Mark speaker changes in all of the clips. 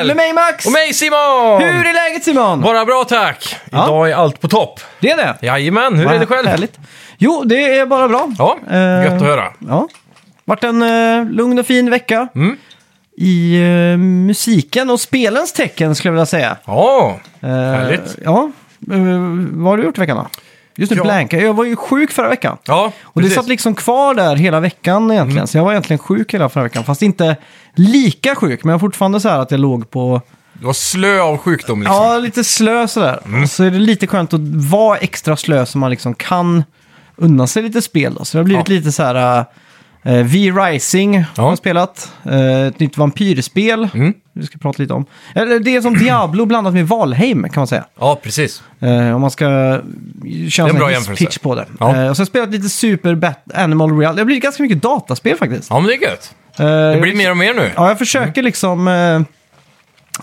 Speaker 1: Eller mig Max!
Speaker 2: Och mig Simon!
Speaker 1: Hur är läget Simon?
Speaker 2: Bara bra tack!
Speaker 1: Ja.
Speaker 2: Idag är allt på topp.
Speaker 1: Det är det?
Speaker 2: Jajamän, hur är det själv?
Speaker 1: Härligt. Jo, det är bara bra.
Speaker 2: Ja,
Speaker 1: Eh,
Speaker 2: gött att höra.
Speaker 1: Ja. Vart en eh, lugn och fin vecka.
Speaker 2: Mm.
Speaker 1: I eh, musiken och spelens tecken skulle jag vilja säga.
Speaker 2: Ja,
Speaker 1: Eh,
Speaker 2: Härligt.
Speaker 1: Ja. Eh, vad har du gjort i veckan då? Just nu
Speaker 2: Ja.
Speaker 1: blankar jag. Jag var ju sjuk förra veckan.
Speaker 2: ja
Speaker 1: Och det
Speaker 2: precis. Mm.
Speaker 1: satt liksom kvar där hela veckan egentligen. Så jag var egentligen sjuk hela förra veckan. Fast inte lika sjuk, men jag var fortfarande så här att jag låg på...
Speaker 2: Du var slö av sjukdom liksom. Mm.
Speaker 1: Ja, lite slö sådär. Och Så är det lite skönt att vara extra slö så man liksom kan unna sig lite spel. Då. Så det har blivit
Speaker 2: Ja.
Speaker 1: lite så här... eh, V-Rising har jag spelat. Eh, ett nytt vampyrspel.
Speaker 2: Mm.
Speaker 1: Vi ska prata lite om. Eller det är som Diablo blandat med Valheim kan man säga.
Speaker 2: Ja, precis.
Speaker 1: Eh, om man ska köra
Speaker 2: bra
Speaker 1: en sån
Speaker 2: jämförelse.
Speaker 1: pitch på det.
Speaker 2: Ja.
Speaker 1: Eh, och så har jag spelat lite Super Bat- Animal Real. Det har blivit ganska mycket dataspel faktiskt.
Speaker 2: Ja, men det är gött.
Speaker 1: Eh,
Speaker 2: Det blir mer och mer nu.
Speaker 1: Ja, jag
Speaker 2: Mm.
Speaker 1: försöker liksom eh,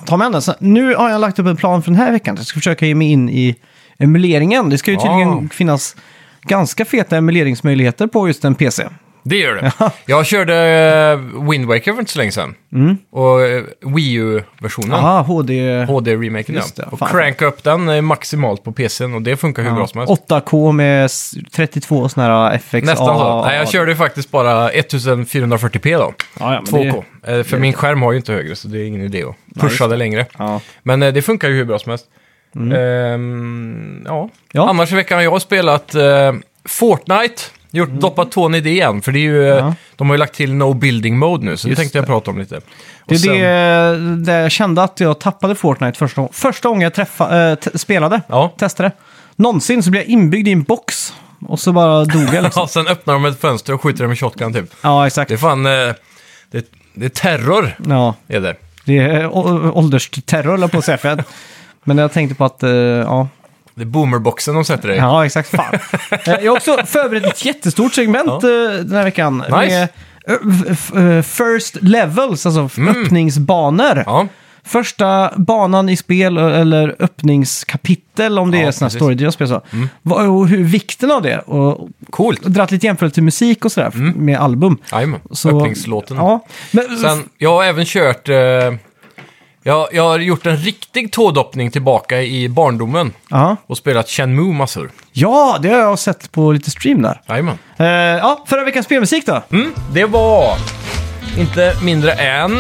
Speaker 1: ta med den. Så nu har jag lagt upp en plan för den här veckan. Jag ska försöka ge mig in i emuleringen. Det ska ju
Speaker 2: Ja.
Speaker 1: tydligen finnas ganska feta emuleringsmöjligheter på just en PC.
Speaker 2: Det gör det. Jag körde eh, Wind Waker för inte så länge sedan. Och eh, Wii U-versionen.
Speaker 1: Mm. Aha, HD...
Speaker 2: HD-remaken
Speaker 1: Just
Speaker 2: ja.
Speaker 1: det,
Speaker 2: Och
Speaker 1: fan.
Speaker 2: cranka upp den eh, maximalt på PCn och det funkar hur bra som helst.
Speaker 1: 8K med s- 32 sådana här FX.
Speaker 2: Nästan så.
Speaker 1: Ja,
Speaker 2: Nej, jag
Speaker 1: ja.
Speaker 2: körde ju faktiskt bara 1440p då.
Speaker 1: Ja, ja, men
Speaker 2: 2K.
Speaker 1: det-
Speaker 2: Eh, För min skärm har ju inte högre så det är ingen idé att pusha det längre.
Speaker 1: Ja.
Speaker 2: Men eh, det funkar ju hur bra som helst. Ehm, ja.
Speaker 1: Mm. Ja.
Speaker 2: Annars i veckan har jag spelat eh, Fortnite. Gjort doppat tån i det igen, för det är ju, eh,
Speaker 1: Mm. Ja.
Speaker 2: de har ju lagt till No Building Mode nu, så
Speaker 1: Just
Speaker 2: det tänkte jag prata om lite. Och
Speaker 1: Det är
Speaker 2: sen-
Speaker 1: det där jag kände att jag tappade Fortnite första, gång- första gången jag träffa, äh, t- spelade,
Speaker 2: Ja.
Speaker 1: testade. Någonsin så blev jag inbyggd i en box och så bara dog jag. Liksom.
Speaker 2: Ja, sen öppnar de ett fönster och skjuter dem med shotgun typ.
Speaker 1: ja, exakt.
Speaker 2: Det är fan, eh, det, det är terror
Speaker 1: Ja,
Speaker 2: är det.
Speaker 1: det är eh, å- åldersterror höll jag på att säga. För jag, men jag tänkte på att, eh, ja.
Speaker 2: Det är boomerboxen de sätter dig i.
Speaker 1: ja, exakt. Fan. Eh, jag har också förberett ett jättestort segment
Speaker 2: Ja.
Speaker 1: eh, den här veckan.
Speaker 2: Nice.
Speaker 1: Med, eh, f- eh, First levels, alltså öppningsbanor.
Speaker 2: Mm. Ja.
Speaker 1: Första banan i spel eller öppningskapitel om det
Speaker 2: Ja,
Speaker 1: är sådana
Speaker 2: precis. Mm.
Speaker 1: storydrivna spel. Så. Vad- Och hur, vikten av det. Och
Speaker 2: Coolt.
Speaker 1: dratt lite jämförelse till musik och sådär med album.
Speaker 2: Jajamän,
Speaker 1: Så-
Speaker 2: öppningslåten.
Speaker 1: Ja. Men,
Speaker 2: Mm. Sen, jag har även kört... Eh, jag, jag har gjort en riktig tådoppning tillbaka i barndomen
Speaker 1: ja.
Speaker 2: och spelat Shenmue massor.
Speaker 1: ja, det har jag sett på lite stream där.
Speaker 2: Jajamän.
Speaker 1: Eh, ja, förra veckans spelmusik då.
Speaker 2: Mm, det var inte mindre än...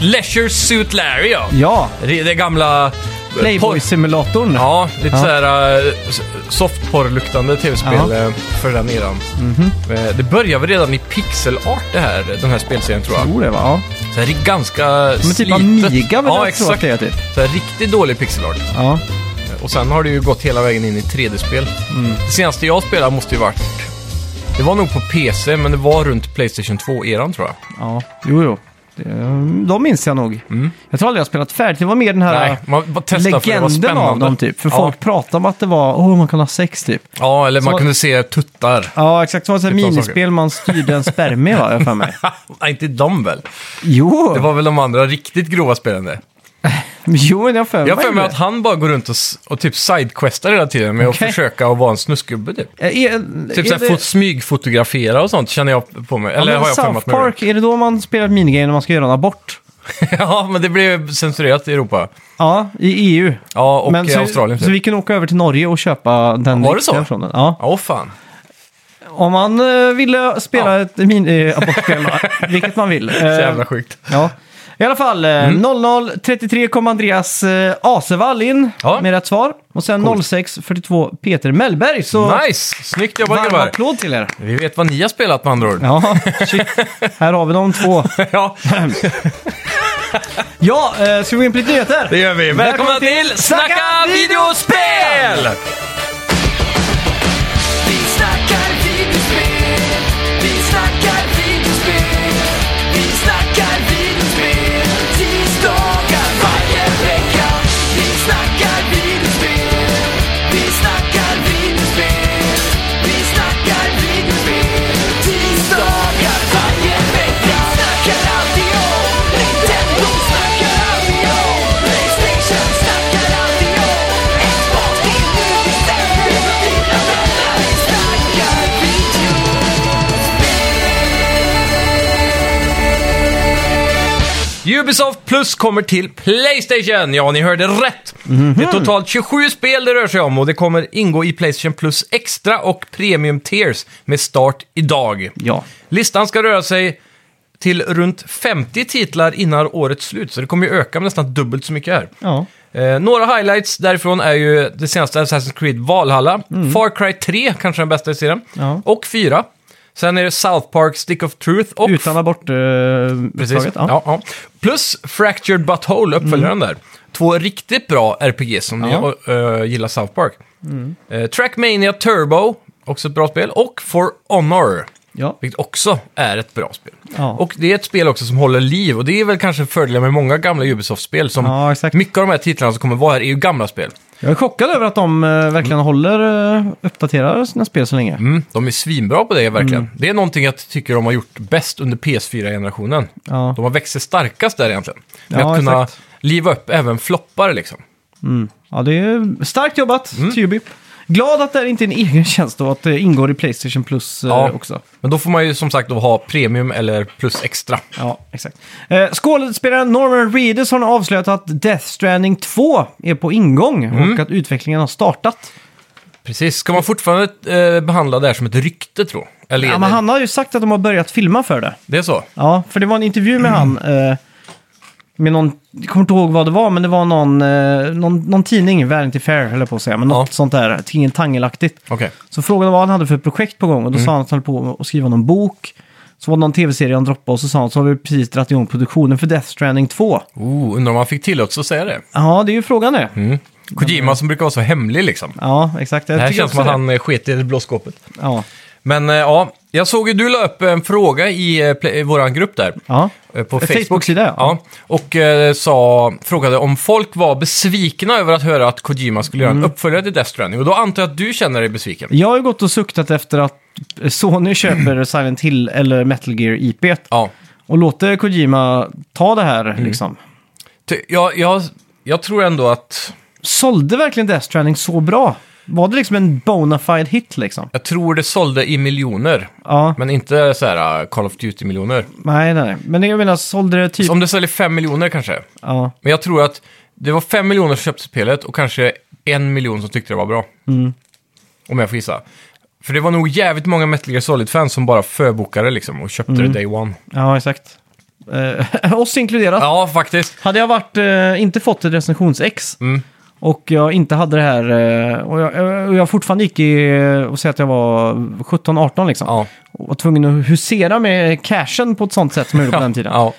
Speaker 2: Leisure Suit Larry, ja.
Speaker 1: Ja,
Speaker 2: Det, det gamla... eh, porr-
Speaker 1: Playboy-simulatorn.
Speaker 2: Ja, lite
Speaker 1: Ja.
Speaker 2: så här eh, s- softporrluktande tv-spel
Speaker 1: Ja. Mhm.
Speaker 2: eh, för den eran. Eh, Det börjar väl redan i pixelart det här, den här spelserien tror jag.
Speaker 1: Tror det va? Ja.
Speaker 2: Så här, det är ganska
Speaker 1: Men typ
Speaker 2: slitet.
Speaker 1: Amiga väl
Speaker 2: ja,
Speaker 1: jag tror att
Speaker 2: exakt.
Speaker 1: det är typ.
Speaker 2: Så här, riktigt dålig pixelart.
Speaker 1: Ja.
Speaker 2: Och sen har det ju gått hela vägen in i 3D-spel.
Speaker 1: Mm.
Speaker 2: Det senaste jag spelade måste ju varit... Det var nog på PC, men det var runt Playstation 2-eran tror jag.
Speaker 1: ja, jo jo. Det- De minns jag nog. Jag tror aldrig jag spelat färdigt. Det var mer den här...
Speaker 2: Mm. Nej, man bara testade för det var
Speaker 1: legenden
Speaker 2: spännande.
Speaker 1: av dem typ. För
Speaker 2: ja.
Speaker 1: folk pratade om att det var, åh man kan ha sex typ.
Speaker 2: Ja, eller man
Speaker 1: Så-
Speaker 2: kunde se tuttar.
Speaker 1: Ja exakt, det var ett typ
Speaker 2: Typ de
Speaker 1: minispel man styrde en spermie va, jag har för mig.
Speaker 2: Nej, inte de väl?
Speaker 1: Jo,
Speaker 2: Det var väl de andra riktigt grova spelen det.
Speaker 1: jo men jag har för
Speaker 2: Jag har för mig
Speaker 1: mig
Speaker 2: att han bara går runt och, s- och typ sidequestar hela tiden med
Speaker 1: Okej.
Speaker 2: att försöka att vara en snuskgubbe typ.
Speaker 1: Är, Eh, är,
Speaker 2: Typ såhär fot-
Speaker 1: det,
Speaker 2: smygfotografera och sånt känner jag på mig. Eller
Speaker 1: Ja, men
Speaker 2: har jag
Speaker 1: South
Speaker 2: filmat mig
Speaker 1: Park, är det då man spelar ett minigame när man ska göra en abort?
Speaker 2: det? Ja, men det blev censurerat i Europa.
Speaker 1: Ja, i E EU.
Speaker 2: Ja, och
Speaker 1: men
Speaker 2: i
Speaker 1: så,
Speaker 2: Australien. typ.
Speaker 1: Så vi kan åka över till Norge och köpa den
Speaker 2: Var det
Speaker 1: riktiga
Speaker 2: så?
Speaker 1: från den. Ja.
Speaker 2: Åh fan.
Speaker 1: Om man eh, ville spela
Speaker 2: Ja.
Speaker 1: ett min, eh, abortspel, vilket man vill. Eh,
Speaker 2: Så jävla sjukt.
Speaker 1: Ja. I alla fall, eh,
Speaker 2: Mm.
Speaker 1: 00.33 kom Andreas eh, Asevall in
Speaker 2: Ja.
Speaker 1: med rätt svar. Och sen 06.42 Peter Mellberg. Så
Speaker 2: Nice! Snyggt jobbat
Speaker 1: varm
Speaker 2: grabbar.
Speaker 1: applåd till er.
Speaker 2: Vi vet vad ni har spelat med andra ord.
Speaker 1: Ja, shit. Här har vi de två.
Speaker 2: Ja,
Speaker 1: Ja, eh, ska vi gå in på lite nyheter?
Speaker 2: det gör vi. Välkomna till Snacka videospel!
Speaker 3: Vi snackar videospel, vi snackar videospel, vi snackar videospel, tisdagar varje vecka. Vi snackar videospel, vi snackar videospel, vi snackar videospel, tisdagar varje vecka. Snackar alltid om Nintendo, snackar alltid om Playstation, snackar alltid om Xbox, Nintendo
Speaker 2: Ubisoft Plus kommer till Playstation! Ja, ni hörde rätt!
Speaker 1: Mhm.
Speaker 2: Det är totalt 27 spel det rör sig om och det kommer ingå i Playstation Plus Extra och Premium Tiers med start idag.
Speaker 1: Ja.
Speaker 2: Listan ska röra sig till runt 50 titlar innan årets slut, så det kommer ju öka med nästan dubbelt så mycket här.
Speaker 1: ja.
Speaker 2: Eh, några highlights därifrån är ju det senaste Assassin's Creed Valhalla, Far Cry 3, kanske den bästa i serien,
Speaker 1: Mm. Ja.
Speaker 2: och 4. Sen är det South Park Stick of Truth och...
Speaker 1: Utan abort eh,
Speaker 2: Precis.
Speaker 1: utslaget, ja. Mm.
Speaker 2: Ja, ja. Plus Fractured Butthole, uppföljaren där. Två riktigt bra RPG som
Speaker 1: Ja. Mm.
Speaker 2: ni eh, gillar South Park. Eh, Trackmania Turbo, också ett bra spel, och For Honor.
Speaker 1: Ja.
Speaker 2: Vilket också är ett bra spel.
Speaker 1: Ja.
Speaker 2: Och det är ett spel också som håller liv och det är väl kanske fördelen med många gamla Ubisoft-spel. Som
Speaker 1: Ja, exakt.
Speaker 2: mycket av de här titlarna som kommer vara här är ju gamla spel.
Speaker 1: Jag är chockad över att de eh, verkligen håller, eh, uppdaterar sina spel så länge.
Speaker 2: Mm, de är svinbra på det verkligen.
Speaker 1: Mm.
Speaker 2: Det är någonting jag tycker de har gjort bäst under PS4-generationen.
Speaker 1: Ja.
Speaker 2: De har växt sig starkast där egentligen. Med
Speaker 1: Ja,
Speaker 2: att kunna
Speaker 1: exakt.
Speaker 2: liva upp även floppar liksom.
Speaker 1: ja, det är starkt jobbat,
Speaker 2: Mm.
Speaker 1: Tubi. Glad att det här inte är en egen tjänst och att det ingår i Playstation Plus eh,
Speaker 2: Ja.
Speaker 1: också.
Speaker 2: Men då får man ju som sagt då ha premium eller plus extra.
Speaker 1: Ja, exakt. Eh, skådespelaren Norman Reedus har nu avslöjat att Death Stranding 2 är på ingång
Speaker 2: Mm.
Speaker 1: och att utvecklingen har startat.
Speaker 2: Precis. Ska man fortfarande eh, behandla det här som ett rykte tro? Eller
Speaker 1: Ja,
Speaker 2: är
Speaker 1: men
Speaker 2: det,
Speaker 1: han har ju sagt att de har börjat filma för det.
Speaker 2: det är så?
Speaker 1: Ja, för det var en intervju med han.
Speaker 2: Mm.
Speaker 1: Eh, med någon, jag kommer inte ihåg vad det var, men det var någon, eh, någon, någon tidning, Vanity Fair höll jag på att säga, men något
Speaker 2: Ja.
Speaker 1: sånt där tingeltangelaktigt.
Speaker 2: Okej.
Speaker 1: Så frågade vad han hade för projekt på gång och då
Speaker 2: Mm.
Speaker 1: sa han att han höll på att skriva någon bok. Så var det någon tv-serie han droppade och så sa han så har vi precis dragit igång produktionen för Death Stranding 2.
Speaker 2: Oh, undrar om han fick tillåtelse att säga det?
Speaker 1: Ja, det är ju frågan det.
Speaker 2: Kojima som brukar vara så hemlig liksom.
Speaker 1: Ja, exakt. eh, Jag
Speaker 2: Mm. Det här
Speaker 1: tycker
Speaker 2: känns som
Speaker 1: också
Speaker 2: att han eh, sket i det blå skåpet.
Speaker 1: det. Ja.
Speaker 2: Men eh, ja, jag såg ju du la upp en fråga i, eh, pla- i vår grupp där.
Speaker 1: Ja.
Speaker 2: Eh, På
Speaker 1: Eh,
Speaker 2: Facebook.
Speaker 1: Facebook-sida, ja.
Speaker 2: Och eh, sa, frågade om folk var besvikna över att höra att Kojima skulle göra
Speaker 1: Mm.
Speaker 2: en uppföljare till Death Stranding. Och då antar jag att du känner dig besviken.
Speaker 1: Jag har ju gått och suktat efter att Sony köper Silent Hill eller Metal Gear IP.
Speaker 2: Ja.
Speaker 1: Och låter Kojima ta det här
Speaker 2: Mm.
Speaker 1: liksom.
Speaker 2: Ty- Jag, jag, jag tror ändå att...
Speaker 1: Sålde verkligen Death Stranding så bra? Var det liksom en bona fide hit liksom?
Speaker 2: Jag tror det sålde i miljoner.
Speaker 1: Ja,
Speaker 2: Men inte så här eh, Call of Duty-miljoner.
Speaker 1: nej, nej. Men jag menar, sålde det typ...
Speaker 2: Om det säljer fem miljoner kanske.
Speaker 1: Ja,
Speaker 2: Men jag tror att det var fem miljoner som köpte spelet och kanske en miljon som tyckte det var bra. Om jag får gissa. För det var nog jävligt många Metal Gear Solid-fans som bara förbokade liksom och köpte det day one.
Speaker 1: ja exakt. Eh, oss inkluderat.
Speaker 2: Ja, faktiskt.
Speaker 1: Hade jag varit, eh, inte fått ett recensions-ex
Speaker 2: Mm.
Speaker 1: och jag inte hade det här eh, och jag, eh, och jag fortfarande gick i, eh, och säg att jag var 17-18 liksom.
Speaker 2: Ja.
Speaker 1: Och var tvungen att husera med cashen på ett sånt sätt som jag gjorde på den tiden.
Speaker 2: Ja.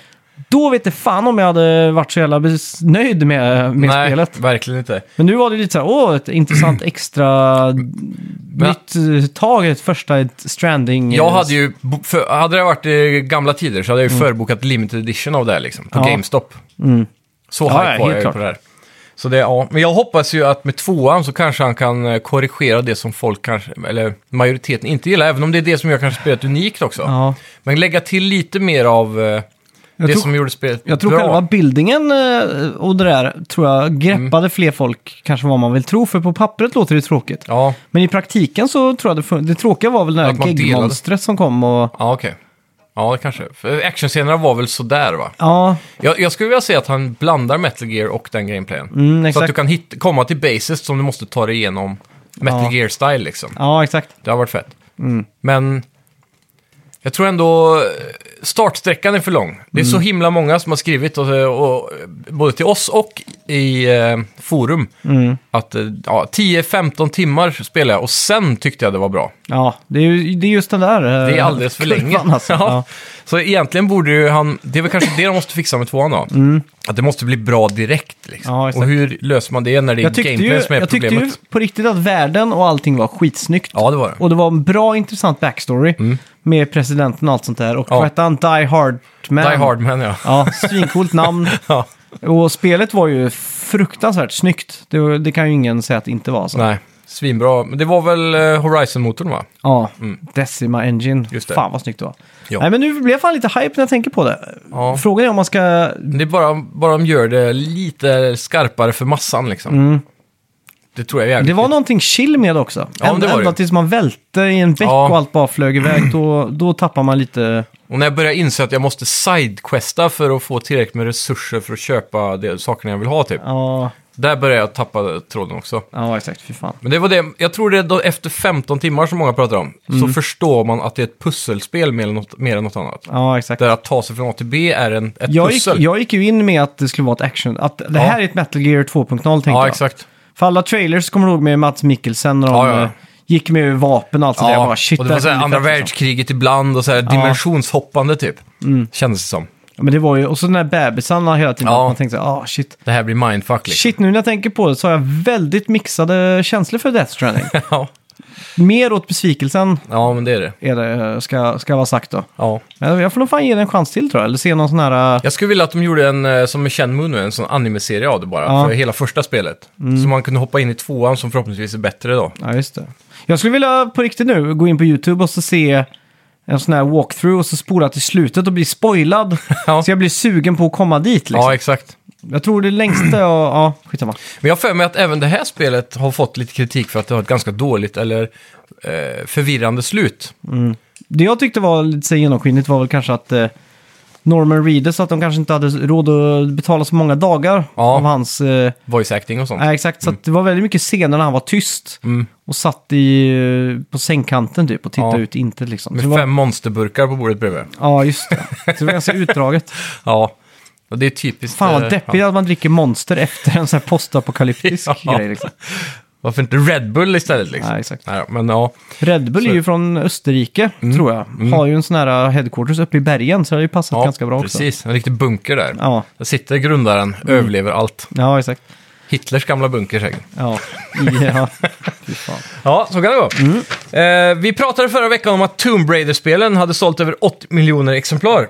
Speaker 1: Då vet det fan om jag hade varit så jävla bes- nöjd med, med
Speaker 2: Nej,
Speaker 1: spelet.
Speaker 2: verkligen inte.
Speaker 1: Men nu var det lite så här, åh, ett intressant extra nytt eh, tag, ett första ett stranding. eh,
Speaker 2: Jag hade ju, bo- för, hade det varit eh, gamla tider så hade jag ju förbokat limited edition av det här liksom, på
Speaker 1: Mm. Ja. Mm.
Speaker 2: GameStop. Så
Speaker 1: Ja, ja,
Speaker 2: hype
Speaker 1: helt
Speaker 2: var jag ju
Speaker 1: klart.
Speaker 2: på det här. Så det, ja. Men jag hoppas ju att med tvåan så kanske han kan eh, korrigera det som folk kanske, eller majoriteten inte gillar, även om det är det som gör kanske spelet unikt också.
Speaker 1: Ja. Men
Speaker 2: Men lägga till lite mer av eh, det
Speaker 1: tror-
Speaker 2: som gjorde spelet
Speaker 1: jag tror
Speaker 2: bra. Mm.
Speaker 1: själva bildningen eh, och det där tror jag greppade fler folk kanske vad man vill tro, för på pappret låter det tråkigt.
Speaker 2: Ja,
Speaker 1: Men i praktiken så tror jag det, fun- det tråkiga var väl det
Speaker 2: Att man
Speaker 1: här
Speaker 2: delade.
Speaker 1: geggmonstret som kom och...
Speaker 2: ja okej. Ja, det kanske. För actionscenerna var väl sådär va?
Speaker 1: Ja,
Speaker 2: Jag, jag skulle vilja säga att han blandar Metal Gear och den gameplayen.
Speaker 1: Mm,
Speaker 2: så att
Speaker 1: exakt.
Speaker 2: du kan hit, komma till basis som du måste ta dig igenom Metal
Speaker 1: Ja. Mm.
Speaker 2: Gear-style liksom.
Speaker 1: ja exakt.
Speaker 2: Det har varit fett. Men jag tror ändå eh, startsträckan är för lång. Det är så
Speaker 1: Mm.
Speaker 2: himla många som har skrivit, och, och, både till oss och i eh, forum,
Speaker 1: Mm.
Speaker 2: att eh, ja, 10-15 timmar spelade jag och sen tyckte jag det var bra.
Speaker 1: Ja, det är, ju, det är just den där... eh,
Speaker 2: Det är alldeles för
Speaker 1: kurvan,
Speaker 2: länge.
Speaker 1: Alltså.
Speaker 2: Ja.
Speaker 1: Ja.
Speaker 2: Så egentligen borde ju han, det är väl kanske det de måste fixa med tvåan då. Att det måste bli bra direkt liksom.
Speaker 1: Mm. Ja, exakt.
Speaker 2: och hur löser man det när det är
Speaker 1: Jag tyckte, ju,
Speaker 2: gameplay som är
Speaker 1: jag tyckte
Speaker 2: problemet?
Speaker 1: ju på riktigt att världen och allting var skitsnyggt.
Speaker 2: Ja, det var det.
Speaker 1: Och det var en bra intressant backstory med presidenten och allt sånt där. Och
Speaker 2: Mm. Ja.
Speaker 1: vad hette han? Die Hard Man.
Speaker 2: Die Hard Man ja.
Speaker 1: Ja, svincoolt namn.
Speaker 2: ja.
Speaker 1: Och spelet var ju fruktansvärt snyggt. Det, var- det kan ju ingen säga att det inte var så.
Speaker 2: Nej, svinbra. Men det var väl eh, Horizon-motorn va?
Speaker 1: Ja, Decima Engine.
Speaker 2: Mm. Just det.
Speaker 1: Fan vad snyggt det var.
Speaker 2: Ja.
Speaker 1: Nej, men nu blev jag fan lite hype när jag tänker på det.
Speaker 2: Ja.
Speaker 1: Frågan är om man ska...
Speaker 2: Det är bara, bara de gör det lite skarpare för massan liksom. Det tror jag är jävligt
Speaker 1: Mm. Det var någonting chill med det också.
Speaker 2: Ja, men det var det
Speaker 1: Ända
Speaker 2: ju.
Speaker 1: tills man välte i en bäck
Speaker 2: Ja.
Speaker 1: och allt bara flög iväg, då, då tappar man lite...
Speaker 2: Och när jag började inse att jag måste sidequesta för att få tillräckligt med resurser för att köpa de sakerna jag vill ha typ.
Speaker 1: Ja,
Speaker 2: Där började jag tappa tråden också.
Speaker 1: ja exakt. Fy fan.
Speaker 2: Men det var det, jag tror det är då efter 15 timmar som många pratar om,
Speaker 1: Mm.
Speaker 2: så förstår man att det är ett pusselspel mer än något, mer än något annat.
Speaker 1: Ja, exakt.
Speaker 2: Där att ta sig från A till B är en, ett
Speaker 1: Jag gick,
Speaker 2: pussel.
Speaker 1: jag gick ju in med att det skulle vara ett action, att det
Speaker 2: Ja.
Speaker 1: här är ett Metal Gear 2.0 tänkte
Speaker 2: ja,
Speaker 1: jag.
Speaker 2: exakt.
Speaker 1: För alla trailers kommer jag ihåg med Mats Mikkelsen när de
Speaker 2: Ja, ja.
Speaker 1: eh, gick med vapen och allt sådär. Jag bara, shit,
Speaker 2: och det
Speaker 1: här
Speaker 2: var så här
Speaker 1: kommer bli
Speaker 2: andra
Speaker 1: fett, liksom.
Speaker 2: världskriget ibland och så här dimensionshoppande typ.
Speaker 1: Mm.
Speaker 2: Kändes det som.
Speaker 1: Ja, Men det var ju, och så den här bebisarna hela tiden.
Speaker 2: Ja.
Speaker 1: att Man tänkte, ah shit.
Speaker 2: Det här blir mindfuck liksom.
Speaker 1: Shit, nu när jag tänker på det så har jag väldigt mixade känslor för Death Stranding.
Speaker 2: ja.
Speaker 1: Mer åt besvikelsen
Speaker 2: ja, men det är det.
Speaker 1: är det, ska, ska vara sagt då.
Speaker 2: Ja.
Speaker 1: Men jag får nog fan ge den en chans till tror jag. Eller se någon sån här... eh,
Speaker 2: Jag skulle vilja att de gjorde en, eh, som med Shenmue nu, en sån anime-serie av det bara.
Speaker 1: Ja. Mm.
Speaker 2: För hela första spelet. Så man kunde hoppa in i tvåan som förhoppningsvis är bättre då.
Speaker 1: Ja, just det. Jag skulle vilja på riktigt nu gå in på YouTube och så se en sån här walkthrough och så spola till slutet och bli spoilad.
Speaker 2: Ja.
Speaker 1: Så jag blir sugen på att komma dit liksom.
Speaker 2: Ja, exakt.
Speaker 1: Jag tror det längsta jag... Ja, skitsamma.
Speaker 2: Men jag har för mig att även det här spelet har fått lite kritik för att det har ett ganska dåligt eller eh, förvirrande slut.
Speaker 1: Det jag tyckte var lite så här genomskinligt var väl kanske att eh, Norman Reedus, att de kanske inte hade råd att betala så många dagar
Speaker 2: Ja.
Speaker 1: av hans... Eh,
Speaker 2: Voice acting och sånt.
Speaker 1: nej, exakt. Så att det var väldigt mycket scener när han var tyst
Speaker 2: Mm.
Speaker 1: och satt i, eh, på sängkanten typ och tittade
Speaker 2: Ja.
Speaker 1: ut inte liksom.
Speaker 2: Med
Speaker 1: Så
Speaker 2: fem
Speaker 1: det var,
Speaker 2: monsterburkar på bordet bredvid.
Speaker 1: Ja, just det. Så det var ganska utdraget.
Speaker 2: Ja, och det är typiskt.
Speaker 1: Fan
Speaker 2: eh,
Speaker 1: vad deppigt att man dricker monster efter en sån här postapokalyptisk
Speaker 2: Ja.
Speaker 1: grej. Liksom.
Speaker 2: Varför inte Red Bull istället liksom?
Speaker 1: Nej, exakt.
Speaker 2: Nej, men ja,
Speaker 1: Red Bull är
Speaker 2: Så- Mm.
Speaker 1: ju från Österrike, tror jag. Har ju en sån här eh, headquarters uppe i bergen, så det har ju passat
Speaker 2: ja
Speaker 1: ganska bra också.
Speaker 2: precis. En riktig bunker där.
Speaker 1: Ja, Mm.
Speaker 2: Där sitter grundaren, överlever allt.
Speaker 1: ja exakt.
Speaker 2: Hitlers gamla bunker säkert.
Speaker 1: Ja, ja. Fy fan.
Speaker 2: Ja, så kan det vara.
Speaker 1: Mm.
Speaker 2: Eh, vi pratade förra veckan om att Tomb Raider-spelen hade sålt över 80 miljoner exemplar.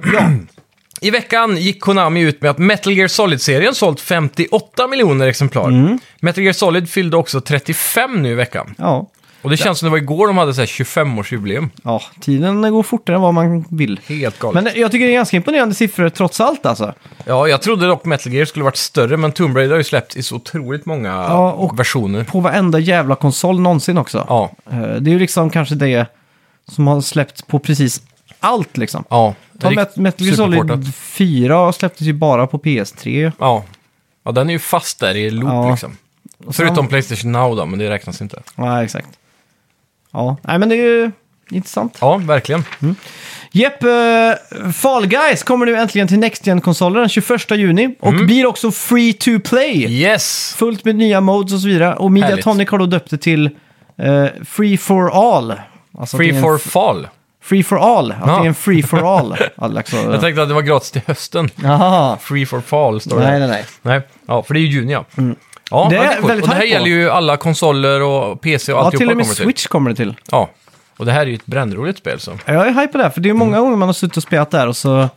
Speaker 2: I veckan gick Konami ut med att Metal Gear Solid-serien sålt 58 miljoner exemplar.
Speaker 1: Mm.
Speaker 2: Metal Gear Solid fyllde också 35 nu i veckan.
Speaker 1: Ja.
Speaker 2: Och det känns som det var igår de hade så här 25-årsjubileum.
Speaker 1: ja, tiden går fortare än vad man vill.
Speaker 2: Helt galet.
Speaker 1: Men jag tycker det är ganska imponerande siffror trots allt alltså.
Speaker 2: Ja, jag trodde dock Metal Gear skulle varit större, men Tomb Raider har ju släppt i så otroligt många
Speaker 1: Ja, och-
Speaker 2: versioner.
Speaker 1: På varenda jävla konsol någonsin också.
Speaker 2: Ja,
Speaker 1: Eh, Det är ju liksom kanske det som har släppts på precis allt liksom.
Speaker 2: ja.
Speaker 1: Ta
Speaker 2: Rikt-
Speaker 1: Met- Metal Gear
Speaker 2: superportat.
Speaker 1: Solid 4 släpptes ju bara på PS3.
Speaker 2: Ja. ja, den är ju fast där i loop
Speaker 1: Ja.
Speaker 2: liksom.
Speaker 1: Och sen-
Speaker 2: Förutom Playstation Now då, men det räknas inte.
Speaker 1: Nej, exakt. Ja, nej men det är ju intressant.
Speaker 2: Ja, verkligen.
Speaker 1: Jepp, eh, Fall Guys kommer nu äntligen till Next gen konsoler den 21 juni och blir också free to play.
Speaker 2: Mm. Yes!
Speaker 1: Fullt med nya modes och så vidare. Och
Speaker 2: Härligt.
Speaker 1: Mediatonic har då döpt det till eh, Free for all. Alltså att det är
Speaker 2: Free
Speaker 1: en-
Speaker 2: for fall.
Speaker 1: free for all. Att
Speaker 2: Ja.
Speaker 1: det är en free for all. Alltså,
Speaker 2: Jag tänkte att det var gratis till hösten.
Speaker 1: Jaha.
Speaker 2: Free for fall står det.
Speaker 1: Nej, nej, nej.
Speaker 2: nej. Ja, för det är ju juni ja. Ja,
Speaker 1: Det
Speaker 2: det
Speaker 1: är
Speaker 2: är
Speaker 1: väldigt
Speaker 2: och det här
Speaker 1: hype på.
Speaker 2: gäller ju alla konsoler och PC och
Speaker 1: Ja,
Speaker 2: alltihopa
Speaker 1: till och med
Speaker 2: kommer
Speaker 1: Switch kommer det till.
Speaker 2: Ja, och det här är ju ett brännroligt spel så.
Speaker 1: Ja, Jag är hype på det, här, för det är
Speaker 2: Mm.
Speaker 1: många gånger man har suttit och spelat där och så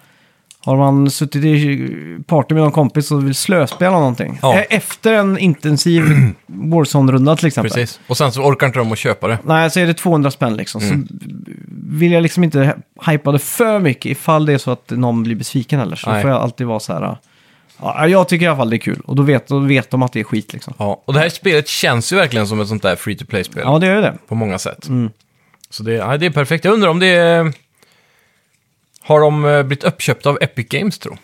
Speaker 1: har man suttit i party med någon kompis och vill slöspela någonting.
Speaker 2: Ja.
Speaker 1: E- Efter en intensiv Warzone-runda till exempel.
Speaker 2: Precis. Och sen så orkar inte de att köpa det.
Speaker 1: Nej, så är det 200 spänn liksom.
Speaker 2: Mm.
Speaker 1: Så vill jag liksom inte hy- hypa det för mycket ifall det är så att någon blir besviken eller så
Speaker 2: Nej.
Speaker 1: får jag alltid vara så här. Ja, jag tycker i alla fall det är kul och då vet, då vet de att det är skit liksom.
Speaker 2: Ja, och det här spelet känns ju verkligen som ett sånt där free to play-spel
Speaker 1: Ja, Mm. det gör ju det.
Speaker 2: på många sätt. Så det, ja, det är perfekt. Jag undrar om det är... Har de eh, blivit uppköpta av Epic Games, tro?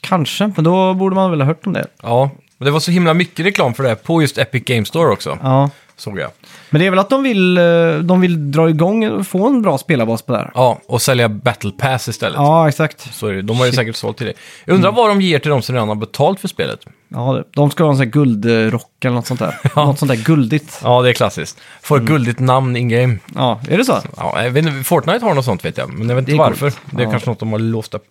Speaker 1: Kanske, men då borde man väl ha hört om det.
Speaker 2: Ja, men det var så himla mycket reklam för det här på just Epic Games Store också,
Speaker 1: Ja.
Speaker 2: såg jag.
Speaker 1: Men det är väl att de vill, eh, de vill dra igång och få en bra spelarbas på det här.
Speaker 2: Ja, och sälja Battle Pass istället.
Speaker 1: Ja, exakt.
Speaker 2: Så är det, de har ju
Speaker 1: Shit.
Speaker 2: säkert sålt till det. Jag undrar vad de ger till de som redan har betalt för spelet.
Speaker 1: Ja, det- de ska ha en sån här guldrock eller något sånt där. Något sånt där guldigt.
Speaker 2: Ja, det är klassiskt. Mm. Får ett guldigt namn in-game.
Speaker 1: Ja, är det så?
Speaker 2: Ja, jag vet inte, Fortnite har något sånt vet jag, men jag vet inte
Speaker 1: Det är
Speaker 2: varför.
Speaker 1: coolt.
Speaker 2: Det är
Speaker 1: Ja. Mm.
Speaker 2: kanske något de har låst upp.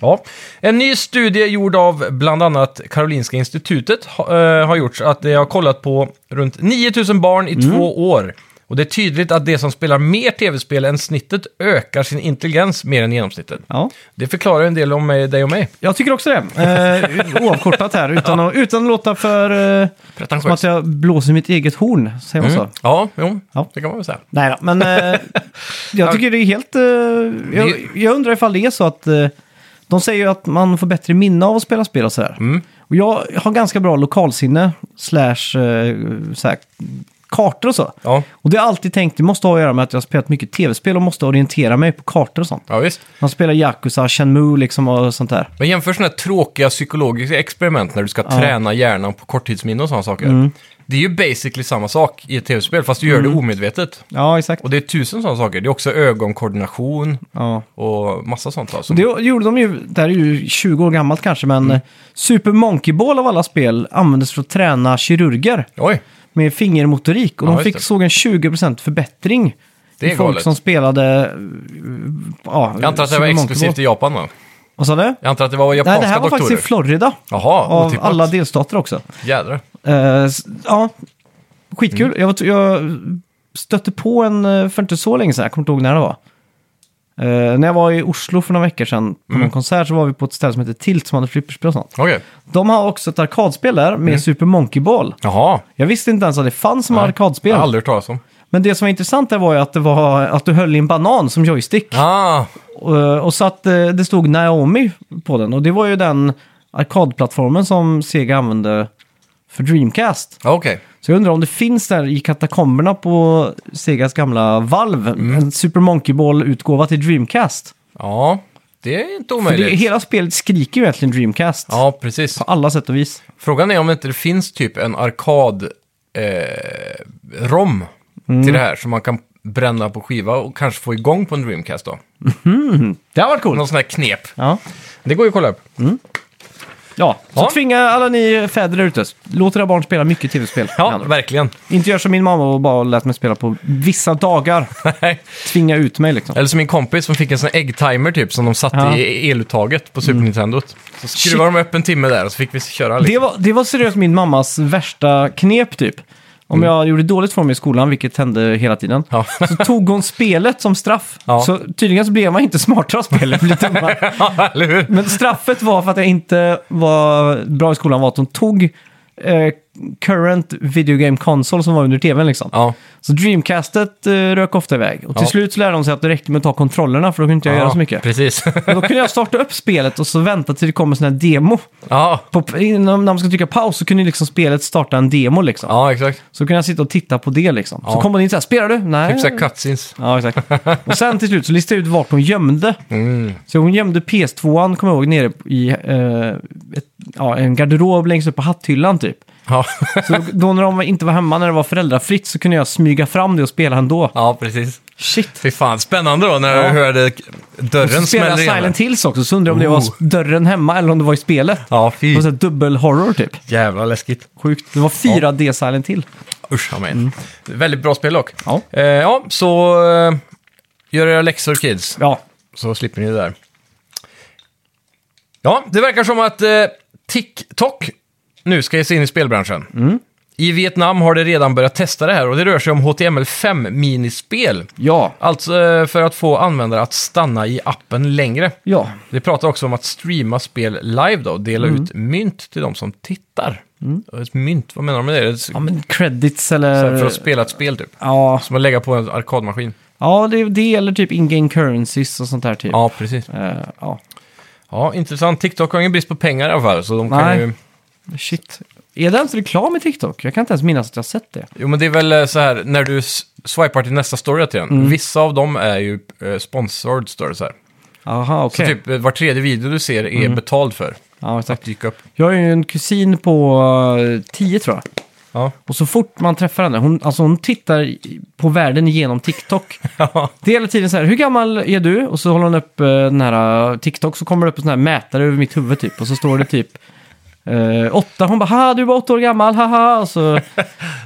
Speaker 2: Ja. En ny studie gjord av bland annat Karolinska institutet ha- eh, har gjorts. Att det har kollat på runt 9000 barn i
Speaker 1: Mm.
Speaker 2: två år. Och det är tydligt att de som spelar mer tv-spel än snittet ökar sin intelligens mer än genomsnittet.
Speaker 1: Ja,
Speaker 2: Det förklarar en del om mig, dig och mig.
Speaker 1: jag tycker också det. Eh, oavkortat här, utan att, utan att låta för... Eh, som att
Speaker 2: Pretentiöst.
Speaker 1: jag blåser mitt eget horn, säger man så?
Speaker 2: Mm. Ja, jo,
Speaker 1: Ja.
Speaker 2: det kan man väl säga.
Speaker 1: Nej då, men eh, jag tycker det är helt... Eh, jag, jag undrar ifall det är så att... Eh, de säger ju att man får bättre minne av att spela spel och sådär. Och jag har ganska bra lokalsinne, slash eh, så här, kartor och så.
Speaker 2: Ja,
Speaker 1: Och det har jag alltid tänkt, det måste ha att göra med att jag har spelat mycket tv-spel och måste orientera mig på kartor och sånt.
Speaker 2: ja visst.
Speaker 1: Man spelar Yakuza, Shenmue liksom och sånt där.
Speaker 2: Men jämför sådana här tråkiga psykologiska experiment när du ska träna hjärnan på korttidsminne och sådana saker.
Speaker 1: Mm.
Speaker 2: Det är ju basically samma sak i ett tv-spel, fast du gör det omedvetet.
Speaker 1: Ja, exakt.
Speaker 2: Och det är tusen sådana saker. Det är också ögonkoordination
Speaker 1: Ja.
Speaker 2: och massa sånt. Alltså.
Speaker 1: Det gjorde de ju, det här är ju 20 år gammalt kanske, men
Speaker 2: Mm.
Speaker 1: eh, Super Monkey Ball av alla spel användes för att träna kirurger
Speaker 2: Oj,
Speaker 1: med fingermotorik. Och
Speaker 2: Ja,
Speaker 1: de
Speaker 2: just
Speaker 1: fick,
Speaker 2: det.
Speaker 1: såg en 20% förbättring.
Speaker 2: Det är
Speaker 1: i folk
Speaker 2: galet.
Speaker 1: som spelade... eh, Ja,
Speaker 2: jag antar att det var
Speaker 1: Super Monkey
Speaker 2: exklusivt
Speaker 1: Ball.
Speaker 2: i Japan va?
Speaker 1: Vad sa du?
Speaker 2: Jag antar att det var
Speaker 1: Nej,
Speaker 2: japanska
Speaker 1: det här var
Speaker 2: doktorer. typ
Speaker 1: faktiskt i Florida.
Speaker 2: Jaha,
Speaker 1: Av
Speaker 2: otippat.
Speaker 1: alla delstater också.
Speaker 2: Jädrar.
Speaker 1: Eh, s- ja, skitkul. Jag, var- jag stötte på en eh, för inte så länge sedan, jag kommer inte ihåg när det var. Eh, när jag var i Oslo för några veckor sedan på någon konsert så var vi på ett ställe som heter Tilt som hade flipperspel och sånt.
Speaker 2: Okej.
Speaker 1: De har också ett arkadspel där med Super Monkey Ball.
Speaker 2: Jaha.
Speaker 1: Jag visste inte ens att det fanns som
Speaker 2: Jag
Speaker 1: arkadspel.
Speaker 2: har aldrig hört talas om.
Speaker 1: Men det som var intressant där var ju att, det var att du höll i en banan som joystick.
Speaker 2: Ah,
Speaker 1: Och, och så att eh, det stod Naomi på den. Och det var ju den arkadplattformen som Sega använde för Dreamcast.
Speaker 2: ja, okej.
Speaker 1: Så jag undrar om det finns där i katakomberna på Segas gamla valv.
Speaker 2: Mm.
Speaker 1: En Super Monkey Ball-utgåva till Dreamcast.
Speaker 2: Ja, det är
Speaker 1: För
Speaker 2: inte
Speaker 1: det,
Speaker 2: omöjligt.
Speaker 1: hela spelet skriker ju egentligen Dreamcast.
Speaker 2: Ja, precis.
Speaker 1: På alla sätt och vis.
Speaker 2: Frågan är om inte det finns typ en arkad eh, rom till det här som man kan bränna på skiva och kanske få igång på en Dreamcast då.
Speaker 1: Mhm. Det har varit coolt.
Speaker 2: Någon sån här knep.
Speaker 1: Ja.
Speaker 2: Det går ju att kolla upp.
Speaker 1: ja, så
Speaker 2: Ja.
Speaker 1: tvinga alla ni fäder där ute. Låt era barn spela mycket tv-spel. med
Speaker 2: Ja,
Speaker 1: andra ord.
Speaker 2: verkligen.
Speaker 1: Inte gör som min mamma och bara lät mig spela på vissa dagar.
Speaker 2: Nej.
Speaker 1: Tvinga ut mig liksom.
Speaker 2: Eller som min kompis som fick en sån äggtimer typ som de satte
Speaker 1: Ja. Mm.
Speaker 2: i eluttaget på Super Nintendot. Så skruvade de upp en timme där och så fick vi köra liksom.
Speaker 1: Det var, det var seriöst min mammas värsta knep typ. Om jag gjorde dåligt från mig i skolan, vilket hände hela tiden,
Speaker 2: Mm. Ja.
Speaker 1: så tog hon spelet som straff.
Speaker 2: Ja.
Speaker 1: Så tydligen så blev man inte smartare av spelet, blev dummare.
Speaker 2: Ja, eller hur?
Speaker 1: Men straffet var för att jag inte var bra i skolan var att hon tog eh, current video game console som var under tvn liksom.
Speaker 2: Ja,
Speaker 1: Så Dreamcastet eh, rök ofta iväg. Och till
Speaker 2: Ja.
Speaker 1: slut så lärde hon sig att det räckte med att ta kontrollerna för då kunde inte jag
Speaker 2: ja
Speaker 1: göra så mycket.
Speaker 2: precis.
Speaker 1: Men då kunde jag starta upp spelet och så vänta till det kom en sån här demo
Speaker 2: ja.
Speaker 1: på, innan när man ska trycka paus så kunde ju liksom spelet starta en demo liksom.
Speaker 2: ja, exakt.
Speaker 1: Så kunde jag sitta och titta på det liksom. Så
Speaker 2: Ja.
Speaker 1: kom hon in såhär, spelar du? Nej.
Speaker 2: Typ såhär cutscenes.
Speaker 1: Ja, exakt. Och sen till slut så listade jag ut vart hon gömde.
Speaker 2: Mm.
Speaker 1: Så hon gömde PS2an, kommer jag ihåg, nere i eh, ett, ja, en garderob längst upp på hatthyllan typ.
Speaker 2: Ja.
Speaker 1: Så då- då när de inte var hemma, när det var föräldrafritt, så kunde jag smyga fram det och spela ändå.
Speaker 2: ja, precis.
Speaker 1: Shit.
Speaker 2: Fy fan, spännande då när
Speaker 1: Ja.
Speaker 2: jag hörde
Speaker 1: Så
Speaker 2: dörren
Speaker 1: spelade
Speaker 2: smälla
Speaker 1: jag
Speaker 2: igen.
Speaker 1: Silent Hills också, så undrar jag om det var
Speaker 2: Oh.
Speaker 1: dörren hemma eller om det var i spelet.
Speaker 2: Ja,
Speaker 1: Det
Speaker 2: fy.
Speaker 1: var så här dubbel horror typ.
Speaker 2: Jävla läskigt.
Speaker 1: Sjukt. Det var 4D Silent Hill.
Speaker 2: Usch, amen. Väldigt bra spel dock.
Speaker 1: Mm. Ja.
Speaker 2: Eh, ja, så eh, gör era läxor kids,
Speaker 1: Ja,
Speaker 2: så slipper ni det där. Ja, det verkar som att eh, TikTok nu ska ge sig in i spelbranschen.
Speaker 1: Mm.
Speaker 2: I Vietnam har det redan börjat testa det här och det rör sig om HTML5-minispel.
Speaker 1: ja,
Speaker 2: Alltså eh, för att få användare att stanna i appen längre.
Speaker 1: ja.
Speaker 2: Det pratar också om att streama spel live då och dela
Speaker 1: Mm.
Speaker 2: ut mynt till de som tittar. Och Ett mynt, vad menar de med det? det? är s-
Speaker 1: Ja, men eh, Typ. credits
Speaker 2: så
Speaker 1: eller...
Speaker 2: här För att spela ett spel typ.
Speaker 1: Ja,
Speaker 2: Som att lägga på en arkadmaskin.
Speaker 1: ja det, det gäller typ in-game currencies och sånt där typ.
Speaker 2: Ja, precis.
Speaker 1: Eh, ja.
Speaker 2: Ja, intressant. TikTok har ingen brist på pengar i alla fall. Så de kan
Speaker 1: Nej.
Speaker 2: ju...
Speaker 1: Shit. Är det ens reklam i TikTok? Jag kan inte ens minnas att jag sett det.
Speaker 2: Jo, men det är väl eh, så här, när du s- swipar till nästa story till den.
Speaker 1: Mm.
Speaker 2: Vissa av dem är ju eh, sponsored stories här.
Speaker 1: Aha,
Speaker 2: Så
Speaker 1: okej. Mm.
Speaker 2: typ eh, var tredje video du ser är betald för.
Speaker 1: Ja,
Speaker 2: Att
Speaker 1: exakt.
Speaker 2: dyka upp.
Speaker 1: Jag har ju en kusin på eh, 10 tror jag.
Speaker 2: Ja.
Speaker 1: Och så fort man träffar henne, hon, alltså hon tittar i- på världen genom TikTok.
Speaker 2: Ja.
Speaker 1: Det är hela tiden så här, hur gammal är du? Och så håller hon upp eh, den här eh, TikTok, så kommer det upp en sån här mätare över mitt huvud typ. Och så står det typ eh, åtta. Hon bara, ha du är bara åtta år gammal, haha. Och så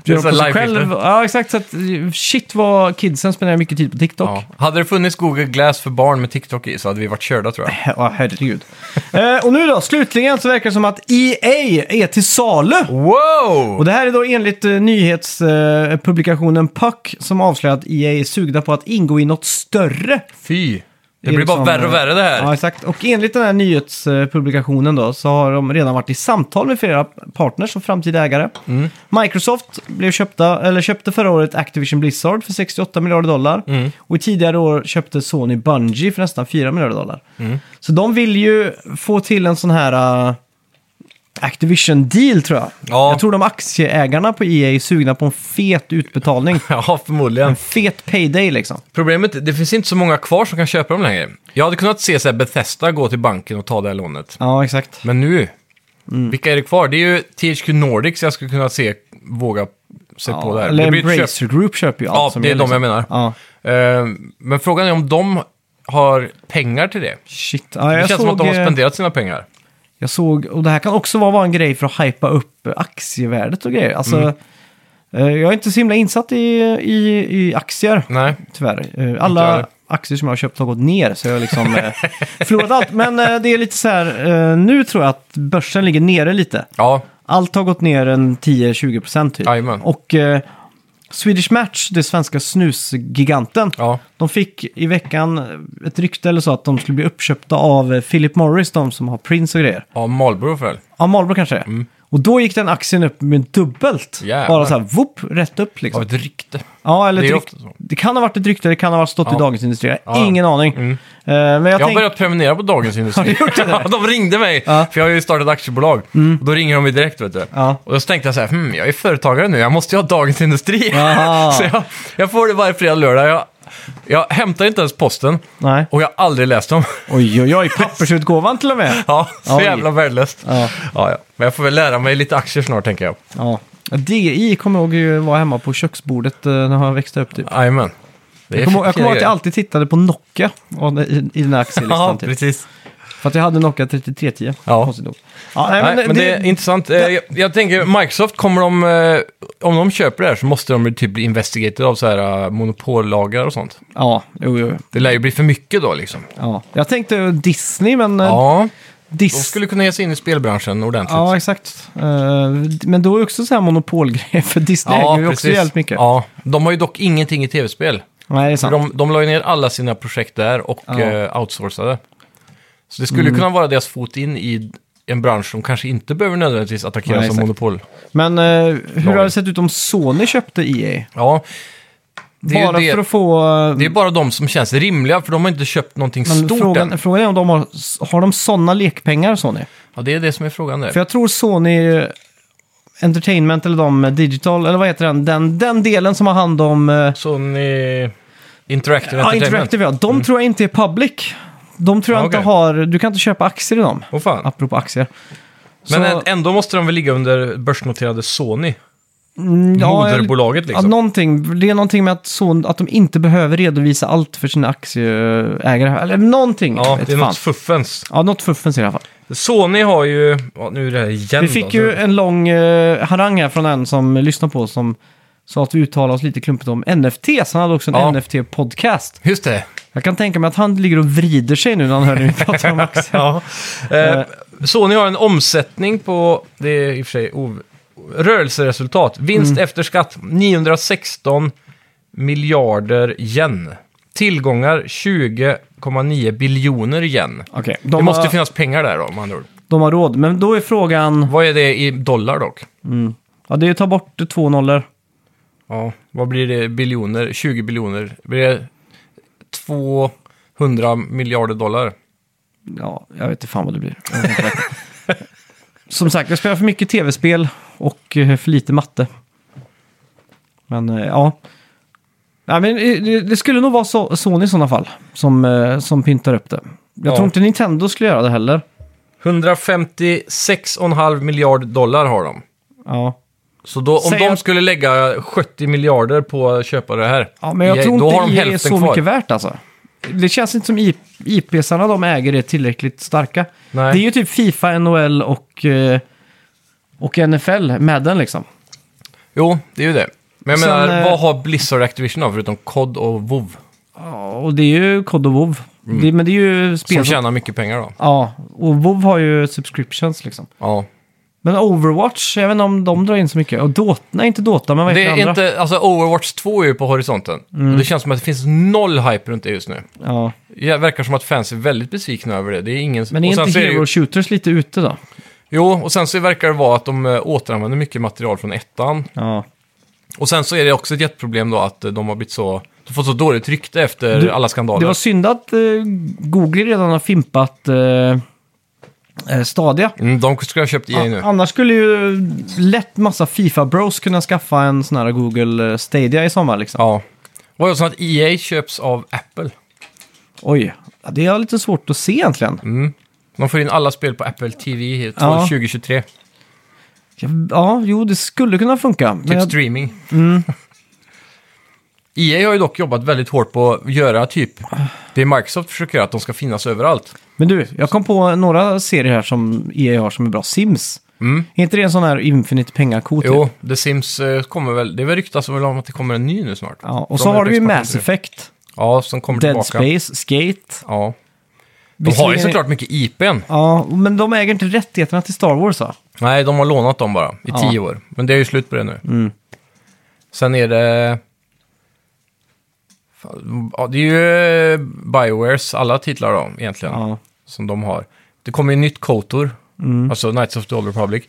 Speaker 1: bjuder hon
Speaker 2: så
Speaker 1: på sig
Speaker 2: live
Speaker 1: själv.
Speaker 2: feedback.
Speaker 1: Ja, exakt. Så att, eh, shit vad kidsen spenderar mycket tid på TikTok.
Speaker 2: Ja. Hade det funnits Google Glass för barn med TikTok i så hade vi varit körda tror jag.
Speaker 1: Ja, herregud. eh, och nu då, slutligen så verkar det som att EA är till salu. Och
Speaker 2: Wow!
Speaker 1: det här är då enligt eh, nyhetspublikationen eh, publikationen Puck som avslöjar att EA är sugna på att ingå i något större.
Speaker 2: Fy! Det,
Speaker 1: är
Speaker 2: blir bara
Speaker 1: liksom,
Speaker 2: värre och värre det här.
Speaker 1: Ja, exakt. Och enligt den här nyhetspublikationen då så har de redan varit i samtal med flera partners och framtida ägare.
Speaker 2: Mm.
Speaker 1: Microsoft blev köpta, eller köpte förra året Activision Blizzard för 68 miljarder dollar.
Speaker 2: Mm.
Speaker 1: Och i tidigare år köpte Sony Bungie
Speaker 2: Mm.
Speaker 1: för nästan 4 miljarder dollar. Så de vill ju få till en sån här... eh, Activision-deal äh, tror jag.
Speaker 2: Ja.
Speaker 1: Jag tror de aktieägarna på EA är sugna på en fet utbetalning.
Speaker 2: Ja, förmodligen.
Speaker 1: En fet payday liksom.
Speaker 2: Problemet det finns inte så många kvar som kan köpa dem längre. Jag hade kunnat se så här Bethesda gå till banken och ta det här lånet.
Speaker 1: Ja, exakt.
Speaker 2: Men nu,
Speaker 1: Mm.
Speaker 2: vilka är det kvar? Det är ju THQ Nordics jag skulle kunna se, våga sig på där.
Speaker 1: Eller
Speaker 2: det blir ett köp.
Speaker 1: Embracer Group köper ju allt
Speaker 2: Ja,
Speaker 1: som
Speaker 2: det är de
Speaker 1: liksom.
Speaker 2: jag menar.
Speaker 1: Ja,
Speaker 2: Eh, Men frågan är om de har pengar till det.
Speaker 1: shit. Ja,
Speaker 2: Det
Speaker 1: jag,
Speaker 2: känns som
Speaker 1: såg,
Speaker 2: att de har
Speaker 1: eh,
Speaker 2: spenderat sina pengar.
Speaker 1: jag såg, och det här kan också vara en grej för att hypa upp aktievärdet och grejer. Alltså,
Speaker 2: Mm.
Speaker 1: eh, jag är inte så himla insatt i, i, i aktier.
Speaker 2: Nej,
Speaker 1: tyvärr. Eh,
Speaker 2: jag
Speaker 1: Alla
Speaker 2: heller.
Speaker 1: aktier som jag har köpt har gått ner, så jag har liksom eh, förlorat allt. Men eh, det är lite så här, eh, nu tror jag att börsen ligger nere lite.
Speaker 2: ja,
Speaker 1: Allt har gått ner en 10-20% typ.
Speaker 2: Jajamän.
Speaker 1: Och eh, Swedish Match, det svenska snusgiganten,
Speaker 2: ja.
Speaker 1: de fick i veckan ett rykte eller så att de skulle bli uppköpta av eh, Philip Morris, de som har Prince och grejer.
Speaker 2: ja Marlboro för väl.
Speaker 1: Ja, Marlboro kanske. Och då gick den aktien upp med dubbelt.
Speaker 2: Mm. Jävlar.
Speaker 1: Bara så här, whoop, rätt upp liksom.
Speaker 2: Av ett rykte.
Speaker 1: Ja, eller
Speaker 2: Det är
Speaker 1: det,
Speaker 2: ju
Speaker 1: rykt,
Speaker 2: ofta så.
Speaker 1: det kan ha varit ett rykte, det kan ha varit stått i
Speaker 2: Ja.
Speaker 1: Dagens Industri. Jag har
Speaker 2: Ja. Mm.
Speaker 1: ingen aning. Eh, men jag,
Speaker 2: Jag har
Speaker 1: tänk,
Speaker 2: börjat prenumerera på Dagens Industri. Ja, de ringde mig,
Speaker 1: Ja. Mm.
Speaker 2: för jag har ju startat aktiebolag. Och då ringer de mig direkt, vet du.
Speaker 1: Ja.
Speaker 2: Och då tänkte jag så här, hmm, jag är företagare nu, jag måste ju ha Dagens Industri.
Speaker 1: Ja.
Speaker 2: så jag, jag får det varje fredag och lördag. Jag, jag hämtar inte ens posten
Speaker 1: Nej.
Speaker 2: och jag har aldrig läst dem.
Speaker 1: Oj, oj, oj, pappersutgåvan till och med.
Speaker 2: Ja, så
Speaker 1: Oj.
Speaker 2: jävla värdelöst.
Speaker 1: Ja.
Speaker 2: Ja, ja. Men jag får väl lära mig lite aktier snart, tänker jag.
Speaker 1: Ja. DI kommer jag ihåg ju var hemma på köksbordet eh, när jag växte upp. Typ.
Speaker 2: Jajamän. Det är
Speaker 1: Jag kommer ihåg jag
Speaker 2: fina
Speaker 1: kommer ihåg att jag
Speaker 2: grejer.
Speaker 1: alltid tittade på Nokia och, i, i den här
Speaker 2: Ja,
Speaker 1: aktielistan. typ.
Speaker 2: precis.
Speaker 1: För att jag hade Nokia 3310.
Speaker 2: Ja.
Speaker 1: konstigt nog. ja nej,
Speaker 2: Nej, men det, är intressant. Eh, Jag, jag tänker, Microsoft kommer de... eh, Om de köper det här så måste de ju typ bli investigated av så här eh, monopollagar och sånt.
Speaker 1: Ja, jo, jo, jo.
Speaker 2: Det lär ju bli för mycket då liksom.
Speaker 1: ja. Jag tänkte ju Disney, men ja,
Speaker 2: Ja, de
Speaker 1: Disney...
Speaker 2: skulle kunna ge sig in i spelbranschen ordentligt.
Speaker 1: Ja, exakt. Eh, men då är det också så här monopolgrej, för Disney
Speaker 2: Ja,
Speaker 1: äger ju också jävligt mycket.
Speaker 2: Ja, de har ju dock ingenting i tv-spel.
Speaker 1: Nej, det är
Speaker 2: För
Speaker 1: sant.
Speaker 2: De, de la ju ner alla sina projekt där och
Speaker 1: Ja. Mm.
Speaker 2: eh, outsourcade. Så det skulle kunna vara deras fot in i en bransch som kanske inte behöver nödvändigtvis attackeras
Speaker 1: Nej,
Speaker 2: av
Speaker 1: exakt.
Speaker 2: monopol.
Speaker 1: Men eh, hur
Speaker 2: Lagen.
Speaker 1: hade det sett ut om Sony köpte EA?
Speaker 2: Ja, det är ju
Speaker 1: Bara
Speaker 2: det-
Speaker 1: för att få... eh,
Speaker 2: Det är bara de som känns rimliga, för de har inte köpt någonting
Speaker 1: men
Speaker 2: stort
Speaker 1: frågan,
Speaker 2: än.
Speaker 1: frågan är om de har, har de sådana lekpengar, Sony?
Speaker 2: Ja, det är det som är frågan där.
Speaker 1: För jag tror Sony eh, Entertainment, eller de eh, Digital, eller vad heter den? Den, den delen som har hand om... eh,
Speaker 2: Sony Interactive
Speaker 1: Ja,
Speaker 2: Entertainment.
Speaker 1: Interactive, ja. De tror jag inte är public. De tror jag
Speaker 2: Mm.
Speaker 1: inte
Speaker 2: Ja, okej.
Speaker 1: har... Du kan inte köpa aktier i dem,
Speaker 2: Åh fan.
Speaker 1: apropå aktier.
Speaker 2: Men
Speaker 1: Så-
Speaker 2: ä- ändå måste de väl ligga under börsnoterade Sony,
Speaker 1: Mm, ja, jag-
Speaker 2: moderbolaget liksom.
Speaker 1: Ja, någonting. Det är någonting med att, så, att de inte behöver redovisa allt för sina aktieägare. Eller någonting.
Speaker 2: Ja,
Speaker 1: vet
Speaker 2: det är
Speaker 1: fan.
Speaker 2: något fuffens.
Speaker 1: Ja, något fuffens i alla fall.
Speaker 2: Sony har ju... Ja, nu är det här igen
Speaker 1: Vi
Speaker 2: då,
Speaker 1: fick
Speaker 2: så-
Speaker 1: ju en lång eh, harang här från en som lyssnar på oss som sa att vi uttalade oss lite klumpigt om NFTs. Han hade också en
Speaker 2: Ja.
Speaker 1: NFT-podcast.
Speaker 2: Just det.
Speaker 1: Jag kan tänka mig att han ligger och vrider sig nu när han hör när vi pratar om aktier.
Speaker 2: Ja. Eh, Sony har en omsättning på... Det är i och för sig... Ov- rörelseresultat. Vinst
Speaker 1: Mm.
Speaker 2: efter skatt 916 miljarder yen. Tillgångar 20,9 biljoner yen.
Speaker 1: Okej,
Speaker 2: det
Speaker 1: de,
Speaker 2: måste
Speaker 1: har-
Speaker 2: finnas pengar där då, om andra ord.
Speaker 1: de har råd. Men då är frågan...
Speaker 2: Vad är det i dollar dock?
Speaker 1: Ja, det är ju ta bort två nollor.
Speaker 2: Ja, vad blir det? Biljoner? 20 biljoner? Blir det 200 miljarder dollar?
Speaker 1: Ja, jag vet inte fan vad det blir. Jag vet inte verkligen. Som sagt, jag spelar för mycket tv-spel och eh, för lite matte. Men eh, ja. Nej, men eh, det- det skulle nog vara so- Sony i sådana fall som, eh, som pyntar upp det. Jag
Speaker 2: Ja.
Speaker 1: tror inte Nintendo skulle göra det heller.
Speaker 2: 156,5 miljard dollar har de.
Speaker 1: Ja,
Speaker 2: Så då, om
Speaker 1: Säg
Speaker 2: de
Speaker 1: att-
Speaker 2: skulle lägga 70 miljarder på att köpa det här,
Speaker 1: ja men jag
Speaker 2: ja,
Speaker 1: tror
Speaker 2: då har
Speaker 1: inte
Speaker 2: de
Speaker 1: det är
Speaker 2: hälften
Speaker 1: så
Speaker 2: kvar.
Speaker 1: mycket värt alltså. Det känns inte som I- IPsarna de äger är tillräckligt starka.
Speaker 2: Nej.
Speaker 1: Det är ju typ Fifa, NHL och, eh, och NFL, Madden liksom.
Speaker 2: Jo, det är ju det. Men jag
Speaker 1: Sen,
Speaker 2: menar,
Speaker 1: eh,
Speaker 2: vad har Blizzard Activision av förutom COD och WoW
Speaker 1: Ja, och det är ju Cod och WoW. Det, men det är ju spel
Speaker 2: Mm. Som tjänar mycket pengar då.
Speaker 1: Ja, och WoW har ju subscriptions liksom.
Speaker 2: Ja.
Speaker 1: Men Overwatch, jag vet inte om de drar in så mycket. Och Dota, nej inte Dota, men vad
Speaker 2: Det
Speaker 1: heter det
Speaker 2: är
Speaker 1: andra? Mm.
Speaker 2: inte, alltså Overwatch 2 är ju på horisonten. Och det känns som att det finns noll hype runt det just nu.
Speaker 1: Ja.
Speaker 2: Det verkar som att fans är väldigt besvikna över det. Det är ingen...
Speaker 1: Men
Speaker 2: och
Speaker 1: är
Speaker 2: sen
Speaker 1: inte
Speaker 2: så är det
Speaker 1: Hero
Speaker 2: ju...
Speaker 1: Shooters lite ute då?
Speaker 2: Jo, och sen så verkar det vara att de eh, återanvänder mycket material från ettan.
Speaker 1: Ja.
Speaker 2: Och sen så är det också ett jätteproblem då att eh, de har blivit så... De fått så dåligt rykte efter
Speaker 1: Du-
Speaker 2: alla skandaler.
Speaker 1: Det var synd att eh, Google redan har fimpat eh, eh, Stadia.
Speaker 2: Mm, de skulle ha köpt EA nu.
Speaker 1: A- Annars skulle ju lätt massa Fifa-bros kunna skaffa en sån här Google eh, Stadia i sommar liksom.
Speaker 2: Ja. Var det så att EA köps av Apple?
Speaker 1: Oj, ja, det är lite svårt att se egentligen.
Speaker 2: Mm. De får in alla spel på Apple TV till
Speaker 1: Ja.
Speaker 2: 2023. Typ
Speaker 1: Ja, Ja, jo, det skulle kunna funka. Men jag,
Speaker 2: Typ
Speaker 1: Mm.
Speaker 2: streaming. EA har ju dock jobbat väldigt hårt på att göra typ det Microsoft försöker göra, att de ska finnas överallt.
Speaker 1: men du, jag kom på några serier här som EA har som är bra. Sims. Är inte det en sån här infinite typ? pengako?
Speaker 2: Mm. Jo, The Sims eh, kommer väl, det är väl ryktas väl om att det kommer en ny nu snart.
Speaker 1: Ja, och
Speaker 2: De
Speaker 1: så
Speaker 2: är
Speaker 1: har
Speaker 2: på
Speaker 1: du ju
Speaker 2: expansion
Speaker 1: Mass
Speaker 2: nu.
Speaker 1: Effect,
Speaker 2: Ja, som kommer
Speaker 1: Dead
Speaker 2: tillbaka.
Speaker 1: Space, Skate.
Speaker 2: Ja. De har ju
Speaker 1: Visserligen-
Speaker 2: såklart mycket IPn.
Speaker 1: Ja, men de äger inte rättigheterna till Star Wars va?
Speaker 2: Nej, de har lånat dem bara i
Speaker 1: Ja. Mm.
Speaker 2: tio år. Men det är ju slut på det nu. Sen är det... Fan, Ja, det är ju eh, Biowares alla titlar då, egentligen,
Speaker 1: Ja. Mm.
Speaker 2: som de har. Det kommer ju nytt Kotor, alltså Knights of the Old Republic.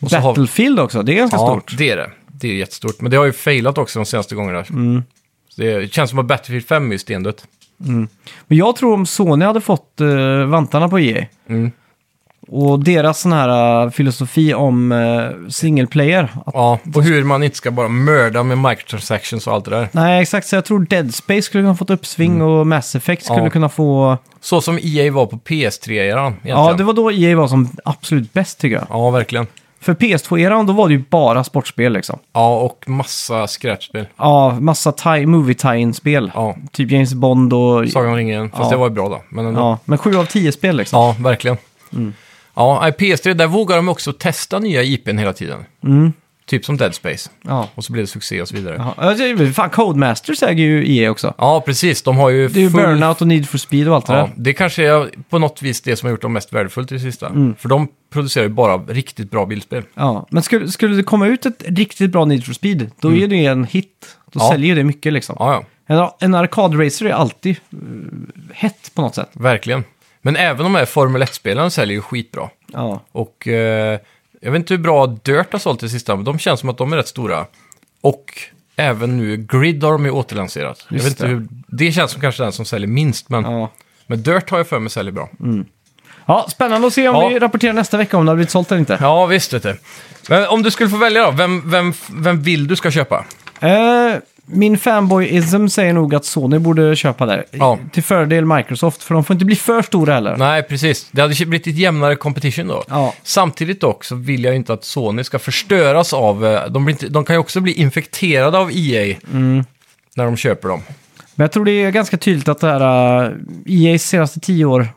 Speaker 2: Och så har-
Speaker 1: Battlefield också, det är ganska
Speaker 2: ja,
Speaker 1: stort.
Speaker 2: det är det. Det är ju jättestort. Men det har ju failat också de senaste gångerna.
Speaker 1: Mm.
Speaker 2: Så det känns som att Battlefield 5 är ju stendött.
Speaker 1: Men jag tror om Sony hade fått eh, vantarna på EA
Speaker 2: Mm.
Speaker 1: och deras sån här eh, filosofi om uh, single player. Att,
Speaker 2: Ja, och hur man inte ska bara mörda med microtransactions och allt det där.
Speaker 1: nej, exakt. Så jag tror Dead Space skulle kunna fått uppsving och Mass Effect skulle
Speaker 2: Mm. Ja.
Speaker 1: kunna få...
Speaker 2: Så som EA var på PS3-eran egentligen.
Speaker 1: Ja, det var då EA var som absolut bäst tycker jag.
Speaker 2: ja, verkligen.
Speaker 1: För PS2-eran, då var det ju bara sportspel liksom.
Speaker 2: Ja, och massa skräpspel.
Speaker 1: Ja, massa tie, movie tie-in-spel.
Speaker 2: Ja,
Speaker 1: Typ James Bond och...
Speaker 2: Sagan om ringen. Fast
Speaker 1: Ja.
Speaker 2: det var ju bra då. Men ändå. Ja.
Speaker 1: Ja, Mm. men 7 av 10 spel liksom.
Speaker 2: verkligen. Ja, nej, PS3, där vågar de också testa nya IPn hela tiden. Typ som Dead Space.
Speaker 1: Ja.
Speaker 2: Och så blev det succé och så vidare. Ja,
Speaker 1: Mm. Ja, alltså, fan, Codemasters äger ju EA också.
Speaker 2: precis. De har ju
Speaker 1: Det är ju
Speaker 2: full-
Speaker 1: Burnout och Need for Speed och allt det
Speaker 2: Ja,
Speaker 1: där.
Speaker 2: det kanske är på något vis det som har gjort dem mest värdefullt i det sista.
Speaker 1: Mm.
Speaker 2: För de producerar ju bara riktigt bra bildspel.
Speaker 1: Ja. Men skulle, skulle det komma ut ett riktigt bra Need for Speed, då är det ju en hit. Då
Speaker 2: Mm. Ja.
Speaker 1: säljer ju det mycket liksom.
Speaker 2: Ja, ja.
Speaker 1: En, en arkadracer är alltid eh, hett på något sätt.
Speaker 2: Verkligen. Men även de här Formel 1-spelen säljer ju skitbra.
Speaker 1: Ja.
Speaker 2: Och eh, jag vet inte hur bra Dirt har sålt det sista, men de känns som att de är rätt stora. Och även nu Grid har de ju återlanserat. Jag
Speaker 1: Just
Speaker 2: vet inte
Speaker 1: det.
Speaker 2: hur, det känns som kanske den som säljer minst, men,
Speaker 1: Ja. Mm.
Speaker 2: men Dirt har jag för mig säljer bra.
Speaker 1: ja, spännande att se om
Speaker 2: Ja.
Speaker 1: vi rapporterar nästa vecka om det har blivit sålt eller inte.
Speaker 2: Ja, visst vet du. Men om du skulle få välja då, vem, vem, vem vill du ska köpa?
Speaker 1: Eh, min fanboyism säger nog att Sony borde köpa det.
Speaker 2: Ja.
Speaker 1: Till fördel Microsoft, för de får inte bli för stora heller.
Speaker 2: Nej, precis. Det hade blivit ett jämnare competition då.
Speaker 1: Ja.
Speaker 2: Samtidigt dock så vill jag ju inte att Sony ska förstöras av... eh, De, blir inte, de kan ju också bli infekterade av EA
Speaker 1: Mm.
Speaker 2: när de köper dem.
Speaker 1: Men jag tror det är ganska tydligt att det här eh, EA's senaste tio år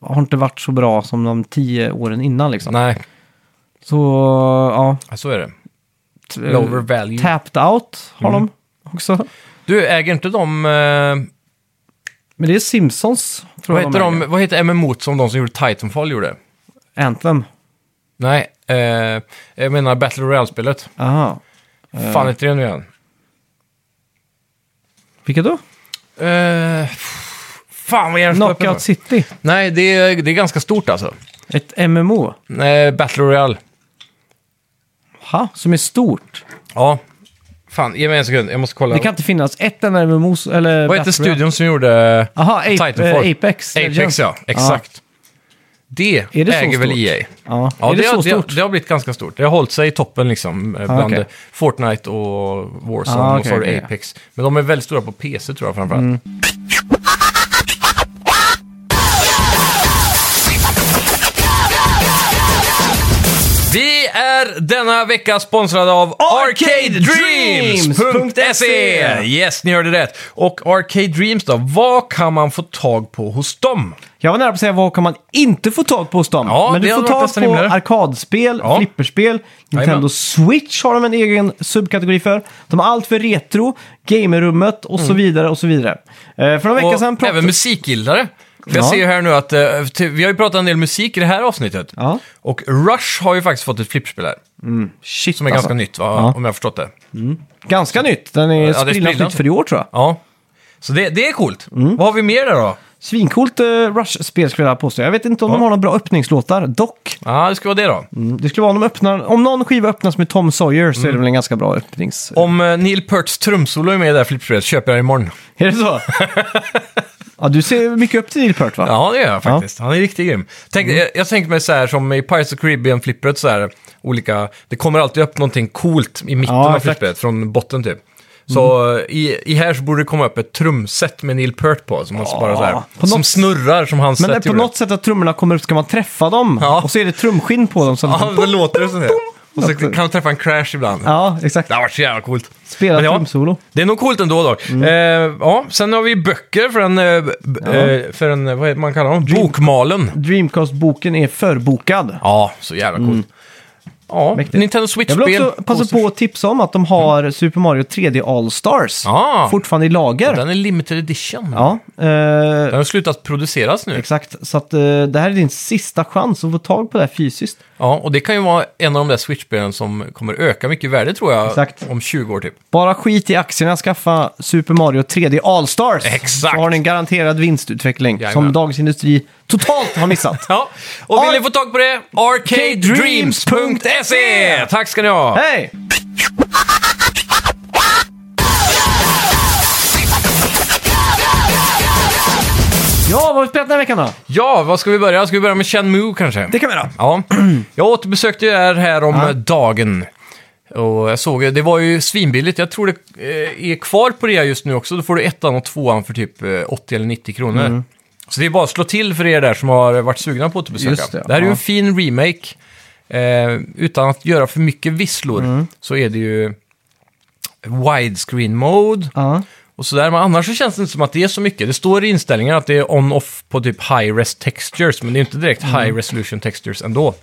Speaker 1: har inte varit så bra som de tio åren innan liksom.
Speaker 2: Nej,
Speaker 1: Så ja,
Speaker 2: så är det.
Speaker 1: t- eh,
Speaker 2: Lower Mm. value.
Speaker 1: tapped out har de också.
Speaker 2: Du, äger inte de... Eh,
Speaker 1: Men det är Simpsons, tror
Speaker 2: vad,
Speaker 1: jag
Speaker 2: heter de
Speaker 1: äger.
Speaker 2: vad heter MMO som de som gjorde Titanfall gjorde?
Speaker 1: Anthem.
Speaker 2: Nej, eh, jag menar Battle Royale-spelet.
Speaker 1: Aha. Eh.
Speaker 2: Fan heter det nu igen?
Speaker 1: Vilka då?
Speaker 2: Eh, fan vad är det som öppnar?
Speaker 1: Knockout City.
Speaker 2: Nej, det är, det är ganska stort alltså.
Speaker 1: Ett MMO.
Speaker 2: Eh, Battle Royale.
Speaker 1: Ha, som är stort.
Speaker 2: Ja. Fan, ge mig en sekund. Jag måste kolla.
Speaker 1: Det kan inte finnas ett enda MMO. s- Eller
Speaker 2: Vad heter
Speaker 1: Battle Royale.
Speaker 2: studion som gjorde
Speaker 1: Aha, Ape,
Speaker 2: Titanfall?
Speaker 1: eh, Apex.
Speaker 2: Apex,
Speaker 1: Legends.
Speaker 2: ja. Exakt. Det,
Speaker 1: Är det så
Speaker 2: äger väl E
Speaker 1: stort?
Speaker 2: EA.
Speaker 1: Ja.
Speaker 2: Ja,
Speaker 1: är det,
Speaker 2: det,
Speaker 1: så
Speaker 2: har,
Speaker 1: stort? Ah,
Speaker 2: Det, det har blivit ganska stort. Det har hållit sig i toppen liksom. eh, Bland
Speaker 1: okej.
Speaker 2: eh, Fortnite och Warzone
Speaker 1: Ah,
Speaker 2: och så
Speaker 1: okej,
Speaker 2: har du
Speaker 1: okej. Mm.
Speaker 2: Apex. Men de är väldigt stora på PC tror jag framförallt. Vi är denna vecka sponsrade av ArcadeDreams.se! E.
Speaker 1: E.
Speaker 2: Yes, ni hörde rätt. Och Arcade Dreams då, vad kan man få tag på hos dem?
Speaker 1: Jag var nära på att säga vad kan man inte få tag på hos dem.
Speaker 2: Ja,
Speaker 1: Men
Speaker 2: det
Speaker 1: du får
Speaker 2: hade varit
Speaker 1: tag
Speaker 2: nästan
Speaker 1: på
Speaker 2: rimligare.
Speaker 1: arkadspel,
Speaker 2: Ja.
Speaker 1: flipperspel, Nintendo
Speaker 2: Jajamän.
Speaker 1: Switch har de en egen subkategori för. De har allt för retro, gamerrummet och så vidare och så vidare. Eh, för några veckor
Speaker 2: Mm. Och
Speaker 1: sedan pratade...
Speaker 2: även musikgillare. För jag
Speaker 1: Ja.
Speaker 2: ser ju här nu att eh, ty- vi har ju pratat en del musik i det här avsnittet.
Speaker 1: Ja.
Speaker 2: Och Rush har ju faktiskt fått ett flipperspel här.
Speaker 1: Shit,
Speaker 2: Som är
Speaker 1: alltså.
Speaker 2: ganska nytt, va?
Speaker 1: Ja.
Speaker 2: om jag har förstått det.
Speaker 1: Ganska nytt. Den är
Speaker 2: det är
Speaker 1: sprillans
Speaker 2: sprillans.
Speaker 1: nytt för i år tror jag.
Speaker 2: Ja. Så det, det är coolt.
Speaker 1: Mm.
Speaker 2: Vad har vi mer där då?
Speaker 1: Svincoolt eh, Rush-spel skulle jag vilja påstå. Jag vet inte om de har några bra öppningslåtar, dock.
Speaker 2: Ja, det ska vara det då.
Speaker 1: Mm, Det skulle vara om, de öppnar, om någon skiva öppnas med Tom Sawyer så är det
Speaker 2: Mm.
Speaker 1: väl en ganska bra öppnings...
Speaker 2: Om eh, Neil Pearts trumsolo är med i det här flipperspelet köper jag det imorgon.
Speaker 1: Är det så? Ja, du ser mycket upp till Neil Peart va?
Speaker 2: Ja, det gör jag faktiskt. Han är riktigt grym. Tänk,
Speaker 1: Mm.
Speaker 2: jag, jag tänkte mig så här som i Pirates of Caribbean-flippret så här, olika, det kommer alltid upp någonting coolt i mitten
Speaker 1: Ja,
Speaker 2: av
Speaker 1: exakt. Mm.
Speaker 2: flippret, från botten typ. Så eh, i, i här så borde det komma upp ett trumset med Neil Peart på, som, man bara så här,
Speaker 1: på
Speaker 2: som
Speaker 1: något-
Speaker 2: snurrar som hans
Speaker 1: Men det
Speaker 2: set
Speaker 1: är på
Speaker 2: gjorde.
Speaker 1: något sätt att trummorna kommer upp ska man träffa dem.
Speaker 2: Ja.
Speaker 1: Och så är det trumskinn på dem. Så
Speaker 2: Ja,
Speaker 1: liksom,
Speaker 2: då låter det som det. Och så kan man träffa en crash ibland.
Speaker 1: ja, exakt.
Speaker 2: Det har varit så jävla coolt.
Speaker 1: Spela
Speaker 2: Men ja,
Speaker 1: trumsolo. Mm.
Speaker 2: Det är nog coolt ändå dock. Eh, ja, sen har vi böcker för en, eh, b- eh, för en eh, vad heter man kallar dem? Bokmalen.
Speaker 1: Dreamcast-boken är förbokad.
Speaker 2: Ja, så jävla coolt. Ja,
Speaker 1: Mm. Mäktigt.
Speaker 2: Nintendo
Speaker 1: Jag
Speaker 2: Switch-spel.
Speaker 1: vill också passa på att tipsa om att de har Super Mario 3D All-Stars
Speaker 2: Ah.
Speaker 1: fortfarande i lager.
Speaker 2: Den är limited edition.
Speaker 1: Ja, eh,
Speaker 2: Den har slutat produceras nu.
Speaker 1: exakt. Så att, eh, det här är din sista chans att få tag på det här fysiskt.
Speaker 2: Ja, och det kan ju vara en av de där Switch-spelen som kommer öka mycket i värde tror jag.
Speaker 1: Exakt.
Speaker 2: Om 20 år typ.
Speaker 1: Bara skit i aktierna, skaffa Super Mario 3D All-Stars.
Speaker 2: Exakt.
Speaker 1: Så har ni en garanterad vinstutveckling som
Speaker 2: Jajamän.
Speaker 1: Dagens Industri totalt har missat.
Speaker 2: Ja, och vill
Speaker 1: Ar-
Speaker 2: ni få tag på det? arcadedreams.se! E. Tack ska ni ha!
Speaker 1: E. Hej! Ja, vad har vi spelat den här veckan då?
Speaker 2: Ja, vad ska vi börja? Ska vi börja med Shenmue kanske?
Speaker 1: Det kan vi göra.
Speaker 2: Ja, jag återbesökte er här om dagen. Och jag såg, det var ju svinbilligt. Jag tror det eh, är kvar på rea just nu också. Då får du ettan och tvåan för typ eh, 80 eller 90 kronor.
Speaker 1: Mm.
Speaker 2: Så det är bara att slå till för er där som har varit sugna på att återbesöka.
Speaker 1: Just det,
Speaker 2: det, här är ju
Speaker 1: ja.
Speaker 2: en fin remake. Eh, utan att göra för mycket visslor
Speaker 1: Mm.
Speaker 2: så är det ju widescreen mode.
Speaker 1: Ja.
Speaker 2: Och sådär, men annars så känns det inte som att det är så mycket. Det står i inställningarna att det är on-off på typ high-res textures, men det är ju inte direkt
Speaker 1: Mm.
Speaker 2: high-resolution textures ändå.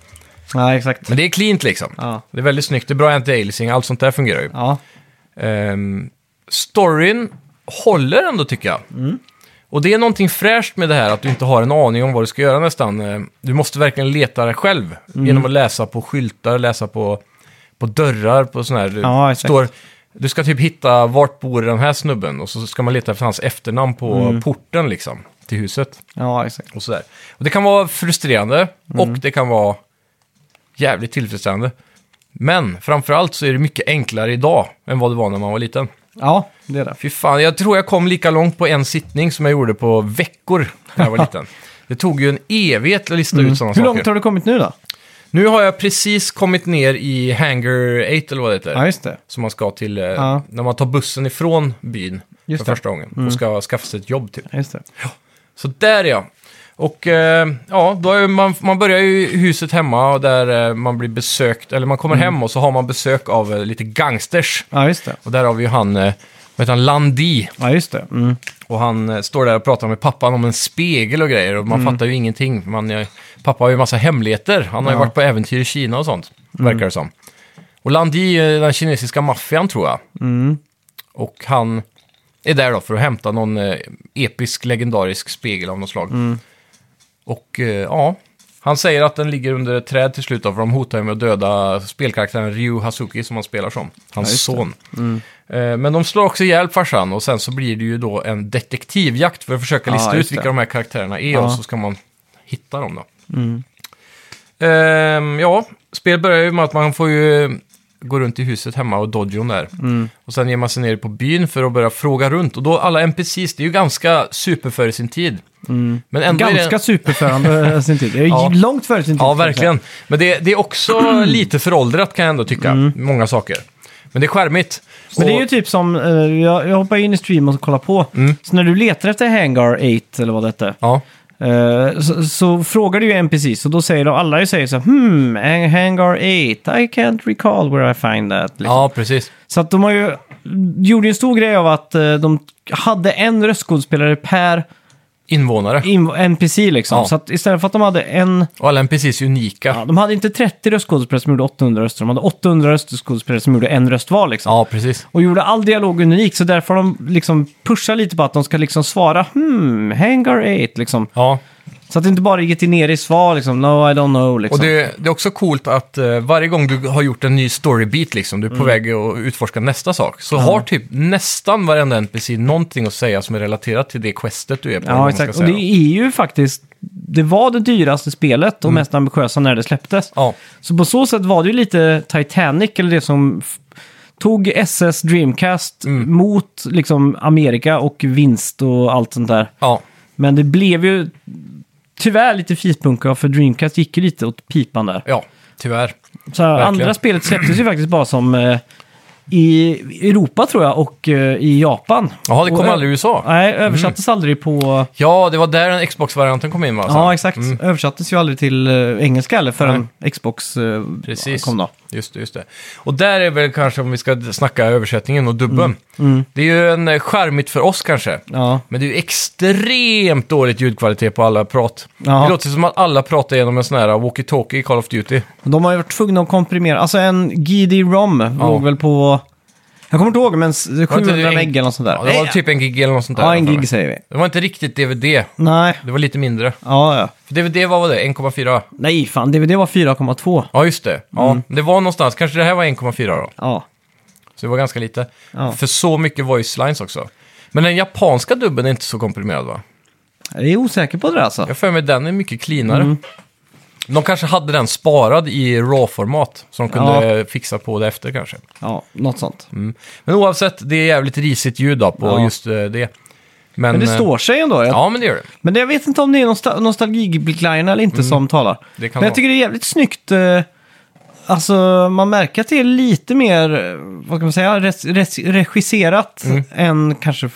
Speaker 1: Nej, exakt.
Speaker 2: Men det är cleant liksom.
Speaker 1: Ja.
Speaker 2: Det är väldigt snyggt, det är bra anti-aliasing, allt sånt där fungerar ju.
Speaker 1: Ja.
Speaker 2: Ehm, storyn håller ändå tycker jag.
Speaker 1: Mm.
Speaker 2: Och det är någonting fräscht med det här att du inte har en aning om vad du ska göra nästan. Ehm, Du måste verkligen leta dig själv
Speaker 1: Mm.
Speaker 2: genom att läsa på skyltar, läsa på, på dörrar, på sån här. Du,
Speaker 1: Ja, exakt.
Speaker 2: står, du ska typ hitta vart bor den här snubben och så ska man leta efter hans efternamn på
Speaker 1: Mm.
Speaker 2: porten liksom till huset.
Speaker 1: ja, exakt.
Speaker 2: Och, sådär. och det kan vara frustrerande
Speaker 1: Mm.
Speaker 2: och det kan vara jävligt tillfredsställande. Men framförallt så är det mycket enklare idag än vad det var när man var liten.
Speaker 1: Ja, det är det.
Speaker 2: Fy fan, jag tror jag kom lika långt på en sittning som jag gjorde på veckor när jag var liten. Det tog ju en evighet att lista ut sådana
Speaker 1: Mm. Hur
Speaker 2: saker.
Speaker 1: långt har du kommit nu då?
Speaker 2: Nu har jag precis kommit ner i Hangar 8 eller vad det heter.
Speaker 1: Ja, just det.
Speaker 2: Som man ska till eh,
Speaker 1: Ja.
Speaker 2: när man tar bussen ifrån byn
Speaker 1: Just
Speaker 2: för
Speaker 1: det. Mm.
Speaker 2: första gången och ska skaffa sig ett jobb typ.
Speaker 1: Ja, just det.
Speaker 2: Så där är jag. Och eh, ja, då är ju man, man börjar ju i huset hemma och där eh, man blir besökt, eller man kommer hem och så har man besök av eh, lite gangsters.
Speaker 1: Ja, just det.
Speaker 2: Och där har vi ju han, eh, vad heter han, Landi.
Speaker 1: Ja, just det. Mm.
Speaker 2: Och han eh, står där och pratar med pappan om en spegel och grejer och man fattar ju ingenting. för Man, eh, pappa har ju massa hemligheter. Han har ju
Speaker 1: Ja.
Speaker 2: varit på äventyr i Kina och sånt, verkar det som. Och Landi är den kinesiska maffian tror jag.
Speaker 1: Mm.
Speaker 2: Och han är där då för att hämta någon eh, episk, legendarisk spegel av något slag.
Speaker 1: Mm.
Speaker 2: Och eh, ja, han säger att den ligger under ett träd till slut då, för de hotar ju med att döda spelkaraktären Ryu Hazuki som han spelar som, hans
Speaker 1: Ja, just det. Mm.
Speaker 2: son. Eh, Men de slår också ihjäl farsan och sen så blir det ju då en detektivjakt för att försöka
Speaker 1: Ja,
Speaker 2: lista
Speaker 1: just
Speaker 2: ut
Speaker 1: det.
Speaker 2: vilka de här karaktärerna är
Speaker 1: Ja.
Speaker 2: och så ska man hitta dem då. Ehm, ja, spel börjar ju med att man får ju gå runt i huset hemma och dodgeon där.
Speaker 1: Mm.
Speaker 2: Och sen ger man sig ner på byn för att börja fråga runt. Och då alla NPCs, det är ju ganska super före sin tid. Men ändå är det-
Speaker 1: Mm. Ganska superförande eh, sin tid. Det är
Speaker 2: Ja.
Speaker 1: långt före sin tid.
Speaker 2: Ja,
Speaker 1: kan jag säga.
Speaker 2: verkligen. Men det, det är också lite föråldrat kan jag ändå tycka, många saker. Men det är charmigt.
Speaker 1: Mm. Men det är
Speaker 2: Och- Mm.
Speaker 1: ju typ som, eh, jag, jag hoppar in i streamen och kollar på. Så när du letar efter Hangar 8 eller vad det hette.
Speaker 2: Ja,
Speaker 1: Eh, så, så frågar du ju NPC, så då säger de, alla säger så här, hmm, Hang- Hangar 8, I can't recall where I find that. Liksom.
Speaker 2: ja precis.
Speaker 1: Så att de har ju, gjorde ju en stor grej av att eh, de hade en röstskådespelare per
Speaker 2: Invånare.
Speaker 1: inv- NPC liksom.
Speaker 2: Ja.
Speaker 1: Så att istället för att de hade en,
Speaker 2: Och alla NPCs är unika.
Speaker 1: ja,
Speaker 2: Ja,
Speaker 1: de hade inte 30 röstskådespelare som gjorde 800 röster, de hade 800 röstskådespelare som gjorde en röst var liksom.
Speaker 2: precis.
Speaker 1: Och gjorde all dialog unik, så därför har de liksom pushar lite på att de ska liksom svara hmm, Hangar 8 liksom.
Speaker 2: Ja.
Speaker 1: Så att det inte bara är ett generiskt svar liksom, no I don't know liksom.
Speaker 2: Och det, det är också coolt att eh, varje gång du har gjort en ny storybeat, liksom, du är på
Speaker 1: Mm.
Speaker 2: väg att utforska nästa sak, så har typ nästan varenda NPC någonting att säga som är relaterat till det questet du är på. eller vad
Speaker 1: Ja,
Speaker 2: man
Speaker 1: exakt.
Speaker 2: ska
Speaker 1: Och det
Speaker 2: säga.
Speaker 1: är ju faktiskt... Det var det dyraste spelet och mest ambitiösa när det släpptes.
Speaker 2: Mm. Ja,
Speaker 1: Så på så sätt var det ju lite Titanic, eller det som f- tog SS
Speaker 2: Mm.
Speaker 1: Dreamcast mot liksom Amerika och vinst och allt sånt där.
Speaker 2: ja.
Speaker 1: Men det blev ju tyvärr lite fispunka för Dreamcast gick ju lite åt pipan där.
Speaker 2: Ja, tyvärr.
Speaker 1: Så här,
Speaker 2: Verkligen.
Speaker 1: andra spelet släpptes ju faktiskt bara som eh, i Europa tror jag och eh, i Japan.
Speaker 2: Jaha, det
Speaker 1: Och
Speaker 2: kom
Speaker 1: ö-
Speaker 2: aldrig i USA. Mm.
Speaker 1: Nej, översattes aldrig på...
Speaker 2: Ja, det var där den Xbox-varianten kom in va? alltså. Mm, sen?
Speaker 1: Ja, exakt. Översattes ju aldrig till eh, engelska eller förrän Xbox eh,
Speaker 2: Precis.
Speaker 1: kom då.
Speaker 2: Just det, just det. Och där är väl kanske om vi ska snacka översättningen och dubben. Det är ju en eh, charmigt för oss kanske.
Speaker 1: Mm, Ja,
Speaker 2: Men det är ju extremt dåligt ljudkvalitet på alla prat.
Speaker 1: Ja.
Speaker 2: Det låter som att alla pratar genom en sån här walkie-talkie i Call of Duty.
Speaker 1: de har ju varit tvungna att komprimera. Alltså en GD-ROM låg väl på... Jag kommer inte ihåg, men s- 700
Speaker 2: det en-
Speaker 1: meg eller något sånt där.
Speaker 2: Ja, det var typ en gig eller något sånt där.
Speaker 1: ja, en
Speaker 2: för mig.
Speaker 1: gig säger vi.
Speaker 2: Det var inte riktigt DVD.
Speaker 1: Nej,
Speaker 2: Det var lite mindre.
Speaker 1: ja, ja.
Speaker 2: För DVD, vad var det? 1,4?
Speaker 1: Nej, fan. DVD var 4,2.
Speaker 2: Ja, just det. Ja,
Speaker 1: Mm.
Speaker 2: Det var någonstans. Kanske det här var 1,4 då.
Speaker 1: Ja.
Speaker 2: Så det var ganska lite.
Speaker 1: Ja.
Speaker 2: För så mycket voice lines också. Men den japanska dubben är inte så komprimerad va?
Speaker 1: Jag är osäker på det där alltså.
Speaker 2: Jag har för mig den är mycket cleanare.
Speaker 1: Mm.
Speaker 2: De kanske hade den sparad i RAW-format, så de kunde eh, fixa på det efter kanske.
Speaker 1: Ja, något sånt.
Speaker 2: Mm. Men oavsett, det är jävligt risigt ljud då på
Speaker 1: Ja.
Speaker 2: just eh, det. Men,
Speaker 1: Men det
Speaker 2: eh,
Speaker 1: står sig ändå. Jag,
Speaker 2: Ja, men det gör det.
Speaker 1: Men jag vet inte om det är nostal nostalgiblickline eller inte som talar.
Speaker 2: Mm. Det kan
Speaker 1: Men jag
Speaker 2: vara.
Speaker 1: tycker det är jävligt snyggt. Eh, alltså, man märker att det är lite mer, eh, vad kan man säga, res- res- regisserat
Speaker 2: Mm.
Speaker 1: än kanske,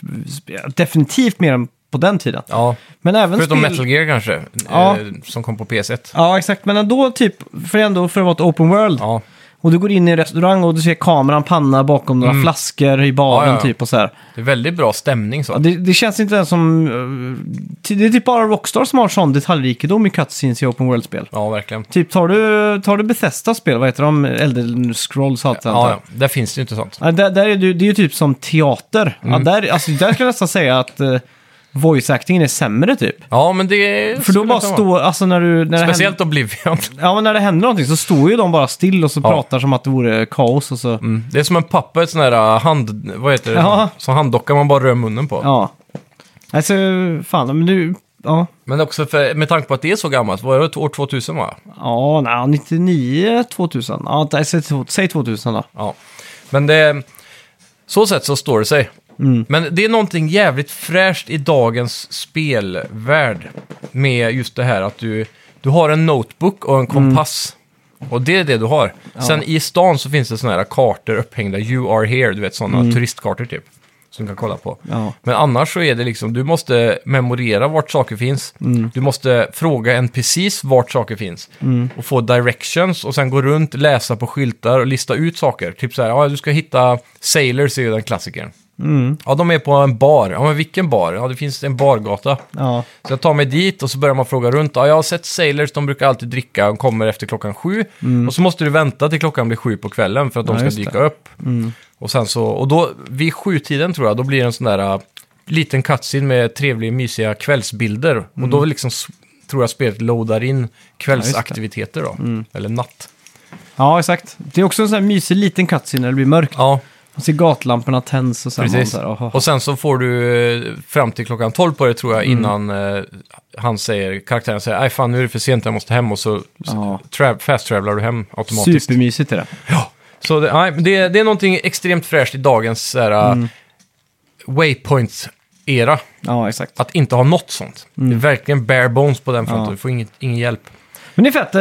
Speaker 1: definitivt mer än på den tiden.
Speaker 2: Ja.
Speaker 1: Men även
Speaker 2: Förutom
Speaker 1: spel-
Speaker 2: Metal Gear kanske,
Speaker 1: Ja.
Speaker 2: eh, som kom på PS1.
Speaker 1: Ja, exakt. Men ändå typ, för ändå för att vara ett open world.
Speaker 2: Ja,
Speaker 1: Och du går in i en restaurang och du ser kameran panna bakom några flaskor i baren
Speaker 2: Mm. Ja, ja, ja.
Speaker 1: typ och så här.
Speaker 2: det är väldigt bra stämning så.
Speaker 1: Ja, det, det känns inte ens som... eh, ty- Det är typ bara Rockstar som har sån detaljrikedom i cutscenes i open world-spel.
Speaker 2: Ja, verkligen.
Speaker 1: Typ tar du, tar du Bethesda spel, vad heter de? Elder Scrolls och allt sånt
Speaker 2: Ja,
Speaker 1: där.
Speaker 2: ja. Där finns det ju inte sånt.
Speaker 1: Ja, där, där är du, det är ju typ som teater.
Speaker 2: Mm.
Speaker 1: Ja, där, alltså, där kan jag nästan säga att eh, voice-actingen är sämre typ.
Speaker 2: Ja, men det...
Speaker 1: För då
Speaker 2: skulle
Speaker 1: bara
Speaker 2: kunna vara.
Speaker 1: står, alltså när du... När Det händer,
Speaker 2: Speciellt Oblivion.
Speaker 1: ja, men när det händer någonting så står ju de bara still och så
Speaker 2: Ja.
Speaker 1: pratar som att det vore kaos och så...
Speaker 2: Mm. Det är som en papper, sån här eh, hand... Vad heter det?
Speaker 1: Ja.
Speaker 2: Som handdocka man bara rör munnen på.
Speaker 1: Ja. Alltså, fan, men du... Ja,
Speaker 2: Men också för, med tanke på att det är så gammalt, var det år 2000 va?
Speaker 1: ja nej, 99, 2000. Ja, nej, säg två- säg 2000 då.
Speaker 2: Ja. Men det, så sett så står det sig. Men det är någonting jävligt fräscht i dagens spelvärld med just det här att du, du har en notebook och en kompass. Och det är det du har. Sen i stan så finns det sådana här kartor upphängda, you are here, du vet sådana turistkartor typ. Som du kan kolla på.
Speaker 1: Ja.
Speaker 2: Men annars så är det liksom, du måste memorera vart saker finns. Du måste fråga en precis vart saker finns. Och få directions och sen gå runt, läsa på skyltar och lista ut saker. Typ så här, ja du ska hitta Sailors är ju den klassikern. Ja, de är på en bar. Ja, men vilken bar? Ja, det finns en bargata.
Speaker 1: Ja.
Speaker 2: Så jag tar mig dit och så börjar man fråga runt. Ja, jag har sett Sailors, de brukar alltid dricka. De kommer efter klockan sju. Och så måste du vänta till klockan blir sju på kvällen för att de
Speaker 1: Mm. Ja,
Speaker 2: ska
Speaker 1: just det. Mm.
Speaker 2: dyka upp. Och sen så, och då vid sjutiden tror jag, då blir det en sån där äh, liten cutscene med trevliga, mysiga kvällsbilder. Och
Speaker 1: Mm.
Speaker 2: då liksom s- tror jag spelet loadar in kvällsaktiviteter då.
Speaker 1: Mm.
Speaker 2: Eller natt.
Speaker 1: Ja, exakt. Det är också en sån här mysig liten cutscene när det blir mörkt.
Speaker 2: Ja,
Speaker 1: Man ser gatlamporna tänds och sen man
Speaker 2: Precis.
Speaker 1: så här, aha.
Speaker 2: Och sen så får du eh, fram till klockan 12 på det tror
Speaker 1: Mm.
Speaker 2: jag innan eh, han säger, karaktären säger nej fan nu är det för sent jag måste hem och så
Speaker 1: Ja.
Speaker 2: tra- fast-travlar du hem automatiskt.
Speaker 1: Supermysigt är det.
Speaker 2: Ja. Så det, nej, men det, det är någonting extremt fräscht i dagens så här,
Speaker 1: Mm.
Speaker 2: waypoint-era.
Speaker 1: Ja, exakt.
Speaker 2: Att inte ha något sånt.
Speaker 1: Mm.
Speaker 2: Det är verkligen bare bones på den fronten. Du får ingen, ingen hjälp.
Speaker 1: Men det är fett.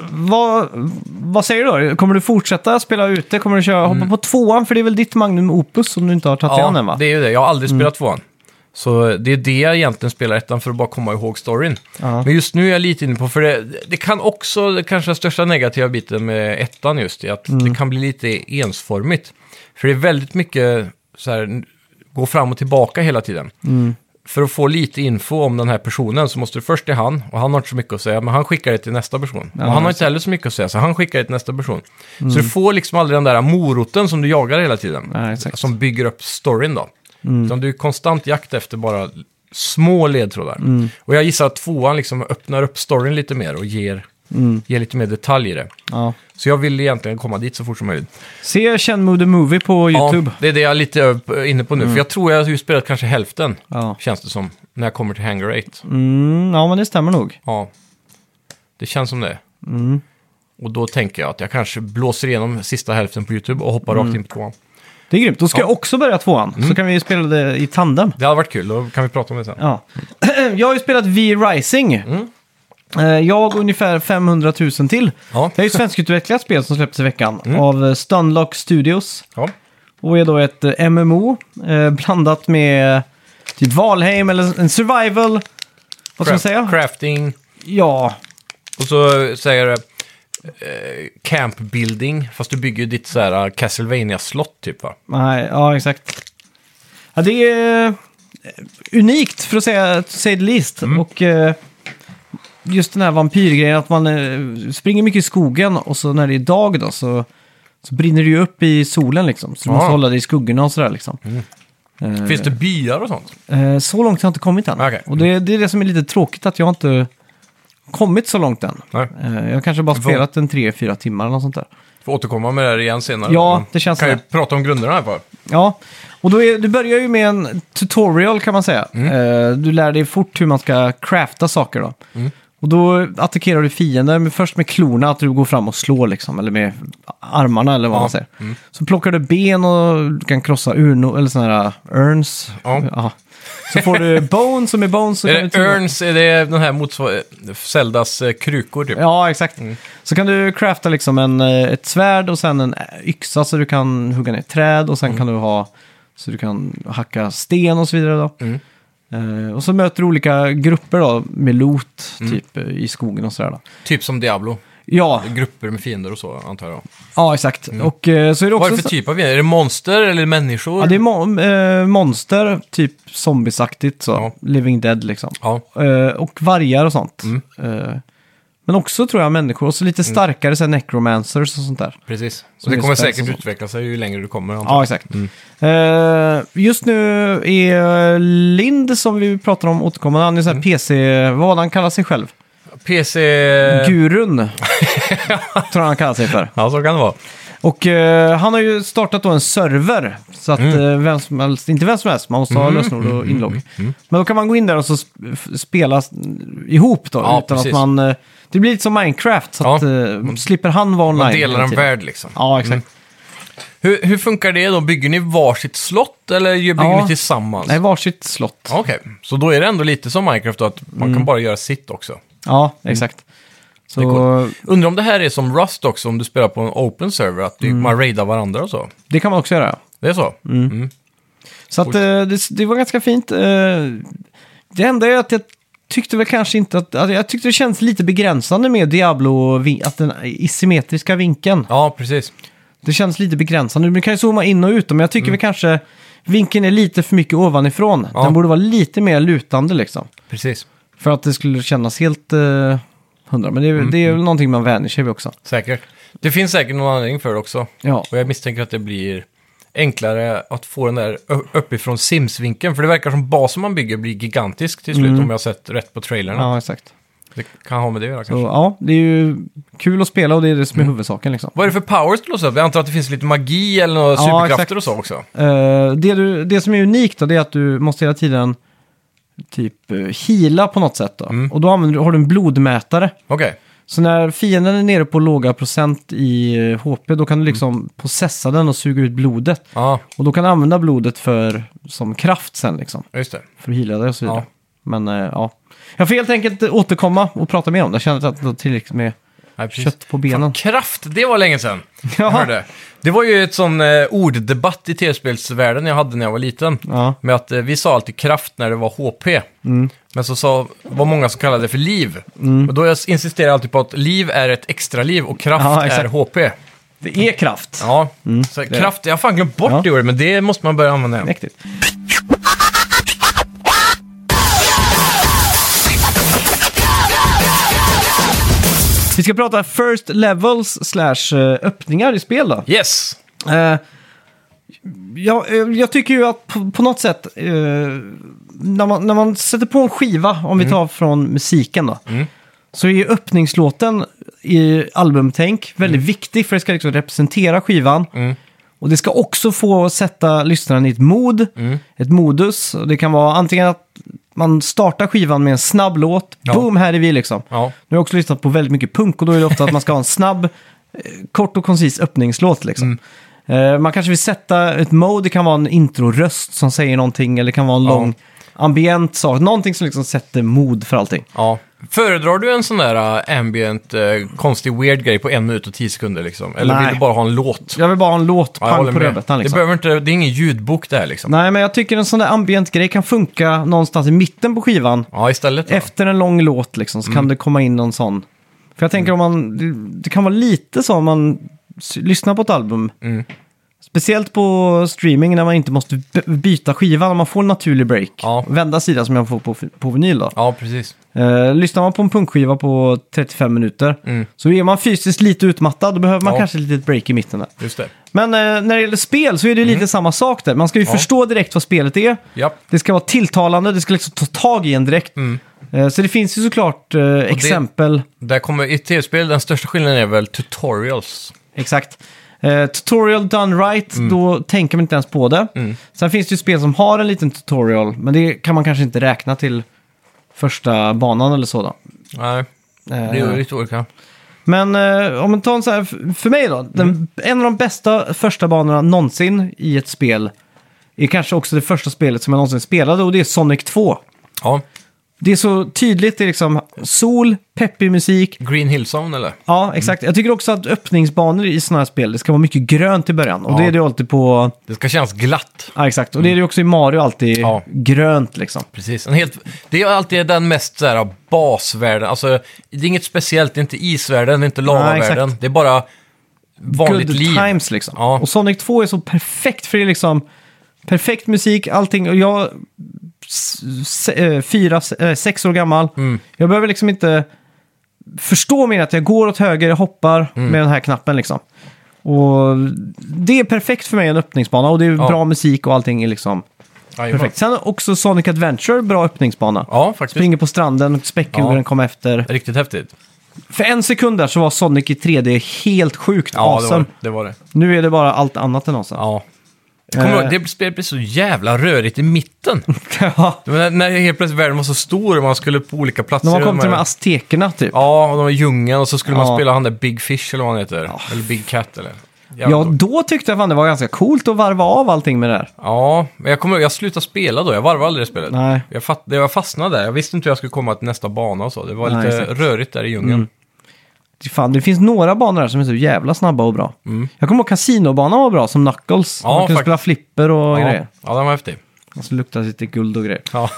Speaker 1: Eh, vad, vad säger du då? Kommer du fortsätta spela ute? Kommer du köra, hoppa på tvåan? För det är väl ditt Magnum Opus som du inte har tagit dig an än va?
Speaker 2: Mm.
Speaker 1: Mm.
Speaker 2: det är ju det. Jag har aldrig spelat tvåan. Så det är det jag egentligen spelar ettan för att bara komma ihåg storyn.
Speaker 1: Ja.
Speaker 2: Men just nu är jag lite inne på, för det, det kan också, det kanske den största negativa biten med ettan just, är att
Speaker 1: Mm.
Speaker 2: det kan bli lite ensformigt. För det är väldigt mycket så här, gå fram och tillbaka hela tiden.
Speaker 1: Mm.
Speaker 2: För att få lite info om den här personen så måste du först till han, och han har inte så mycket att säga, men han skickar det till nästa person. och han har inte heller så mycket att säga, så han skickar det till nästa person.
Speaker 1: Mm.
Speaker 2: Så du får liksom aldrig den där moroten som du jagar hela tiden
Speaker 1: Ja, exakt. Mm.
Speaker 2: som bygger upp storyn då. Utan du är konstant jakt efter bara små ledtrådar.
Speaker 1: Mm.
Speaker 2: Och jag gissar att tvåan liksom öppnar upp storyn lite mer och ger,
Speaker 1: Mm.
Speaker 2: ger lite mer detalj i det.
Speaker 1: Ja.
Speaker 2: Så jag vill egentligen komma dit så fort som möjligt.
Speaker 1: Se Shenmue the Movie på YouTube. Mm.
Speaker 2: Ja, det är det jag är lite ö- inne på nu. För jag tror jag har ju spelat kanske hälften,
Speaker 1: Ja.
Speaker 2: känns det som, när jag kommer till Hangar 8.
Speaker 1: Mm, ja, men det stämmer nog.
Speaker 2: Ja, det känns som det.
Speaker 1: Mm. Mm.
Speaker 2: Och då tänker jag att jag kanske blåser igenom sista hälften på YouTube och hoppar rakt in på tvåan.
Speaker 1: Det är grymt. Då ska jag också börja tvåan,
Speaker 2: Mm.
Speaker 1: så kan vi ju spela det i tandem.
Speaker 2: Det hade varit kul, då kan vi prata om det sen.
Speaker 1: Ja. Jag har ju spelat V-Rising. Eh, Jag och ungefär 500 000 till.
Speaker 2: Ja.
Speaker 1: Det är ju ett svenskutvecklat spel som släpptes i veckan av eh, Stunlock Studios.
Speaker 2: Ja.
Speaker 1: Och är då ett eh, MMO eh, blandat med typ Valheim eller en survival. Vad ska man
Speaker 2: Craft-
Speaker 1: säga?
Speaker 2: Crafting,
Speaker 1: Ja,
Speaker 2: och så säger det eh, camp building, fast du bygger ju ditt så här eh, castlevania slott typ va?
Speaker 1: nej, ja exakt. Ja, det är eh, unikt för att säga to say the least.
Speaker 2: Mm.
Speaker 1: Och eh, just den här vampyrgrejen att man eh, springer mycket i skogen och så när det är dag då så, så brinner det ju upp i solen liksom. Så du
Speaker 2: Ja. Mm.
Speaker 1: måste hålla dig i skuggorna och sådär liksom. Eh,
Speaker 2: Finns det byar och sånt?
Speaker 1: Eh, Så långt har jag inte kommit än.
Speaker 2: Okej.
Speaker 1: Och det, det är det som är lite tråkigt, att jag inte kommit så långt än.
Speaker 2: Nej.
Speaker 1: Eh, Jag kanske bara
Speaker 2: Vad-
Speaker 1: spelat en 3-4 timmar eller något sånt där.
Speaker 2: Får återkomma med det här igen senare.
Speaker 1: Ja, det känns
Speaker 2: Kan
Speaker 1: så.
Speaker 2: ju prata om grunderna här bara.
Speaker 1: Ja, och då är, du börjar ju med en tutorial kan man säga.
Speaker 2: Mm.
Speaker 1: Eh, Du lär dig fort hur man ska crafta saker då.
Speaker 2: Mm.
Speaker 1: Och då attackerar du fiender, men först med klorna, att du går fram och slår liksom, eller med armarna eller vad
Speaker 2: Ja. Mm.
Speaker 1: man säger. Så plockar du ben och du kan krossa urno, eller sådana här urns.
Speaker 2: Ja.
Speaker 1: Så får du bones, som är bones. Så kan du
Speaker 2: Är det
Speaker 1: tillbaka-
Speaker 2: Urns, är det den här motsvar- Zeldas eh, krukor typ?
Speaker 1: Ja, exakt. Så kan du crafta liksom en, eh, ett svärd och sen en eh, yxa så du kan hugga ner träd och sen
Speaker 2: Mm.
Speaker 1: kan du ha så du kan hacka sten och så vidare. Då.
Speaker 2: Mm.
Speaker 1: Eh, och så möter du olika grupper då med loot
Speaker 2: Mm.
Speaker 1: typ eh, i skogen och sådär. Då.
Speaker 2: Typ som Diablo.
Speaker 1: Ja,
Speaker 2: Grupper med fiender och så antar jag.
Speaker 1: ja, exakt. Och eh, så är det också...
Speaker 2: Mm. Vad är det för
Speaker 1: så-
Speaker 2: typ av fiender? Är det monster eller människor?
Speaker 1: Ja, det är mo- eh, monster, typ zombiesaktigt så.
Speaker 2: Ja.
Speaker 1: Living Dead liksom.
Speaker 2: Ja,
Speaker 1: Eh, och vargar och sånt.
Speaker 2: Mm.
Speaker 1: Eh, men också tror jag människor, och så lite starkare så här necromancers och sånt där.
Speaker 2: precis.
Speaker 1: Så
Speaker 2: Och det
Speaker 1: det
Speaker 2: kommer
Speaker 1: spänns och
Speaker 2: säkert
Speaker 1: sånt.
Speaker 2: utveckla sig ju längre du kommer. antar jag.
Speaker 1: Ja, exakt. Eh, just nu är Lind, som vi pratar om återkommande, han är
Speaker 2: Mm.
Speaker 1: så här PC, vad var det han kallar sig själv?
Speaker 2: PC... Eh.
Speaker 1: Gurun, tror jag han kallar sig för.
Speaker 2: Ja, så kan det vara.
Speaker 1: Och eh, han har ju startat då en server, så att
Speaker 2: Mm.
Speaker 1: eh, vem som helst, inte vem som helst, man måste ha lösenord och inlogg.
Speaker 2: Mm.
Speaker 1: Men då kan man gå in där och så sp- f- spela s- ihop då,
Speaker 2: Ja,
Speaker 1: utan
Speaker 2: precis.
Speaker 1: att man... eh, det blir lite som Minecraft, så
Speaker 2: Ja.
Speaker 1: att eh, slipper han vara online.
Speaker 2: Man delar
Speaker 1: hela
Speaker 2: en
Speaker 1: tiden.
Speaker 2: värld liksom.
Speaker 1: Ja, exakt.
Speaker 2: Hur, hur funkar det då? Bygger ni varsitt slott eller gör- bygger
Speaker 1: Ja.
Speaker 2: ni tillsammans?
Speaker 1: Nej, varsitt slott.
Speaker 2: Okej, så då är det ändå lite som Minecraft då, att man
Speaker 1: Mm.
Speaker 2: kan bara göra sitt också.
Speaker 1: Ja, exakt. Så,
Speaker 2: Mm. är Undrar om det här är som Rust också, om du spelar på en open server, att
Speaker 1: Mm.
Speaker 2: du, man raidar varandra och så.
Speaker 1: Det kan man också göra. ja.
Speaker 2: Det är så? Mm.
Speaker 1: Så att, eh, det, det var ganska fint. Eh, det enda är att jag tyckte väl kanske inte att... att jag tyckte det känns lite begränsande med Diablo, och vi- att den isometriska vinkeln.
Speaker 2: Ja, precis.
Speaker 1: Det känns lite begränsande. Man kan ju zooma in och ut, men jag tycker väl kanske vinkeln är lite för mycket ovanifrån.
Speaker 2: Ja.
Speaker 1: Den borde vara lite mer lutande liksom.
Speaker 2: precis.
Speaker 1: För att det skulle kännas helt eh, hundra. Men det, är- det är väl någonting man vänjer sig vid också.
Speaker 2: Säkert. Det finns säkert någon anledning för det också.
Speaker 1: Ja,
Speaker 2: Och jag misstänker att det blir enklare att få den där ö- uppifrån Sims-vinkeln. För det verkar som basen man bygger blir gigantisk till slut, om jag har sett rätt på trailern.
Speaker 1: Mm. ja exakt.
Speaker 2: Det kan ha med det att göra
Speaker 1: Så,
Speaker 2: kanske.
Speaker 1: ja, det är ju kul att spela och det är det som är huvudsaken liksom.
Speaker 2: Vad är det för powers du låser upp? Jag antar att det finns lite magi eller några
Speaker 1: Ja,
Speaker 2: superkrafter
Speaker 1: exakt.
Speaker 2: och så också.
Speaker 1: Eh, det, du, det som är unikt då, det är att du måste hela tiden typ eh, heala på något sätt. Då. Och då använder, du- har du en blodmätare.
Speaker 2: Okej,
Speaker 1: Så när fienden är nere på låga procent i eh, HP, då kan du liksom processa den och suga ut blodet.
Speaker 2: ja,
Speaker 1: Och då kan du använda blodet för, som kraft sen, liksom,
Speaker 2: just det.
Speaker 1: för att heala dig och så vidare.
Speaker 2: Ja.
Speaker 1: Men eh, ja, jag får helt enkelt återkomma och prata mer om det. Jag känner att det var tillräckligt med
Speaker 2: Nej, precis.
Speaker 1: kött på benen.
Speaker 2: Fan, kraft, det var länge sedan. Jag
Speaker 1: Ja.
Speaker 2: hörde. Det var ju ett sån eh, orddebatt i tv-spelsvärlden jag hade när jag var liten.
Speaker 1: Ja. Mm.
Speaker 2: Med att eh, vi sa alltid kraft när det var HP. Men så sa, var många som kallade det för liv. Och då jag insisterar jag alltid på att liv är ett extra liv och kraft
Speaker 1: Ja,
Speaker 2: är
Speaker 1: exakt.
Speaker 2: HP.
Speaker 1: Det är kraft.
Speaker 2: Ja, så kraft, jag har fan glömt bort
Speaker 1: Ja.
Speaker 2: det ordet, men det måste man börja använda igen.
Speaker 1: Mäktigt. Vi ska prata first levels slash eh, öppningar i spel då.
Speaker 2: Yes!
Speaker 1: Eh, jag, eh, jag tycker ju att på, på något sätt, eh, när, man, när man sätter på en skiva, om
Speaker 2: Mm.
Speaker 1: vi tar från musiken då, så är ju öppningslåten i albumtänk väldigt
Speaker 2: Mm.
Speaker 1: viktig för det ska liksom representera skivan. Och det ska också få sätta lyssnaren i ett mod,
Speaker 2: Mm.
Speaker 1: ett modus. Och Det kan vara antingen att man startar skivan med en snabb låt,
Speaker 2: Ja.
Speaker 1: boom, här är vi liksom.
Speaker 2: Ja,
Speaker 1: Nu har jag också lyssnat på väldigt mycket punk och då är det ofta att man ska ha en snabb, eh, kort och koncis öppningslåt liksom.
Speaker 2: Mm.
Speaker 1: Eh, man kanske vill sätta ett mode, det kan vara en introröst som säger någonting eller det kan vara en
Speaker 2: Ja.
Speaker 1: lång ambient sak. Någonting som liksom sätter mod för allting.
Speaker 2: Ja. Föredrar du en sån där äh, ambient, äh, konstig, weird grej på en minut och tio sekunder liksom? Eller
Speaker 1: Nej.
Speaker 2: vill du bara ha en låt?
Speaker 1: Jag vill bara ha en låt,
Speaker 2: Ja,
Speaker 1: pang
Speaker 2: håller
Speaker 1: på
Speaker 2: med.
Speaker 1: rödbetan
Speaker 2: det,
Speaker 1: liksom.
Speaker 2: behöver inte, det är ingen ljudbok det här liksom.
Speaker 1: Nej, men jag tycker en sån där ambient grej kan funka någonstans i mitten på skivan.
Speaker 2: Ja, Mm. istället. då.
Speaker 1: Efter en lång låt liksom, så kan det komma in någon sån. För jag tänker om
Speaker 2: Mm.
Speaker 1: man, det, det kan vara lite så om man s- lyssnar på ett album.
Speaker 2: Mm.
Speaker 1: Speciellt på streaming när man inte måste b- byta skiva, när man får en naturlig break.
Speaker 2: Ja.
Speaker 1: Vända sida som jag får på, på vinyl då.
Speaker 2: Ja, precis.
Speaker 1: Eh, lyssnar man på en punkskiva på 35 minuter
Speaker 2: Mm.
Speaker 1: så är man fysiskt lite utmattad, då behöver man
Speaker 2: Ja.
Speaker 1: kanske ett litet break i mitten där.
Speaker 2: Just det.
Speaker 1: Men eh, när det gäller spel så är det ju lite samma sak där. Man ska ju
Speaker 2: Mm. Ja.
Speaker 1: förstå direkt vad spelet är.
Speaker 2: Ja.
Speaker 1: Det ska vara tilltalande, det ska liksom ta tag i en direkt. Eh, Så det finns ju såklart eh, exempel.
Speaker 2: Där kommer i tv-spel, den största skillnaden är väl tutorials.
Speaker 1: Exakt. Eh, tutorial done right, då tänker man inte ens på det. Sen finns det ju spel som har en liten tutorial, men det kan man kanske inte räkna till första banan eller så. Då.
Speaker 2: Nej, det är
Speaker 1: Eh,
Speaker 2: ju lite olika.
Speaker 1: Men eh, om man tar en så här, f- för mig då, den, en av de bästa första banorna någonsin i ett spel är kanske också det första spelet som jag någonsin spelade och det är Sonic 2.
Speaker 2: Ja.
Speaker 1: Det är så tydligt, det är liksom sol, peppig musik.
Speaker 2: Green Hill Zone eller?
Speaker 1: Ja, exakt. Jag tycker också att öppningsbanor i sådana här spel, det ska vara mycket grönt i början. Och
Speaker 2: Ja.
Speaker 1: det är det ju alltid på...
Speaker 2: Det ska kännas glatt.
Speaker 1: Ja, exakt. Och det är det ju också i Mario alltid
Speaker 2: Ja.
Speaker 1: grönt liksom.
Speaker 2: Precis. En helt, det är alltid den mest så här, basvärlden. Alltså, det är inget speciellt, det är inte isvärlden, det är inte lavavärlden.
Speaker 1: exakt.
Speaker 2: det är bara vanligt
Speaker 1: Good
Speaker 2: liv.
Speaker 1: times liksom.
Speaker 2: Ja.
Speaker 1: Och Sonic 2 är så perfekt för det är liksom perfekt musik, allting. Och jag, s- se- eh, fyra, s- eh, sex år gammal,
Speaker 2: Mm.
Speaker 1: jag behöver liksom inte förstå mer att jag går åt höger, jag hoppar
Speaker 2: Mm.
Speaker 1: med den här knappen liksom. Och det är perfekt för mig en öppningsbana och det är
Speaker 2: Ja.
Speaker 1: bra musik och allting är liksom
Speaker 2: Jajamän.
Speaker 1: perfekt. Sen också Sonic Adventure, bra öppningsbana.
Speaker 2: Ja, faktiskt.
Speaker 1: Springer på stranden, späckhugaren
Speaker 2: Ja.
Speaker 1: kom efter.
Speaker 2: Riktigt häftigt.
Speaker 1: För en sekund där så var Sonic i 3D helt sjukt
Speaker 2: Ja,
Speaker 1: awesome.
Speaker 2: det, var, det var det.
Speaker 1: Nu är det bara allt annat än awesome.
Speaker 2: Ja. Jag kommer
Speaker 1: Eh.
Speaker 2: ihåg, det spelet blev så jävla rörigt i mitten.
Speaker 1: Ja.
Speaker 2: Det var när, när helt plötsligt världen var så stor och man skulle på olika platser.
Speaker 1: När man kom
Speaker 2: Och
Speaker 1: till
Speaker 2: de
Speaker 1: de här
Speaker 2: här-
Speaker 1: aztekerna typ.
Speaker 2: Ja, och de var i djungeln och så skulle
Speaker 1: Ja.
Speaker 2: man spela han där Big Fish eller vad han heter. Eller Big Cat eller... Jävla
Speaker 1: Ja,
Speaker 2: dåligt.
Speaker 1: då tyckte jag fan det var ganska coolt att varva av allting med det här.
Speaker 2: ja, men jag kommer ihåg, jag slutade spela då. Jag varvade aldrig det spelet.
Speaker 1: Nej.
Speaker 2: Jag, fatt, jag fastnade där. Jag visste inte hur jag skulle komma till nästa bana och så. Det var
Speaker 1: Nej,
Speaker 2: lite
Speaker 1: exakt. Mm,
Speaker 2: rörigt där i djungeln.
Speaker 1: Det- Fan, det finns några banor här som är så jävla snabba och bra. Jag kommer ihåg kasinobanan var bra, som Knuckles.
Speaker 2: Mm. Ja,
Speaker 1: man kunde
Speaker 2: faktiskt.
Speaker 1: spela flipper och
Speaker 2: Ja,
Speaker 1: grejer.
Speaker 2: ja, den var häftig.
Speaker 1: Och så luktade det lite guld och grejer.
Speaker 2: Ja.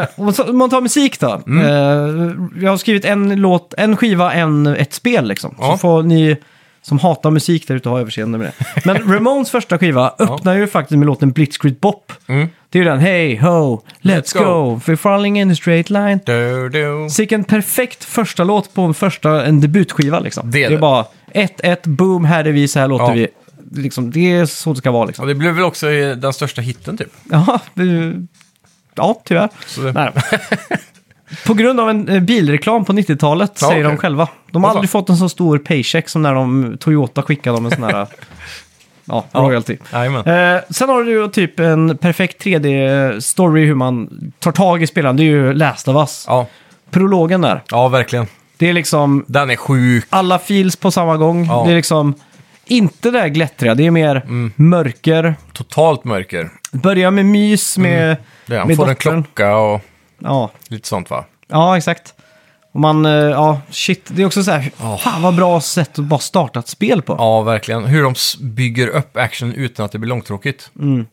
Speaker 1: eh, om så- om man tar musik då.
Speaker 2: Mm.
Speaker 1: Eh, jag har skrivit en låt, en skiva, en, ett spel liksom. Så
Speaker 2: Ja.
Speaker 1: får ni som hatar musik där ute ha överseende med det. Men Ramones första skiva öppnar ju faktiskt med låten Blitzkrieg Bop.
Speaker 2: Mm.
Speaker 1: Det är ju den Hey ho, let's,
Speaker 2: Let's
Speaker 1: go.
Speaker 2: go.
Speaker 1: we're falling in a straight line.
Speaker 2: Du, du.
Speaker 1: Så vilken perfekt första låt på en, första, en debutskiva liksom.
Speaker 2: Det är
Speaker 1: det är
Speaker 2: det.
Speaker 1: bara 1-1, boom, här är vi, så här låter
Speaker 2: Ja.
Speaker 1: vi. Liksom, det är så det ska vara liksom.
Speaker 2: Ja, det blev väl också eh, den största hitten typ.
Speaker 1: Ja, det, ja tyvärr.
Speaker 2: Så det-
Speaker 1: Nej. på grund av en eh, bilreklam på 90-talet,
Speaker 2: Ja,
Speaker 1: säger de
Speaker 2: okej.
Speaker 1: själva. De har
Speaker 2: Vad
Speaker 1: aldrig fått en så stor paycheck som när de, Toyota skickade dem en sån här eh, ja, royalty.
Speaker 2: Jajamän.
Speaker 1: Eh, sen har du ju typ en perfekt 3D-story hur man tar tag i spelaren. Det är ju Last of Us.
Speaker 2: Ja.
Speaker 1: Prologen där.
Speaker 2: ja, verkligen.
Speaker 1: Det är liksom
Speaker 2: Den är sjuk.
Speaker 1: alla feels på samma gång.
Speaker 2: Ja. Mm.
Speaker 1: Det är liksom inte det där glättriga, det är mer mörker.
Speaker 2: Totalt mörker.
Speaker 1: Börja med mys med,
Speaker 2: Det är, han
Speaker 1: med
Speaker 2: får en
Speaker 1: dottern.
Speaker 2: klocka och
Speaker 1: Ja.
Speaker 2: lite sånt va?
Speaker 1: ja, exakt. Och man, eh, ja, shit. Det är också så här,
Speaker 2: Ja.
Speaker 1: fan vad bra sätt att bara starta ett spel på.
Speaker 2: Ja, verkligen. Hur de s- bygger upp action utan att det blir långtråkigt.
Speaker 1: Mm.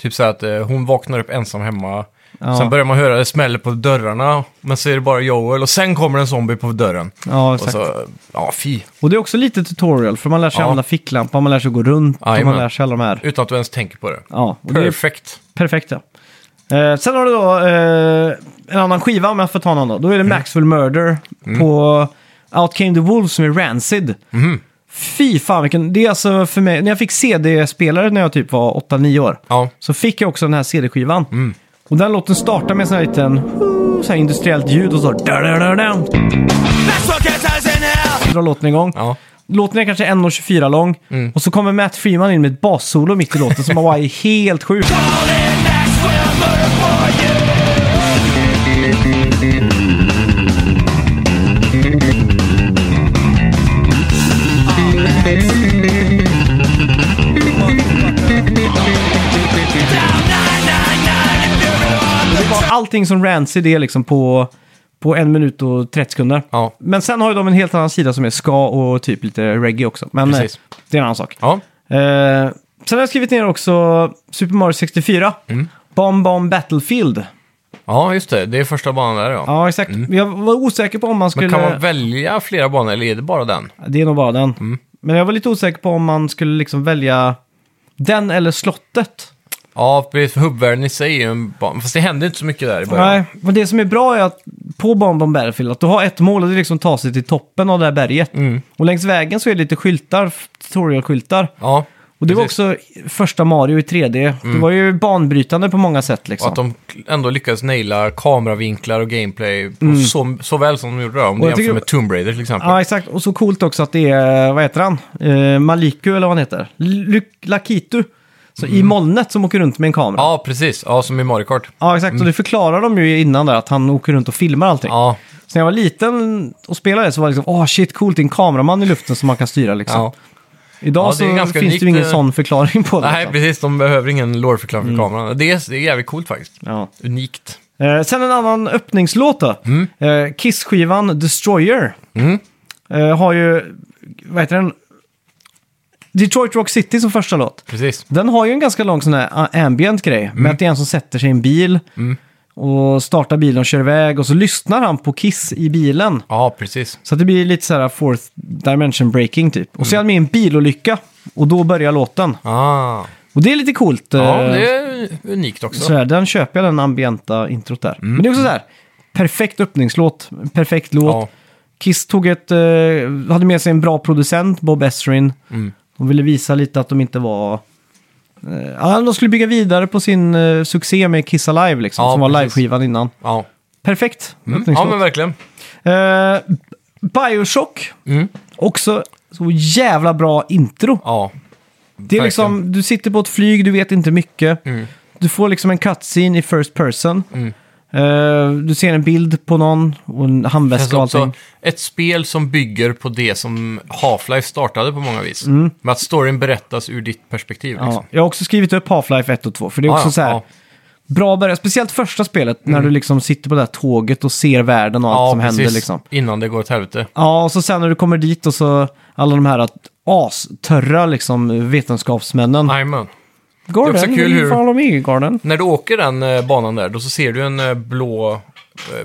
Speaker 2: Typ så här att eh, hon vaknar upp ensam hemma.
Speaker 1: Ja.
Speaker 2: Sen börjar man höra det smäller på dörrarna, men så är det bara Joel och sen kommer en zombie på dörren.
Speaker 1: Ja,
Speaker 2: Och
Speaker 1: exakt. Och,
Speaker 2: så, ja fy.
Speaker 1: det är också lite tutorial, för man lär sig
Speaker 2: Ja.
Speaker 1: använda ficklampan, man lär sig gå runt och man
Speaker 2: Jajamän.
Speaker 1: lär sig alla de här.
Speaker 2: Utan att du ens tänker på det.
Speaker 1: Ja, och det är
Speaker 2: Perfekt.
Speaker 1: perfekt ja. Eh, sen har du då eh, en annan skiva om jag får ta någon då. Då är det
Speaker 2: Mm.
Speaker 1: Maxwell Murder på Out Came the Wolves som är Rancid.
Speaker 2: Mhm.
Speaker 1: Fy fan vilken, det är alltså för mig, när jag fick CD-spelare när jag typ var 8-9 år.
Speaker 2: Ja,
Speaker 1: Så fick jag också den här CD-skivan. Och den låten startar med en sån här liten "Woo", så här industriellt ljud och så da-da-da-da. Så drar låten igång.
Speaker 2: ja.
Speaker 1: Låten är kanske 1.24 lång. Och så kommer Matt Freeman in med ett bassolo mitt i låten som bara är helt sjuk.
Speaker 3: Well,
Speaker 1: allting som Rancid är liksom på, på en minut och 30 sekunder.
Speaker 2: Ja.
Speaker 1: Men sen har ju de en helt annan sida som är ska och typ lite reggae också. Men eh,
Speaker 2: Precis.
Speaker 1: det är en annan sak.
Speaker 2: Ja.
Speaker 1: Eh, sen har jag skrivit ner också Super Mario 64.
Speaker 2: Mm.
Speaker 1: Bomb Bomb Battlefield.
Speaker 2: ja, just det. Det är första banan där ja.
Speaker 1: Ja, exakt. Jag var osäker på om man skulle...
Speaker 2: Mm. Men kan man Mm. välja flera banor eller är det bara den?
Speaker 1: Det är nog bara den. Men jag var lite osäker på om man skulle liksom välja den eller slottet.
Speaker 2: Ja, precis, för hubbvärlden i sig är ju en bana. Fast det händer inte så mycket där i början.
Speaker 1: Nej, men det som är bra är att på Bomb Bomb Battlefield, att du har ett mål och det är liksom ta sig till toppen av det här berget. Och längs vägen så är det lite skyltar, tutorial-skyltar.
Speaker 2: Mm. Ja,
Speaker 1: Och det var
Speaker 2: precis.
Speaker 1: också första Mario i 3D. Det var ju banbrytande på många sätt
Speaker 2: Och
Speaker 1: liksom.
Speaker 2: att de ändå lyckades naila kameravinklar och gameplay på så, så väl som de gjorde det. Om du
Speaker 1: Mm. jag
Speaker 2: jämför
Speaker 1: tycker-
Speaker 2: med Tomb Raider till exempel.
Speaker 1: Ja, exakt. Och så coolt också att det är, vad heter han? Eh, Maliku eller vad han heter? Lu- Lakitu. Så I molnet som åker runt med en kamera. Ja,
Speaker 2: Mm. Ja, precis. Ja, som i Mario Kart.
Speaker 1: exakt. Och det förklarar de ju innan där, att han åker runt och filmar allting.
Speaker 2: Ja,
Speaker 1: Så när jag var liten och spelade så var det liksom, åh shit, coolt, det är en kameraman i luften som man kan styra liksom.
Speaker 2: ja.
Speaker 1: Idag
Speaker 2: Ja, det är
Speaker 1: så
Speaker 2: ganska
Speaker 1: finns det
Speaker 2: unikt,
Speaker 1: ju ingen
Speaker 2: eh,
Speaker 1: sån förklaring på det.
Speaker 2: Nej,
Speaker 1: liksom.
Speaker 2: precis. De behöver ingen lore-förklaring för
Speaker 1: Mm.
Speaker 2: kameran. Det är, det är jävligt coolt faktiskt.
Speaker 1: ja.
Speaker 2: Unikt.
Speaker 1: eh, sen en annan öppningslåt då. Eh, Kiss-skivan Destroyer.
Speaker 2: Mm.
Speaker 1: Eh, har ju, vad heter den? Detroit Rock City som första låt.
Speaker 2: Precis.
Speaker 1: Den har ju en ganska lång sån här a- ambient grej.
Speaker 2: Mm.
Speaker 1: Med att det är en som sätter sig i en bil och startar bilen och kör iväg. Och så lyssnar han på Kiss i bilen.
Speaker 2: Ja, precis.
Speaker 1: Så att det blir lite så här fourth dimension breaking typ. Och
Speaker 2: Mm.
Speaker 1: så är han med i en bilolycka. Och då börjar låten.
Speaker 2: Ah.
Speaker 1: Och det är lite coolt.
Speaker 2: Ja,
Speaker 1: eh,
Speaker 2: det är unikt också.
Speaker 1: så här, den köper jag, den ambienta introt där.
Speaker 2: Mm.
Speaker 1: Men det är också så här, perfekt öppningslåt, perfekt låt.
Speaker 2: Ja.
Speaker 1: Kiss tog ett, eh, hade med sig en bra producent, Bob Esrin.
Speaker 2: Mm.
Speaker 1: De ville visa lite att de inte var... Eh, ja, de skulle bygga vidare på sin eh, succé med Kiss Alive, liksom,
Speaker 2: Ja,
Speaker 1: som var
Speaker 2: precis.
Speaker 1: liveskivan innan.
Speaker 2: Ja.
Speaker 1: Perfekt
Speaker 2: Mm. ja,
Speaker 1: öppningslåt.
Speaker 2: men verkligen.
Speaker 1: Eh, Bioshock,
Speaker 2: Mm.
Speaker 1: också så jävla bra intro.
Speaker 2: Ja.
Speaker 1: Det är liksom, du sitter på ett flyg, du vet inte mycket.
Speaker 2: Mm.
Speaker 1: Du får liksom en cutscene i first person. Eh, du ser en bild på någon och en
Speaker 2: Känns
Speaker 1: handväska och
Speaker 2: också
Speaker 1: allting.
Speaker 2: ett spel som bygger på det som Half-Life startade på många vis. Med att storyn berättas ur ditt perspektiv.
Speaker 1: Mm. Ja,
Speaker 2: Liksom. Ah,
Speaker 1: jag har också skrivit upp Half-Life 1 och 2, för det är också
Speaker 2: Ja, ja,
Speaker 1: så här
Speaker 2: ja. Mm.
Speaker 1: bra början. Speciellt första spelet, när du liksom sitter på det här tåget och ser världen och allt
Speaker 2: Ja,
Speaker 1: som händer.
Speaker 2: precis.
Speaker 1: Liksom.
Speaker 2: Innan det går åt helvete.
Speaker 1: Ja, och så sen när du kommer dit och så alla de här att astörra liksom, vetenskapsmännen.
Speaker 2: Jajamän.
Speaker 1: Garden,
Speaker 2: också kul
Speaker 1: will you
Speaker 2: hur-
Speaker 1: follow me, Garden.
Speaker 2: När du åker den eh, banan där, då så ser du en eh, blå eh,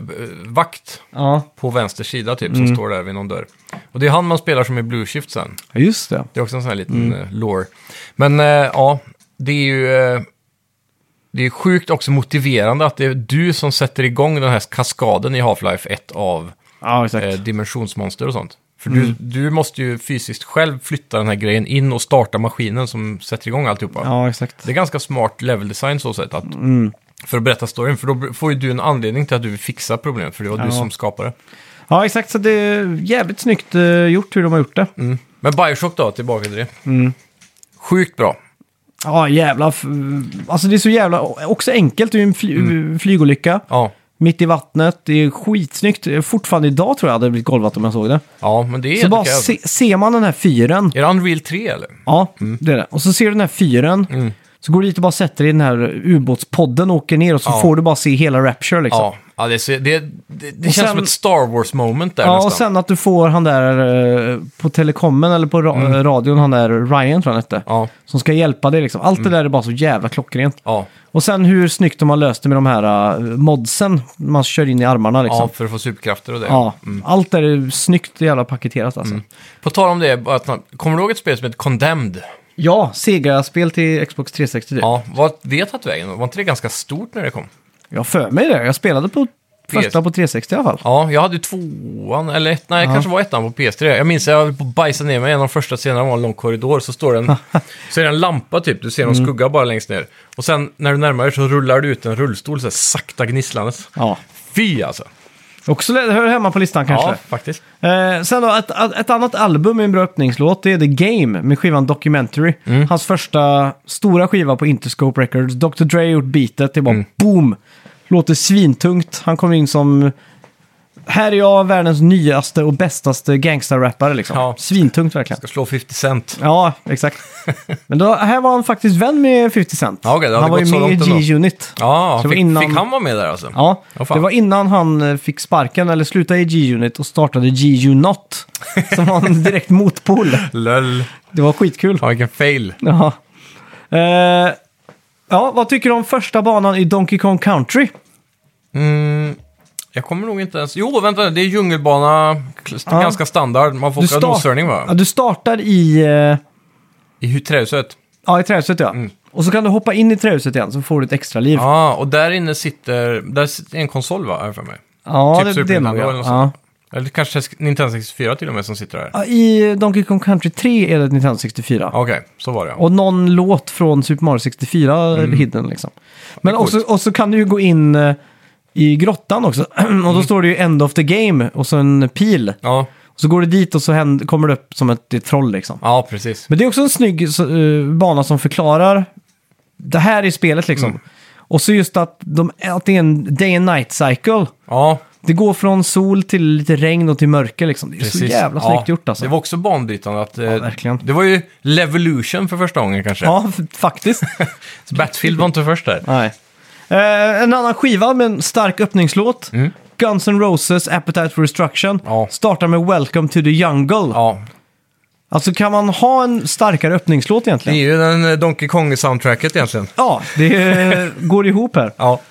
Speaker 2: b- vakt
Speaker 1: Ja,
Speaker 2: på vänster sida typ,
Speaker 1: Mm.
Speaker 2: som står där vid någon dörr. Och det är han man spelar som i Blue Shift sen.
Speaker 1: just det.
Speaker 2: Det är också en sån här liten mm. lore. Men eh, ja, det är ju... eh, det är sjukt också motiverande att det är du som sätter igång den här kaskaden i Half-Life 1 av
Speaker 1: Ja, exakt.
Speaker 2: eh, dimensionsmonster och sånt. För
Speaker 1: Mm.
Speaker 2: du, du måste ju fysiskt själv flytta den här grejen in och starta maskinen som sätter igång alltihopa.
Speaker 1: Ja, Mm. exakt.
Speaker 2: Det är ganska smart level design så sett att, för att berätta storyn. För då br- får ju du en anledning till att du vill fixa problemet, för det var
Speaker 1: Ja.
Speaker 2: du som skapade.
Speaker 1: Ja, exakt. Så det är jävligt snyggt eh, gjort hur de har gjort det.
Speaker 2: Mm. Men Bioshock då, tillbaka till det.
Speaker 1: Mm.
Speaker 2: Sjukt bra.
Speaker 1: Ja, jävla... f- Alltså det är så jävla... Också enkelt, det är ju en fly-
Speaker 2: Mm.
Speaker 1: flygolycka.
Speaker 2: Ja.
Speaker 1: Mitt i vattnet, det är skitsnyggt. Fortfarande idag tror jag hade blivit golvat om jag såg det.
Speaker 2: ja, men det är... alltså.
Speaker 1: Så bara
Speaker 2: tycker jag-
Speaker 1: se, ser man den här fyren.
Speaker 2: Är det Unreal 3 eller?
Speaker 1: Ja,
Speaker 2: Mm.
Speaker 1: det är det. Och så ser du den här fyren. Så går du dit och bara sätter dig i den här ubåtspodden och åker ner och så
Speaker 2: Ja.
Speaker 1: får du bara se hela Rapture liksom. Ja,
Speaker 2: Ja, ja det, är så- det, det, det
Speaker 1: Och
Speaker 2: känns
Speaker 1: sen-
Speaker 2: som ett Star Wars-moment där
Speaker 1: och
Speaker 2: nästan.
Speaker 1: sen att du får han där eh, på telekommen eller på ra- radion, han där Ryan tror jag han hette.
Speaker 2: Mm. Ja,
Speaker 1: Som ska hjälpa dig liksom. Allt
Speaker 2: Mm.
Speaker 1: det där är bara så jävla klockrent.
Speaker 2: ja,
Speaker 1: Och sen hur snyggt de har löst det med de här eh, modsen man kör in i armarna liksom.
Speaker 2: ja, Mm.
Speaker 1: Ja,
Speaker 2: för att få superkrafter och det.
Speaker 1: allt där är snyggt jävla paketerat alltså.
Speaker 2: På tal om det, bara att- kommer du ihåg ett spel som heter Condemned?
Speaker 1: Ja, Sega-spel till Xbox 360 typ.
Speaker 2: Ja, vad det tagit vägen? Var inte det ganska stort när det kom?
Speaker 1: Jag har för mig det. Jag spelade på första på 360 i alla fall.
Speaker 2: Ja, jag hade ju tvåan, eller ett, nej, det kanske var ettan på PS3. Jag minns att jag höll på att bajsa ner mig i en av de första scenerna var en lång korridor, så står det en, så är det en lampa typ, du ser någon skugga bara längst ner. Och sen när du närmar dig så rullar du ut en rullstol så här, sakta gnisslandes.
Speaker 1: Ja.
Speaker 2: Fy alltså!
Speaker 1: Också lä- hör hemma på listan
Speaker 2: Ja,
Speaker 1: kanske.
Speaker 2: faktiskt.
Speaker 1: Eh, sen då, ett, ett ett annat album med en bra öppningslåt, det är The Game med skivan Documentary.
Speaker 2: Mm.
Speaker 1: Hans första stora skiva på Interscope Records.
Speaker 2: Mm.
Speaker 1: Dr. Dre har gjort beatet, det är bara boom! Låter svintungt. Han kom in som Här är jag världens nyaste och bästaste gangsterrappare liksom.
Speaker 2: Ja.
Speaker 1: Svintungt verkligen.
Speaker 2: Ska slå 50 Cent.
Speaker 1: Ja, exakt. Men då, här var han faktiskt vän med 50 Cent.
Speaker 2: Ja, okej, det hade
Speaker 1: han var
Speaker 2: gått
Speaker 1: ju
Speaker 2: så
Speaker 1: med i
Speaker 2: långt ändå.
Speaker 1: G-Unit.
Speaker 2: Ja,
Speaker 1: Så det var
Speaker 2: fick,
Speaker 1: innan-
Speaker 2: fick han vara med där alltså?
Speaker 1: Ja,
Speaker 2: Ja, fan.
Speaker 1: det var innan han eh, fick sparken eller slutade i G-Unit och startade G-Unot. Som var en direkt motpol.
Speaker 2: Löll.
Speaker 1: Det var skitkul.
Speaker 2: Ja, vilken fail.
Speaker 1: Ja. Eh, ja, vad tycker du om första banan i Donkey Kong Country?
Speaker 2: Mm, jag kommer nog inte ens... Jo, vänta, det är djungelbana, kl-
Speaker 1: Ja.
Speaker 2: ganska standard. Man får åka
Speaker 1: start-
Speaker 2: noshörning
Speaker 1: ja,
Speaker 2: va?
Speaker 1: du startar i, eh,
Speaker 2: I hu- trähuset.
Speaker 1: ja, i trähuset ja. Och så kan du hoppa in i trähuset igen så får du ett extra liv.
Speaker 2: Mm. Ja, och där inne sitter... Där sitter en konsol va, har jag för mig.
Speaker 1: Ja,
Speaker 2: typ
Speaker 1: det-
Speaker 2: Super
Speaker 1: det är
Speaker 2: Nintendo
Speaker 1: nog,
Speaker 2: eller något
Speaker 1: ja.
Speaker 2: sånt. Eller kanske Nintendo 64 till och med som sitter där.
Speaker 1: Ja, I Donkey Kong Country 3 är det Nintendo 64.
Speaker 2: Okej, så var det ja.
Speaker 1: Och någon låt från Super Mario 64 hidden liksom. Men
Speaker 2: Mm. coolt.
Speaker 1: också, och så kan du ju gå in eh, i grottan också. och
Speaker 2: Mm.
Speaker 1: då står det ju End of the Game och så en pil.
Speaker 2: Ja,
Speaker 1: Så går du dit och så händer, kommer det upp som ett, det är ett troll liksom.
Speaker 2: ja precis.
Speaker 1: Men det är också en snygg så, eh, bana som förklarar det här i spelet liksom.
Speaker 2: Mm.
Speaker 1: Och så just att, de, att det är en day and night cycle.
Speaker 2: Ja,
Speaker 1: Det går från sol till lite regn och till mörker liksom. Det är
Speaker 2: precis.
Speaker 1: så jävla
Speaker 2: Ja,
Speaker 1: snyggt gjort alltså.
Speaker 2: Det var också banbrytande att... eh,
Speaker 1: verkligen.
Speaker 2: Det var ju Levolution för första gången kanske.
Speaker 1: Ja, f- faktiskt.
Speaker 2: Så Battlefield var inte först där.
Speaker 1: Nej. Eh, en annan skiva med en stark öppningslåt. Guns N' Roses Appetite for Destruction.
Speaker 2: Ja.
Speaker 1: Startar med Welcome to the Jungle.
Speaker 2: Ja,
Speaker 1: Alltså kan man ha en starkare öppningslåt
Speaker 2: det är
Speaker 1: egentligen?
Speaker 2: ju den eh, Donkey Kong-soundtracket egentligen.
Speaker 1: Ja, det eh, går ihop här.
Speaker 2: Ja,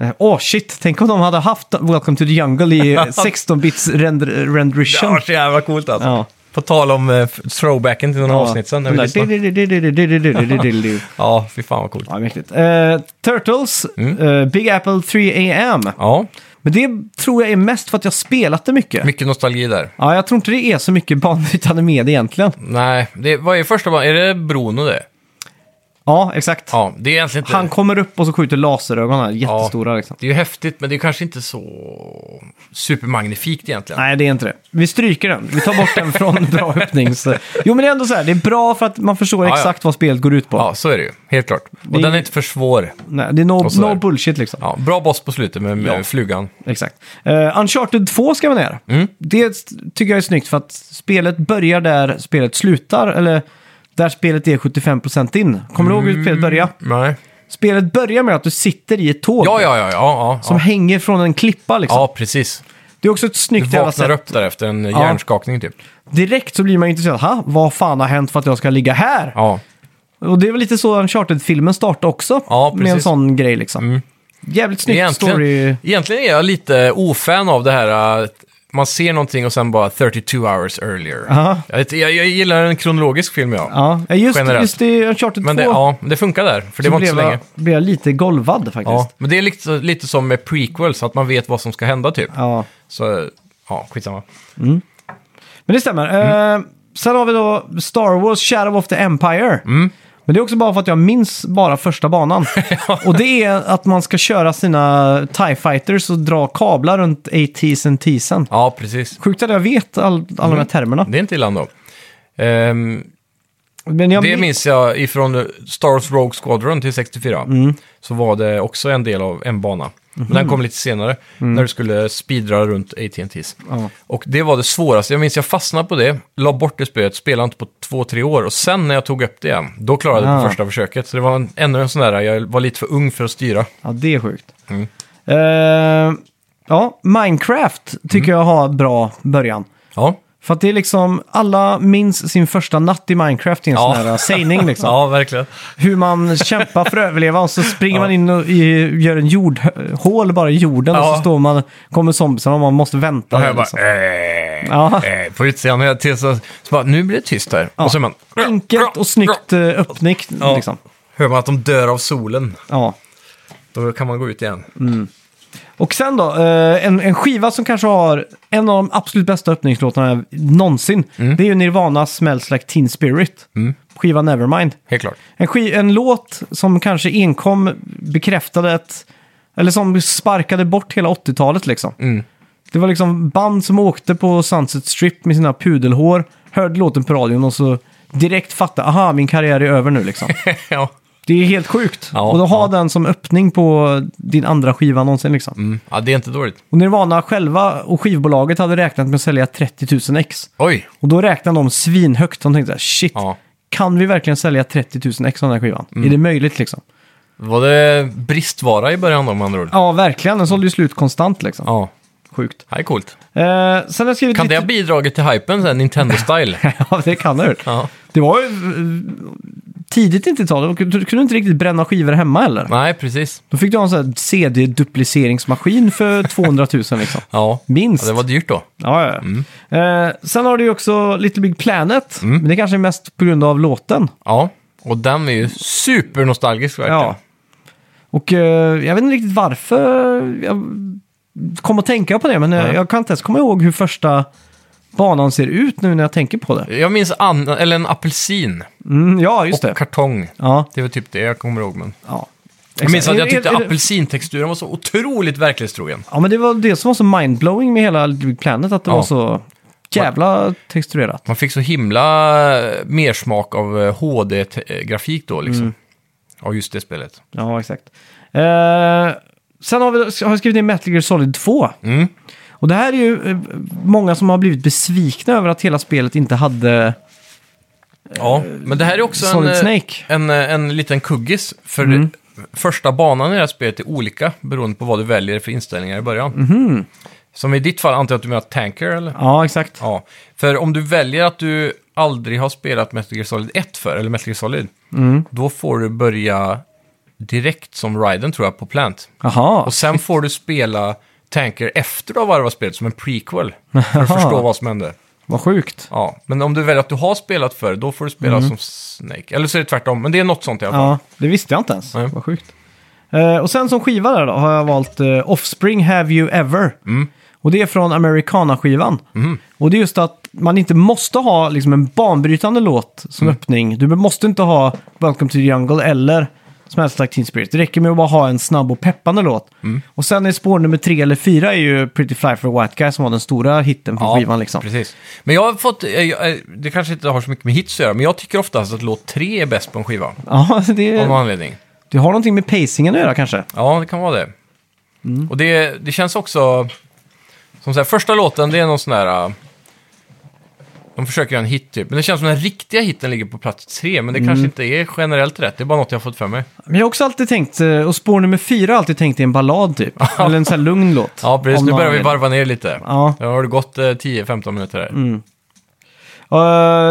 Speaker 1: Eh, Åh shit, tänk om de hade haft Welcome to the Jungle i 16-bits render-
Speaker 2: det
Speaker 1: rendition.
Speaker 2: var så jävla coolt alltså.
Speaker 1: Ja.
Speaker 2: På tal om eh, throwbacken till några
Speaker 1: Ja.
Speaker 2: avsnitt sen. När vi
Speaker 1: Den där-
Speaker 2: lyssnade. ja, fy fan vad coolt.
Speaker 1: Ja, mäktigt. Eh, Turtles, eh, Big Apple 3 AM.
Speaker 2: Ja,
Speaker 1: Men det tror jag är mest för att jag spelat det mycket.
Speaker 2: mycket nostalgi där.
Speaker 1: Ja, jag tror inte det är så mycket banbrytande med egentligen.
Speaker 2: Nej, det, vad är första banan? Är det Bruno det?
Speaker 1: Ja, exakt.
Speaker 2: Ja, det är egentligen inte...
Speaker 1: Han kommer upp och så skjuter laserögon här,
Speaker 2: ja,
Speaker 1: jättestora liksom.
Speaker 2: Det är ju häftigt, men det är kanske inte så supermagnifikt egentligen.
Speaker 1: Nej, det är inte det. Vi stryker den. Vi tar bort den från bra öppnings... Jo, men det är ändå så här. Det är bra för att man förstår
Speaker 2: Ja, ja.
Speaker 1: exakt vad spelet går ut på.
Speaker 2: Ja, så är det ju. Helt klart. Och
Speaker 1: Det är-
Speaker 2: den är inte för svår.
Speaker 1: Nej, det är no,
Speaker 2: Och så
Speaker 1: no
Speaker 2: där.
Speaker 1: bullshit liksom.
Speaker 2: Ja, bra boss på slutet med, med
Speaker 1: Ja.
Speaker 2: flugan.
Speaker 1: Exakt. Eh, Uncharted 2 ska vi ner.
Speaker 2: Mm.
Speaker 1: Det tycker jag är snyggt för att spelet börjar där spelet slutar, eller där spelet är 75% in. Kommer du ihåg hur
Speaker 2: Mm.
Speaker 1: spelet börjar?
Speaker 2: Nej.
Speaker 1: Spelet börjar med att du sitter i ett tåg
Speaker 2: Ja, ja, ja. ja, ja,
Speaker 1: som liksom-
Speaker 2: ja.
Speaker 1: hänger från en klippa liksom.
Speaker 2: ja precis.
Speaker 1: Det är också ett snyggt
Speaker 2: Du
Speaker 1: jävla
Speaker 2: vaknar
Speaker 1: sätt.
Speaker 2: upp där efter en hjärnskakning typ.
Speaker 1: Direkt så blir man intresserad. Ha, vad fan har hänt för att jag ska ligga här?
Speaker 2: Ja,
Speaker 1: Och det är väl lite så Uncharted-filmen startade också.
Speaker 2: Ja,
Speaker 1: med en
Speaker 2: precis. Mm.
Speaker 1: sån grej liksom. Jävligt snyggt story.
Speaker 2: egentligen, egentligen är jag lite ofan av det här att man ser någonting och sen bara 32 hours earlier.
Speaker 1: Ja.
Speaker 2: Jag, vet- jag, jag gillar en kronologisk film, ja.
Speaker 1: Ja, just,
Speaker 2: Generellt.
Speaker 1: just i Uncharted
Speaker 2: Men
Speaker 1: 2
Speaker 2: det, ja, det funkar där, för det
Speaker 1: så
Speaker 2: var inte så
Speaker 1: blev, jag,
Speaker 2: länge.
Speaker 1: blev jag lite golvad faktiskt.
Speaker 2: Ja, men det är lite, lite som med prequels, att man vet vad som ska hända typ.
Speaker 1: Ja.
Speaker 2: Så, ja, skitsamma.
Speaker 1: Men det stämmer.
Speaker 2: Mm.
Speaker 1: Eh, sen har vi då Star Wars Shadow of the Empire.
Speaker 2: Mm.
Speaker 1: Men det är också bara för att jag minns bara första banan. Och det är att man ska köra sina TIE Fighters och dra kablar runt ATs and TSen.
Speaker 2: Ja, precis.
Speaker 1: Sjukt att jag vet all, alla de
Speaker 2: Mm.
Speaker 1: här termerna.
Speaker 2: Det är inte illa ändå. Ehm,
Speaker 1: Men jag
Speaker 2: det minns jag ifrån Star Wars Rogue Squadron till 64.
Speaker 1: Mm.
Speaker 2: Så var det också en del av en bana. Men
Speaker 1: Mhm.
Speaker 2: den kom lite senare, när du skulle speedra runt AT&Ts.
Speaker 1: Mm. Ja.
Speaker 2: Och det var det svåraste. Jag minns jag fastnade på det, la bort det spöet, spelade inte på två, tre år. Och sen när jag tog upp det igen, då klarade jag det
Speaker 1: Ah.
Speaker 2: på första försöket. Så det var en, ännu en sån där, jag var lite för ung för att styra.
Speaker 1: Ja, det är sjukt.
Speaker 2: Mm.
Speaker 1: Eh, ja, Minecraft
Speaker 2: Mm.
Speaker 1: tycker jag har bra början.
Speaker 2: Ja,
Speaker 1: För att det är liksom, alla minns sin första natt i Minecraft i en
Speaker 2: Ja.
Speaker 1: sån här sägning liksom.
Speaker 2: ja verkligen.
Speaker 1: Hur man kämpar för att överleva och så springer man in och i, gör en jordhål bara i jorden och så
Speaker 2: Ja.
Speaker 1: står man, kommer zombierna och man måste vänta.
Speaker 2: Och
Speaker 1: där,
Speaker 2: jag bara,
Speaker 1: liksom.
Speaker 2: eh,
Speaker 1: Ja.
Speaker 2: eh, på utsidan. Och jag till så, så bara, nu blir det tyst där. Och så är man,
Speaker 1: Enkelt och snyggt eh, uppnickt
Speaker 2: Ja.
Speaker 1: liksom.
Speaker 2: Hör man att de dör av solen,
Speaker 1: Ja.
Speaker 2: då kan man gå ut igen.
Speaker 1: Och sen då, eh, en, en skiva som kanske har en av de absolut bästa öppningslåtarna någonsin.
Speaker 2: Mm.
Speaker 1: Det är ju Nirvanas Smells Like Teen Spirit. Skivan Nevermind.
Speaker 2: Helt klart.
Speaker 1: En, ski- en låt som kanske enkom bekräftade ett... Eller som sparkade bort hela 80-talet liksom.
Speaker 2: Mm.
Speaker 1: Det var liksom band som åkte på Sunset Strip med sina pudelhår, hörde låten på radion och så direkt fattade aha min karriär är över nu liksom.
Speaker 2: ja.
Speaker 1: Det är helt sjukt.
Speaker 2: Ja,
Speaker 1: och då ha
Speaker 2: ja.
Speaker 1: den som öppning på din andra skiva någonsin liksom.
Speaker 2: Mm. Ja, det är inte dåligt.
Speaker 1: Och Nirvana själva och skivbolaget hade räknat med att sälja 30 000 ex.
Speaker 2: Oj!
Speaker 1: Och då räknade de svinhögt. De tänkte så här, shit,
Speaker 2: Ja. Mm.
Speaker 1: kan vi verkligen sälja 30 000 ex av den här skivan? Är det möjligt liksom?
Speaker 2: Var det bristvara i början då med andra ord?
Speaker 1: Ja, verkligen. Den sålde ju slut konstant liksom.
Speaker 2: Ja.
Speaker 1: Sjukt.
Speaker 2: Det är coolt.
Speaker 1: Eh, sen har jag skrivit
Speaker 2: Kan det
Speaker 1: lite...
Speaker 2: ha bidragit till hypen sen, Nintendo-style?
Speaker 1: ja, det kan det ha gjort.
Speaker 2: ja.
Speaker 1: Det var ju eh, tidigt 90-tal. Du kunde inte riktigt bränna skivor hemma heller.
Speaker 2: Nej, precis.
Speaker 1: Då fick du ha en sån här CD-dupliceringsmaskin för 200 000 liksom.
Speaker 2: Ja.
Speaker 1: Minst.
Speaker 2: ja, det var dyrt då.
Speaker 1: Ja, ja. ja.
Speaker 2: Mm.
Speaker 1: Eh, sen har du ju också Little Big Planet. Men det kanske är mest på grund av låten.
Speaker 2: Ja, och den är ju supernostalgisk verkligen.
Speaker 1: Ja. Och eh, jag vet inte riktigt varför jag kom att tänka på det, men eh,
Speaker 2: Nej.
Speaker 1: jag kan inte ens komma ihåg hur första banan ser ut nu när jag tänker på det.
Speaker 2: Jag minns an- eller en apelsin
Speaker 1: Mm, ja, just
Speaker 2: och
Speaker 1: det.
Speaker 2: kartong.
Speaker 1: Ja,
Speaker 2: Det var typ det jag kommer ihåg. Men...
Speaker 1: ja.
Speaker 2: Jag minns
Speaker 1: Exakt.
Speaker 2: att jag
Speaker 1: Är- är-
Speaker 2: tyckte
Speaker 1: är det-
Speaker 2: apelsintexturen var så otroligt verklighetstrogen.
Speaker 1: Ja, men det var det som var så mindblowing med hela Little Big Planet, att det
Speaker 2: Ja.
Speaker 1: var så jävla texturerat.
Speaker 2: Man fick så himla eh, mersmak av eh, HD-grafik då liksom.
Speaker 1: Mm.
Speaker 2: Av just det spelet.
Speaker 1: Ja, exakt. Eh, sen har, vi, har jag skrivit ner Metal Gear Solid 2.
Speaker 2: Mm.
Speaker 1: Och det här är ju eh, många som har blivit besvikna över att hela spelet inte hade
Speaker 2: Ja, men det här är också en,
Speaker 1: Solid
Speaker 2: eh,
Speaker 1: Snake. Mm.
Speaker 2: en, eh, en liten kuggis. För första banan i det här spelet är olika beroende på vad du väljer för inställningar i början.
Speaker 1: Mhm.
Speaker 2: Som i ditt fall antar jag att du menar tanker eller?
Speaker 1: Ja, exakt.
Speaker 2: Ja, för om du väljer att du aldrig har spelat Metal Gear Solid 1 för, eller Metal Gear Solid,
Speaker 1: Mm.
Speaker 2: då får du börja direkt som Raiden tror jag på Plant.
Speaker 1: Jaha.
Speaker 2: Och sen får du spela Tanker efter du har varvat spelet som en prequel. För att förstå vad som hände.
Speaker 1: Vad sjukt.
Speaker 2: Ja, men om du väljer att du har spelat för, då får du spela
Speaker 1: Mm.
Speaker 2: som Snake. Eller så är det tvärtom, men det är något sånt i alla fall.
Speaker 1: Ja, det visste jag inte ens.
Speaker 2: Nej.
Speaker 1: Vad sjukt. Eh, och sen som skiva där då har jag valt eh, Offspring Have You Ever.
Speaker 2: Mm.
Speaker 1: Och det är från Americana-skivan. Och det är just att man inte måste ha liksom, en banbrytande låt som
Speaker 2: Mm.
Speaker 1: öppning. Du måste inte ha Welcome to the Jungle eller som helst like Teen Spirit. Det räcker med att bara ha en snabb och peppande låt.
Speaker 2: Mm.
Speaker 1: Och sen är spår nummer tre eller fyra är ju Pretty Fly for a White Guy som var den stora hitten på skivan liksom.
Speaker 2: precis. Men jag har fått, eh, jag, eh, det kanske inte har så mycket med hits att göra, men jag tycker oftast att låt 3 är bäst på en skiva.
Speaker 1: Ja, det,
Speaker 2: Av någon anledning.
Speaker 1: det har någonting med pacingen att göra kanske.
Speaker 2: Ja, det kan vara det.
Speaker 1: Mm.
Speaker 2: Och det, det känns också... Som så här, första låten, det är någon sån där... äh, De försöker göra en hit typ. Men det känns som den riktiga hiten ligger på plats tre. Men det
Speaker 1: Mm.
Speaker 2: kanske inte är generellt rätt. Det är bara något jag har fått för mig.
Speaker 1: Men jag har också alltid tänkt, eh, och spår nummer fyra har jag alltid tänkt i en ballad typ. Eller en sån här lugn låt.
Speaker 2: Ja, precis.
Speaker 1: Om
Speaker 2: Nu
Speaker 1: någon
Speaker 2: börjar vi
Speaker 1: vill.
Speaker 2: varva ner lite.
Speaker 1: Ja. Mm.
Speaker 2: Nu har det gått eh, 10-15 minuter här.
Speaker 1: Eh,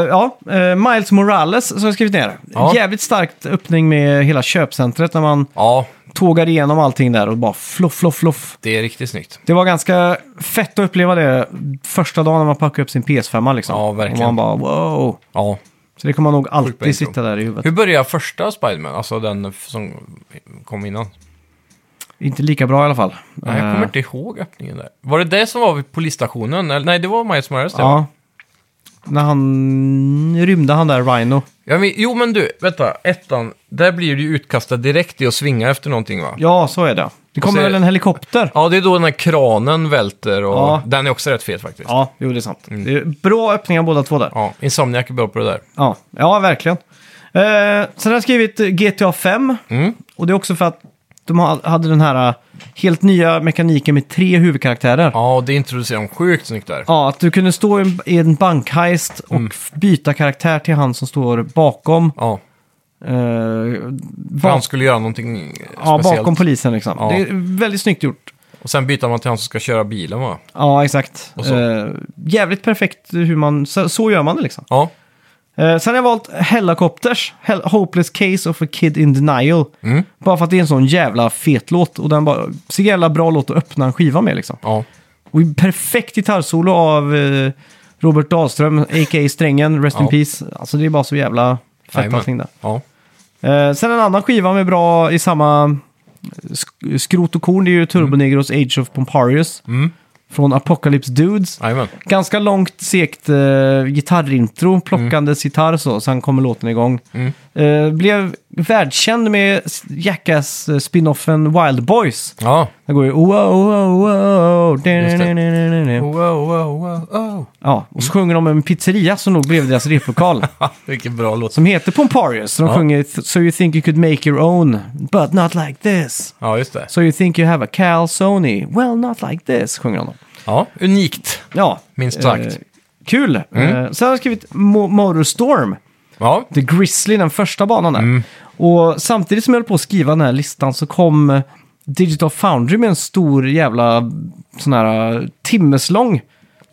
Speaker 1: ja, eh, Miles Morales som jag skrivit ner.
Speaker 2: Ja.
Speaker 1: Jävligt starkt öppning med hela köpcentret när man
Speaker 2: Ja,
Speaker 1: tågar igenom allting där och bara floff, floff, floff.
Speaker 2: det är riktigt snyggt.
Speaker 1: Det var ganska fett att uppleva det första dagen när man packade upp sin PS5 liksom.
Speaker 2: Ja, verkligen.
Speaker 1: Och man bara wow.
Speaker 2: Ja.
Speaker 1: Så det kommer nog
Speaker 2: bra
Speaker 1: alltid
Speaker 2: intro.
Speaker 1: sitta där i huvudet.
Speaker 2: Hur börjar första Spiderman? Alltså den f- som kom innan.
Speaker 1: Inte lika bra i alla fall.
Speaker 2: Nej, jag
Speaker 1: Eh,
Speaker 2: kommer inte ihåg öppningen där. Var det det som var vid polisstationen? Eller- Nej, det var Miles Morales det, va?
Speaker 1: Ja. När han rymde han där, Rhino.
Speaker 2: Ja, men, jo, men du, vänta. Ettan, där blir du ju utkastad direkt i att svinga efter någonting, va? Ja,
Speaker 1: Ja, så är det. Det kommer
Speaker 2: så är-
Speaker 1: väl en helikopter?
Speaker 2: det är då den här kranen välter och
Speaker 1: Ja.
Speaker 2: den är också rätt fet faktiskt. Ja.
Speaker 1: Ja, jo det är sant.
Speaker 2: Mm.
Speaker 1: Det är bra öppningar båda två där.
Speaker 2: Insomniac är bra på det där.
Speaker 1: Ja, ja verkligen. Eh, sen har jag skrivit eh, GTA 5.
Speaker 2: Mm.
Speaker 1: Och det är också för att de ha- hade den här eh, helt nya mekaniken med tre huvudkaraktärer. Ja.
Speaker 2: Ja, och det introducerar de sjukt snyggt där.
Speaker 1: att du kunde stå i en- i en bankheist och
Speaker 2: Mm.
Speaker 1: f- byta karaktär till han som står bakom.
Speaker 2: Ja,
Speaker 1: Eh,
Speaker 2: för han
Speaker 1: bak,
Speaker 2: skulle göra någonting eh,
Speaker 1: ja,
Speaker 2: speciellt.
Speaker 1: bakom polisen liksom.
Speaker 2: Ja.
Speaker 1: Det är väldigt snyggt gjort.
Speaker 2: Och sen byter man till han som ska köra bilen, va?
Speaker 1: Ja, exakt.
Speaker 2: Och så.
Speaker 1: Eh, jävligt perfekt hur man... Så, så gör man det liksom.
Speaker 2: Ja,
Speaker 1: Eh, sen har jag valt Hellacopters, Hel- Hopeless Case of a Kid in Denial.
Speaker 2: Mm.
Speaker 1: Bara för att det är en sån jävla fet låt och den bara, så jävla bra låt att öppna en skiva med liksom.
Speaker 2: ja.
Speaker 1: Och perfekt gitarrsolo av eh, Robert Dahlström, a.k.a. Strängen, Rest in
Speaker 2: Ja.
Speaker 1: Peace. Alltså det är bara så jävla fett
Speaker 2: Jajamän.
Speaker 1: allting där.
Speaker 2: Ja,
Speaker 1: Eh, sen en annan skiva med bra i samma sk- skrot och korn, det är ju
Speaker 2: Mm.
Speaker 1: Turbonegros Age of Pomparius. Från Apocalypse Dudes.
Speaker 2: jajamän.
Speaker 1: Ganska långt, segt
Speaker 2: Mm.
Speaker 1: eh, gitarrintro, plockandes gitarr så, sen kommer låten igång. Eh, blev världskänd med Jackass-spinoffen Wild Boys.
Speaker 2: Ja.
Speaker 1: Den går ju wow, wow, wow.
Speaker 2: Just Oh.
Speaker 1: da-da-da-da-da-da.
Speaker 2: Wow, wow, wow, Oh. wow.
Speaker 1: Ja, och så sjunger de om en pizzeria som låg bredvid deras replokal.
Speaker 2: Ha, Vilken bra låt.
Speaker 1: som heter Pomparius. Så de
Speaker 2: Ja.
Speaker 1: sjunger So you think you could make your own, but not like this.
Speaker 2: Ja, just det.
Speaker 1: So you think you have a calzone, well not like this, sjunger de.
Speaker 2: Ja, unikt.
Speaker 1: Ja.
Speaker 2: Minst sagt. Mm.
Speaker 1: Eh, kul! Eh, sen har jag skrivit Mo- Motorstorm,
Speaker 2: Ja,
Speaker 1: The Grizzly, den första banan där. Och samtidigt som jag höll på att skriva den här listan så kom eh, Digital Foundry med en stor jävla sån här eh, timmeslång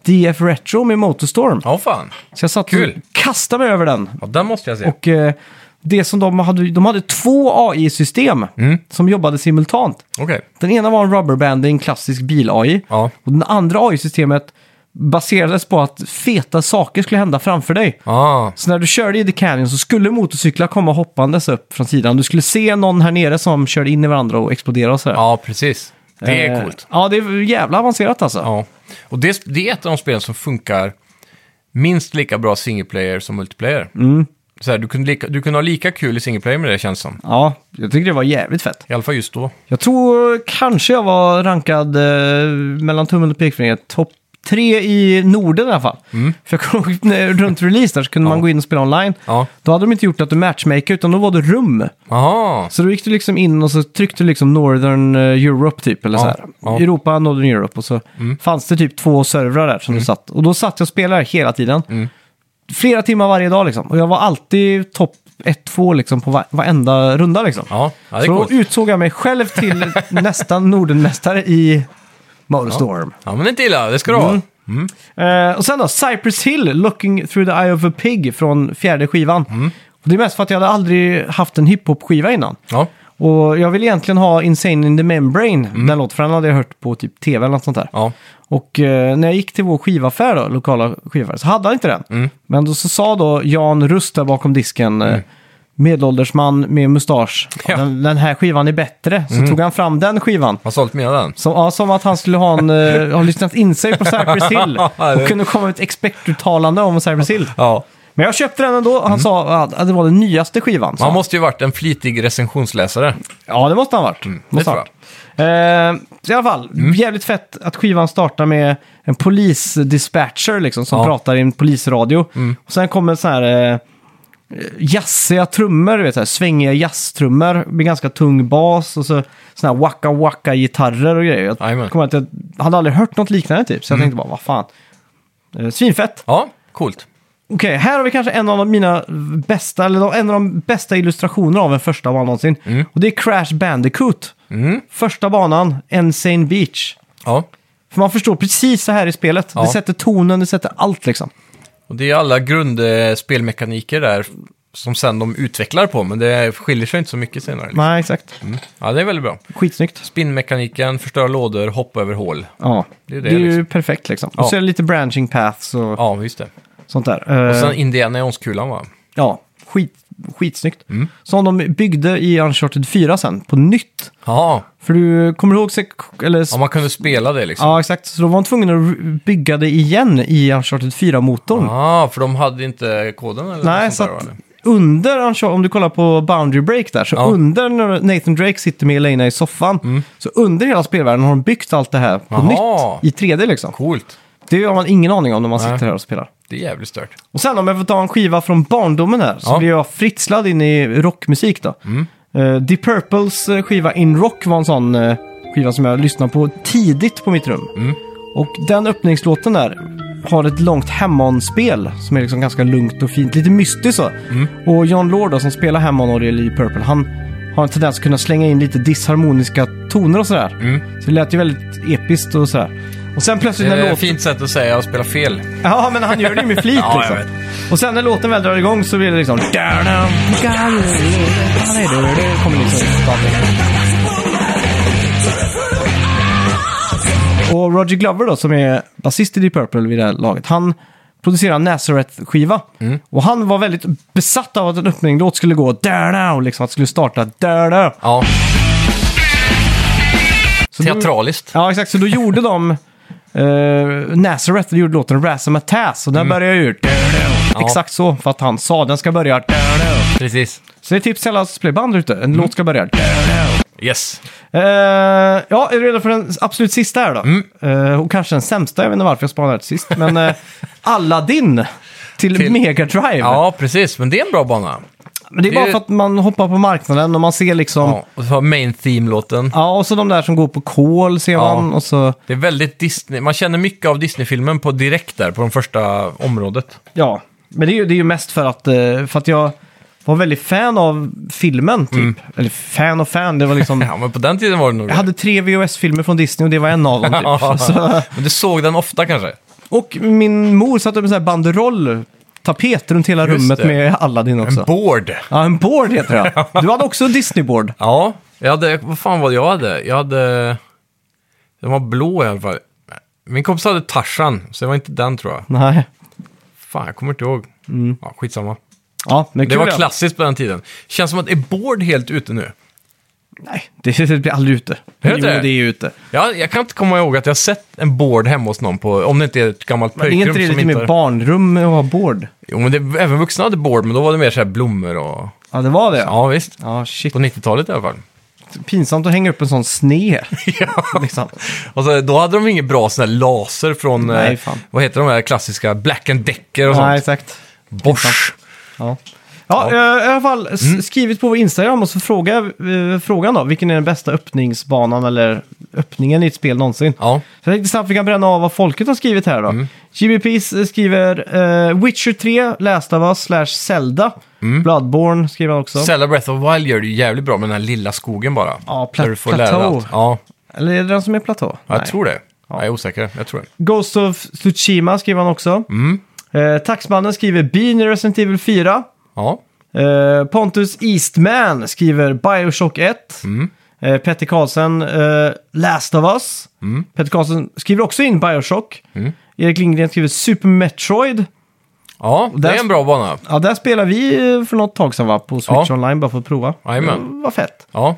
Speaker 1: DF Retro med Motorstorm.
Speaker 2: ja fan.
Speaker 1: Så jag satt
Speaker 2: Kul.
Speaker 1: och kastade mig över den
Speaker 2: Ja, den måste jag se.
Speaker 1: och eh, det som de hade, de hade två AI-system
Speaker 2: Mm.
Speaker 1: som jobbade simultant.
Speaker 2: Okej.
Speaker 1: Den ena var en rubberbanding, klassisk bil-AI.
Speaker 2: Ja.
Speaker 1: Och den andra AI-systemet baserades på att feta saker skulle hända framför dig.
Speaker 2: Ah,
Speaker 1: Så när du körde i The Canyon så skulle motorcyklar komma hoppandes upp från sidan. Du skulle se någon här nere som körde in i varandra och exploderade och sådär.
Speaker 2: ja, precis. Det är coolt.
Speaker 1: Eh, ja, det är jävla avancerat alltså.
Speaker 2: Ja. Och det, det är ett av de spel som funkar minst lika bra single player som multiplayer.
Speaker 1: Mm.
Speaker 2: Så här, du, kunde lika, du kunde ha lika kul i single player med det känns som.
Speaker 1: ja, jag tycker det var jävligt fett.
Speaker 2: I alla fall just då.
Speaker 1: Jag tror kanske jag var rankad eh, mellan tummen och pekfingret topp tre i Norden i alla fall.
Speaker 2: Mm.
Speaker 1: För jag kommer ihåg när- runt release där så kunde man gå in och spela online.
Speaker 2: Ja.
Speaker 1: Då hade de inte gjort att du matchmaker utan då var det rum.
Speaker 2: Aha.
Speaker 1: Så då gick du liksom in och så tryckte du liksom Northern eh, Europe typ, eller
Speaker 2: Ja,
Speaker 1: så här.
Speaker 2: ja. Mm.
Speaker 1: Europa, Northern Europe och så fanns det typ två servrar där som du satt. Och då satt jag och spelade hela tiden.
Speaker 2: Mm.
Speaker 1: Flera timmar varje dag liksom. Och jag var alltid topp 1-2 liksom på va- varenda runda liksom.
Speaker 2: Ja, ja det är
Speaker 1: Så
Speaker 2: coolt.
Speaker 1: utsåg jag mig själv till nästan Nordenmästare i Motorstorm. Mm.
Speaker 2: Ja, men det är inte illa. Det ska du ha. Mm.
Speaker 1: Eh, och sen då, Cypress Hill, Looking Through the Eye of a Pig från fjärde skivan.
Speaker 2: Mm.
Speaker 1: Och det är mest för att jag hade aldrig haft en hiphop-skiva innan.
Speaker 2: Ja.
Speaker 1: Och jag vill egentligen ha Insane in the Membrane, den låten, för den hade jag hört på typ tv eller något sånt där.
Speaker 2: Mm. Ja.
Speaker 1: Och eh, när jag gick till vår skivaffär då, lokala skivaffär, så hade han inte den.
Speaker 2: Mm.
Speaker 1: Men då så sa då Jan Rust där bakom disken, eh, medelålders man med mustasch,
Speaker 2: Ja. Mm.
Speaker 1: den, den här skivan är bättre. Så tog han fram den skivan.
Speaker 2: Har sålt mer av den.
Speaker 1: Som, ja, som att han skulle ha, en, eh, ha lyssnat in sig på Cypress Hill och kunde komma med ett expertuttalande om Cypress Hill.
Speaker 2: Ja.
Speaker 1: Men jag köpte den ändå, han
Speaker 2: Mm.
Speaker 1: sa att att det var den nyaste skivan. sa
Speaker 2: Man
Speaker 1: han.
Speaker 2: måste ju varit en flitig recensionsläsare.
Speaker 1: Ja, det måste han ha varit. måste
Speaker 2: Mm, det Mm.
Speaker 1: han ha varit. Eh, så I alla fall, jävligt fett att skivan startar med en polisdispatcher liksom, som
Speaker 2: Ja. Mm.
Speaker 1: pratar i en polisradio. Och sen kommer så här eh, jazziga trummor, du vet, så här, svängiga jazztrummor med ganska tung bas och så såna här wacka wacka gitarrer och grejer.
Speaker 2: Jajamän. Mm.
Speaker 1: Jag, kommer att jag hade aldrig hört något liknande typ, så jag tänkte bara, vad fan. Eh, Svinfett!
Speaker 2: Ja, coolt.
Speaker 1: Okej, här har vi kanske en av de- mina bästa, eller de- en av de bästa illustrationerna av en första bana någonsin.
Speaker 2: Mm.
Speaker 1: Och det är Crash Bandicoot. Första banan, Insane Beach.
Speaker 2: Ja.
Speaker 1: För man förstår precis så här i spelet.
Speaker 2: Ja.
Speaker 1: Det sätter tonen, det sätter allt liksom.
Speaker 2: Och det är alla grundspelmekaniker där som sen de utvecklar på, men det skiljer sig inte så mycket senare. liksom.
Speaker 1: Nej, exakt.
Speaker 2: Ja, det är väldigt bra.
Speaker 1: Skitsnyggt.
Speaker 2: Spinnmekaniken, förstöra lådor, hoppa över hål.
Speaker 1: Ja,
Speaker 2: Det
Speaker 1: det
Speaker 2: är
Speaker 1: är,
Speaker 2: det,
Speaker 1: ju
Speaker 2: liksom.
Speaker 1: perfekt liksom.
Speaker 2: Ja.
Speaker 1: Och så är det lite branching paths och
Speaker 2: Ja, just det.
Speaker 1: sånt där.
Speaker 2: Och
Speaker 1: Eh,
Speaker 2: sen Indiana Jones-kulan va?
Speaker 1: Ja, skit, skitsnyggt.
Speaker 2: Mm.
Speaker 1: Som de byggde i Uncharted 4 sen, på nytt.
Speaker 2: Ja,
Speaker 1: För du kommer du ihåg, sek- eller
Speaker 2: ja man kunde spela det liksom.
Speaker 1: Ja, exakt. Så då var man tvungen att r- bygga det igen i Uncharted 4-motorn.
Speaker 2: Ja, för de hade inte koden eller
Speaker 1: Nej,
Speaker 2: något
Speaker 1: så
Speaker 2: sånt där,
Speaker 1: att
Speaker 2: va, eller?
Speaker 1: under Uncharted, om du kollar på Boundary Break där, så
Speaker 2: Ja. Mm.
Speaker 1: under när Nathan Drake sitter med Elena i soffan, så under hela spelvärlden har de byggt allt det här på
Speaker 2: Jaha.
Speaker 1: nytt i 3D liksom.
Speaker 2: Coolt.
Speaker 1: Det har man ingen aning om när man
Speaker 2: Nej.
Speaker 1: sitter här och spelar.
Speaker 2: Det är jävligt stört.
Speaker 1: Och sen om jag får ta en skiva från barndomen här, så
Speaker 2: Ja.
Speaker 1: blev jag fritslad in i rockmusik då. Mm. The Purples eh, skiva In Rock var en sån eh, skiva som jag lyssnade på tidigt på mitt rum. Och den öppningslåten där har ett långt Hammond-spel som är liksom ganska lugnt och fint, lite mystiskt så. Och John Lord då, som spelar Hammond-orgel i Purple, han har en tendens att kunna slänga in lite disharmoniska toner och sådär. Så det lät ju väldigt episkt och sådär. Och sen
Speaker 2: Det
Speaker 1: plötsligt när
Speaker 2: är
Speaker 1: låten...
Speaker 2: ett fint sätt att säga att spela fel.
Speaker 1: Ja, men han gör det ju med flit
Speaker 2: Ja, jag
Speaker 1: liksom. Och sen när låten väl drar igång så blir det liksom... Det kommer liksom stadigt. Och Roger Glover då, som är basist i Deep Purple vid det här laget, han producerar en Nazareth-skiva.
Speaker 2: Mm.
Speaker 1: Och han var väldigt besatt av att en öppninglåt skulle gå där down, liksom att det skulle starta där down.
Speaker 2: Ja,
Speaker 1: Så då-
Speaker 2: teatraliskt.
Speaker 1: Ja, exakt. Så då gjorde de eh, Nazareth, gjorde låten Razzamatazz och där började jag ju...
Speaker 2: Mm. Ja.
Speaker 1: Exakt så, för att han sa den ska börja...
Speaker 2: Precis.
Speaker 1: Så det är tips till alla playband ute. En låt ska börja...
Speaker 2: Yes.
Speaker 1: Eh, ja, är du redo för den absolut sista här då?
Speaker 2: Mm.
Speaker 1: Eh, och kanske den sämsta, jag vet inte varför jag spanade till sist. Men eh, Aladdin till,
Speaker 2: Till-
Speaker 1: Mega Drive.
Speaker 2: Ja, precis. Men det är en bra bana.
Speaker 1: men det är bara
Speaker 2: det-
Speaker 1: för att man hoppar på marknaden och man ser liksom... Ja.
Speaker 2: Ja, och så har main theme-låten.
Speaker 1: och så de där som går på kol ser
Speaker 2: Ja.
Speaker 1: man. Och så,
Speaker 2: Det är väldigt Disney. Man känner mycket av Disney-filmen på direkt där, på det första området.
Speaker 1: ja. Men det är, ju, det är ju mest för att, eh, för att jag var väldigt fan av filmen, typ.
Speaker 2: Mm.
Speaker 1: Eller fan och fan, det var liksom...
Speaker 2: Ja, men på den tiden var det nog
Speaker 1: Jag hade tre VHS-filmer från Disney och det var en av dem, typ. så,
Speaker 2: Men du såg den ofta kanske?
Speaker 1: Och min mor satte upp en sån här banderoll, tapet runt hela
Speaker 2: Just
Speaker 1: rummet
Speaker 2: det.
Speaker 1: med Aladdin också.
Speaker 2: En board.
Speaker 1: ja, en board heter det. Du hade också en Disney-board.
Speaker 2: Ja, jag hade, vad fan var det jag hade? Jag hade, den var blå i alla fall. Min kompis hade Tarzan, så det var inte den tror jag.
Speaker 1: Nej.
Speaker 2: Fan, jag kommer inte ihåg. Ja, skitsamma.
Speaker 1: Ja, men
Speaker 2: Det
Speaker 1: Mm. kul,
Speaker 2: var
Speaker 1: ja.
Speaker 2: klassiskt på den tiden. Känns som att är board helt ute nu.
Speaker 1: Nej, det, det blir aldrig ute.
Speaker 2: Är det
Speaker 1: jo,
Speaker 2: inte det?
Speaker 1: det är ju ute.
Speaker 2: Jag, jag kan inte komma ihåg att jag sett en board hemma hos någon på, om det inte är ett gammalt
Speaker 1: Men typ är
Speaker 2: pojkrum
Speaker 1: inte det
Speaker 2: som
Speaker 1: lite
Speaker 2: inte...
Speaker 1: mer
Speaker 2: har-
Speaker 1: barnrum att ha board?
Speaker 2: Jo, men det, även vuxna hade board, men då var det mer så här blommor och...
Speaker 1: Ja, det var det. Ja,
Speaker 2: Ja, visst.
Speaker 1: ja shit.
Speaker 2: På 90-talet i alla fall.
Speaker 1: Pinsamt att hänga upp en sån sne. liksom.
Speaker 2: Och så, då hade de ingen bra sån här laser från, eh,
Speaker 1: Nej, fan.
Speaker 2: vad heter de här klassiska, Black and Decker och
Speaker 1: Ja,
Speaker 2: sånt.
Speaker 1: exakt.
Speaker 2: Bosch.
Speaker 1: Ja. Ja, eh, i alla fall s-
Speaker 2: Mm.
Speaker 1: skrivit på vår Instagram och så fråga, eh, frågan då, vilken är den bästa öppningsbanan eller öppningen i ett spel någonsin?
Speaker 2: Ja.
Speaker 1: Så jag tänkte snabbt vi kan bränna av vad folket har skrivit här då.
Speaker 2: Mm.
Speaker 1: GBP skriver eh, Witcher 3, Last of Us, slash Zelda. Bloodborne skriver han också.
Speaker 2: Mm. Zelda Breath of the Wild gör det ju jävligt bra med den här lilla skogen bara.
Speaker 1: Ja, pla-
Speaker 2: Där du får lära dig
Speaker 1: platå.
Speaker 2: allt. Ja,
Speaker 1: Eller är det den som är platå?
Speaker 2: jag
Speaker 1: Nej.
Speaker 2: tror det. Jag är osäker, jag tror det.
Speaker 1: Ghost of Tsushima skriver han också.
Speaker 2: Mm.
Speaker 1: Eh, Taxmannen skriver Bean i Resident Evil 4.
Speaker 2: Ja,
Speaker 1: Eh, Pontus Eastman skriver Bioshock 1.
Speaker 2: Mm.
Speaker 1: Eh, Petter Karlsson, eh, Last of Us.
Speaker 2: Mm.
Speaker 1: Petter Karlsson skriver också in Bioshock. Erik Lindgren skriver Super Metroid.
Speaker 2: ja det
Speaker 1: där-
Speaker 2: är en bra bana.
Speaker 1: Ja, där spelar vi eh, för något tag sedan va? På Switch
Speaker 2: Ja.
Speaker 1: Online bara för att prova.
Speaker 2: Jajamän.
Speaker 1: Mm, vad fett.
Speaker 2: Ja.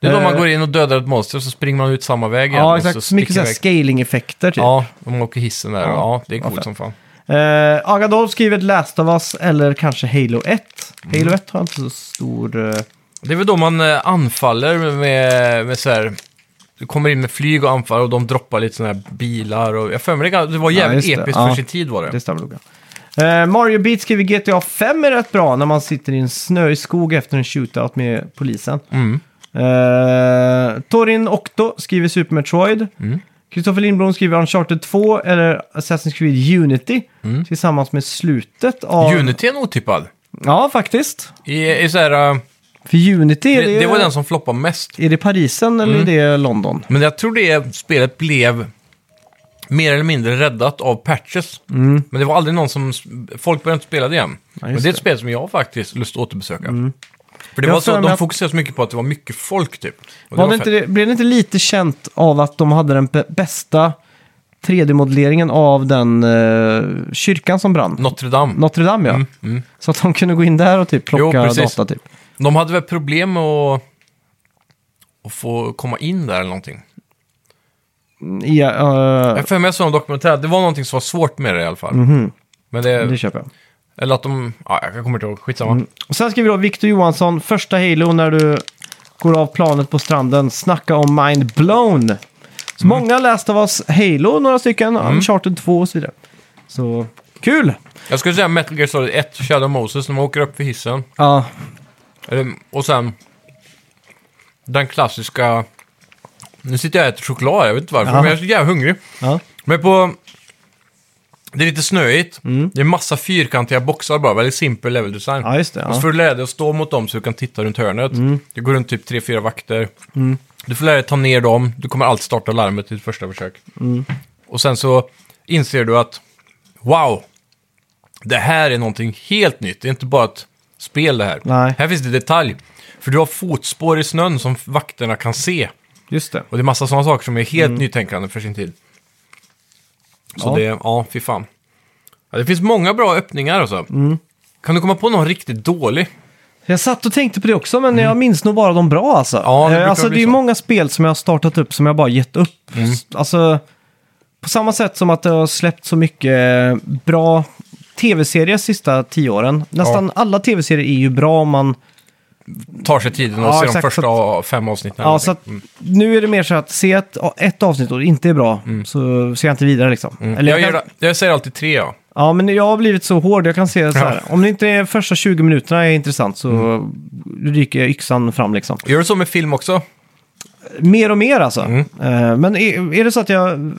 Speaker 2: Det är då
Speaker 1: Eh.
Speaker 2: man går in och dödar ett monster och så springer man ut samma väg igen.
Speaker 1: Ja,
Speaker 2: Och
Speaker 1: exakt. Så
Speaker 2: så
Speaker 1: mycket
Speaker 2: sticker
Speaker 1: sådana här
Speaker 2: iväg.
Speaker 1: scaling-effekter typ.
Speaker 2: Ja, och man åker hissen där. Ja, ja det är
Speaker 1: Vad
Speaker 2: coolt
Speaker 1: fett.
Speaker 2: som fan.
Speaker 1: Eh, Agadolf skriver Last of Us eller kanske Halo 1.
Speaker 2: Mm.
Speaker 1: Halo 1 har inte så stor... eh,
Speaker 2: Det är väl då man eh, anfaller med, med så här... Du kommer in med flyg och anfaller och de droppar lite sådana här bilar. Och, jag för mig det, gan- det var jävligt
Speaker 1: just det.
Speaker 2: episkt
Speaker 1: Ja.
Speaker 2: för sin tid var det.
Speaker 1: Det stämmer nog. ja. Eh, Mario Beat skriver GTA 5 är rätt bra när man sitter i en snöig skog efter en shootout med polisen.
Speaker 2: Mm.
Speaker 1: Eh, Torin Okto skriver Super Metroid.
Speaker 2: Mm.
Speaker 1: Kristoffer Lindblom skriver Uncharted 2 eller Assassin's Creed Unity. Tillsammans med slutet av...
Speaker 2: Mm. Unity är en otippad.
Speaker 1: Ja, faktiskt.
Speaker 2: I, i så här, eh,
Speaker 1: För Unity är det,
Speaker 2: det, det var den som Mm. floppade mest.
Speaker 1: Är det Parisen eller är det London?
Speaker 2: Men jag tror det spelet blev mer eller mindre räddat av patches. Men det var aldrig någon som... Folk började inte spela det igen. Men det är
Speaker 1: Mm. just
Speaker 2: ett
Speaker 1: det. Mm.
Speaker 2: spel som jag har faktiskt lust att återbesöka. För det
Speaker 1: Jag
Speaker 2: var
Speaker 1: för
Speaker 2: så att
Speaker 1: mig
Speaker 2: de
Speaker 1: att-
Speaker 2: fokuserade så mycket på att det var mycket folk typ. Och
Speaker 1: Var det
Speaker 2: var
Speaker 1: inte,
Speaker 2: fett.
Speaker 1: det- blev det inte lite känt av att de hade den b- bästa 3D-modelleringen av den eh, kyrkan som brann?
Speaker 2: Notre Dame.
Speaker 1: Notre Dame ja. Så att de kunde gå in där och typ plocka
Speaker 2: precis.
Speaker 1: data typ.
Speaker 2: De hade väl problem med att, att få komma in där eller någonting.
Speaker 1: Ja, eh,
Speaker 2: Jag för mig jag såg en dokumentär, det var någonting som var svårt med det i alla fall. Men det,
Speaker 1: det Mm. köper jag.
Speaker 2: Eller att de... Ja, jag kommer inte ihåg, skitsamma.
Speaker 1: Och sen skriver då Victor Johansson, första Halo när du går av planet på stranden, snacka om mind blown. Så många läste av oss Halo, några stycken, Uncharted 2 och så vidare. Så kul!
Speaker 2: Jag skulle säga Metal Gear Solid 1, Shadow Moses, när man åker upp för hissen.
Speaker 1: Ja,
Speaker 2: Eller, och sen den klassiska... Nu sitter jag och äter choklad, jag vet inte varför,
Speaker 1: Ja.
Speaker 2: men jag är så jävla hungrig.
Speaker 1: ja.
Speaker 2: Men på... Det är lite snöigt. Det är massa fyrkantiga boxar bara, väldigt simpel level design.
Speaker 1: Mm. ja just det.
Speaker 2: Och så
Speaker 1: Ja. Mm.
Speaker 2: får du lära dig att stå mot dem så du kan titta runt hörnet. Det går runt typ tre fyra vakter. Du får lära dig att ta ner dem. Du kommer alltid starta larmet i ditt första försök.
Speaker 1: Mm.
Speaker 2: Och sen så inser du att wow, det här är någonting helt nytt. Det är inte bara ett spel det här.
Speaker 1: Nej.
Speaker 2: Här finns det detalj. För du har fotspår i snön som vakterna kan se.
Speaker 1: Just det.
Speaker 2: Och det är massa sådana saker som är helt nytänkande för sin tid. Så
Speaker 1: Mm. Ja.
Speaker 2: det, ja, fy fan. Ja, det finns många bra öppningar alltså.
Speaker 1: Mm.
Speaker 2: Kan du komma på någon riktigt dålig?
Speaker 1: Jag satt och tänkte på det också, men jag minns nog bara de bra alltså.
Speaker 2: Mm. Ja, det
Speaker 1: Eh,
Speaker 2: brukar
Speaker 1: alltså
Speaker 2: bli
Speaker 1: det är
Speaker 2: så. Mm.
Speaker 1: många spel som jag har startat upp som jag bara gett upp. S- Alltså, på samma sätt som att det har släppt så mycket eh, bra tv-serier sista tio åren. Nästan alla tv-serier är ju bra om man...
Speaker 2: Tar sig tiden och
Speaker 1: Ja,
Speaker 2: ser de
Speaker 1: exakt,
Speaker 2: första a- fem avsnitten. eller
Speaker 1: Ja, så att,
Speaker 2: någonting.
Speaker 1: Nu är det mer så att se ett, ett avsnitt och det inte är bra så ser jag inte vidare liksom.
Speaker 2: Mm. jag,
Speaker 1: kan-
Speaker 2: gör, jag säger alltid tre, ja.
Speaker 1: Ja, men jag har blivit så hård. Jag kan se så här. Om det inte är första 20 minuterna är intressant så
Speaker 2: Mm.
Speaker 1: ryker yxan fram liksom.
Speaker 2: Gör du så med film också?
Speaker 1: Mer och mer alltså.
Speaker 2: Mm.
Speaker 1: Eh, Men är, är det så att jag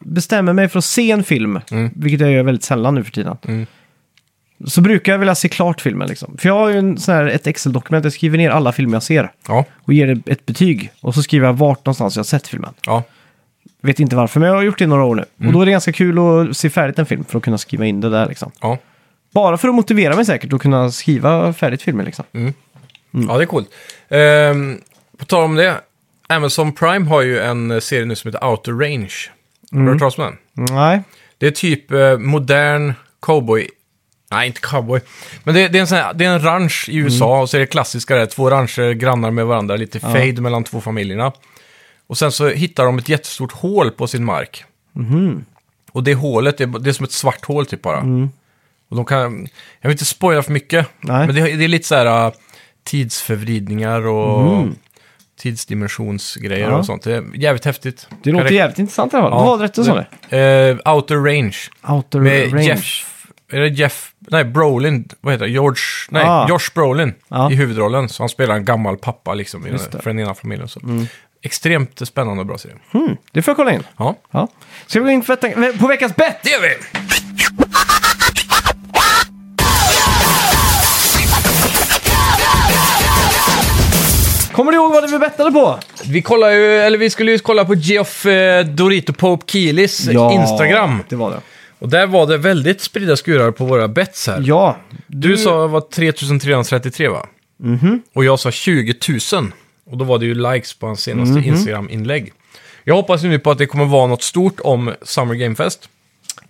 Speaker 1: bestämmer mig för att se en film,
Speaker 2: Mm.
Speaker 1: vilket jag gör väldigt sällan nu för tiden, så brukar jag vilja se klart filmen liksom. För jag har ju en sån här, ett Excel-dokument, jag skriver ner alla filmer jag ser
Speaker 2: Ja.
Speaker 1: och ger det ett betyg. Och så skriver jag vart någonstans jag har sett filmen.
Speaker 2: ja.
Speaker 1: Vet inte varför, men jag har gjort det i några år nu. Och
Speaker 2: Mm.
Speaker 1: då är det ganska kul att se färdigt en film för att kunna skriva in det där liksom.
Speaker 2: ja.
Speaker 1: Bara för att motivera mig säkert och kunna skriva färdigt filmer liksom.
Speaker 2: Mm.
Speaker 1: Mm.
Speaker 2: Ja, det är coolt. Ehm, på tal om det, Amazon Prime har ju en eh, serie nu som heter Outer Range. Har
Speaker 1: Mm.
Speaker 2: du hört talas om den?
Speaker 1: Nej.
Speaker 2: Det är typ eh, modern cowboy. Nej, inte cowboy. Men det, det, är en sån här, det är en ranch i USA
Speaker 1: Mm.
Speaker 2: och så är det klassiska där. Två rancher grannar med varandra, lite fade mellan två familjerna. Och sen så hittar de ett jättestort hål på sin mark.
Speaker 1: Mhm.
Speaker 2: Och det hålet, det är, det är som ett svart hål typ bara. Och de kan, jag vill inte spoila för mycket,
Speaker 1: Mm. Nej.
Speaker 2: men det, det är lite så här äh, tidsförvridningar och tidsdimensionsgrejer
Speaker 1: Mhm. Ja.
Speaker 2: och sånt. Det är jävligt häftigt.
Speaker 1: Det
Speaker 2: Kan
Speaker 1: låter
Speaker 2: rek-
Speaker 1: jävligt intressant i alla fall. Vad var det rätt du sa det?
Speaker 2: Eh, Outer Range.
Speaker 1: Outer
Speaker 2: Med
Speaker 1: Range.
Speaker 2: Jeff... Är det Jeff... Nej, Brolin. Vad heter det? George... Nej,
Speaker 1: Ah.
Speaker 2: Josh Brolin
Speaker 1: Ja.
Speaker 2: i huvudrollen. Så han spelar en gammal pappa liksom i den,
Speaker 1: Just det. Mm.
Speaker 2: för den ena familjen. Så. Extremt spännande och bra serie.
Speaker 1: Hmm, det får jag kolla in.
Speaker 2: Ja,
Speaker 1: Ja. Ska vi gå in på, veckan- på veckans bett?
Speaker 2: det gör vi!
Speaker 1: Kommer du ihåg vad vi bettade på?
Speaker 2: Vi kollar ju... Eller vi skulle ju kolla på Geoff eh, Dorito Pope Keelys Instagram.
Speaker 1: det var det.
Speaker 2: Och där var det väldigt spridda skurar på våra bets här.
Speaker 1: Ja.
Speaker 2: Du, Mhm. sa var 3333 va? Och jag sa 20 000. Och då var det ju likes på hans senaste Instagram-inlägg. Jag hoppas ju nu på att det kommer vara något stort om Summer Game Fest.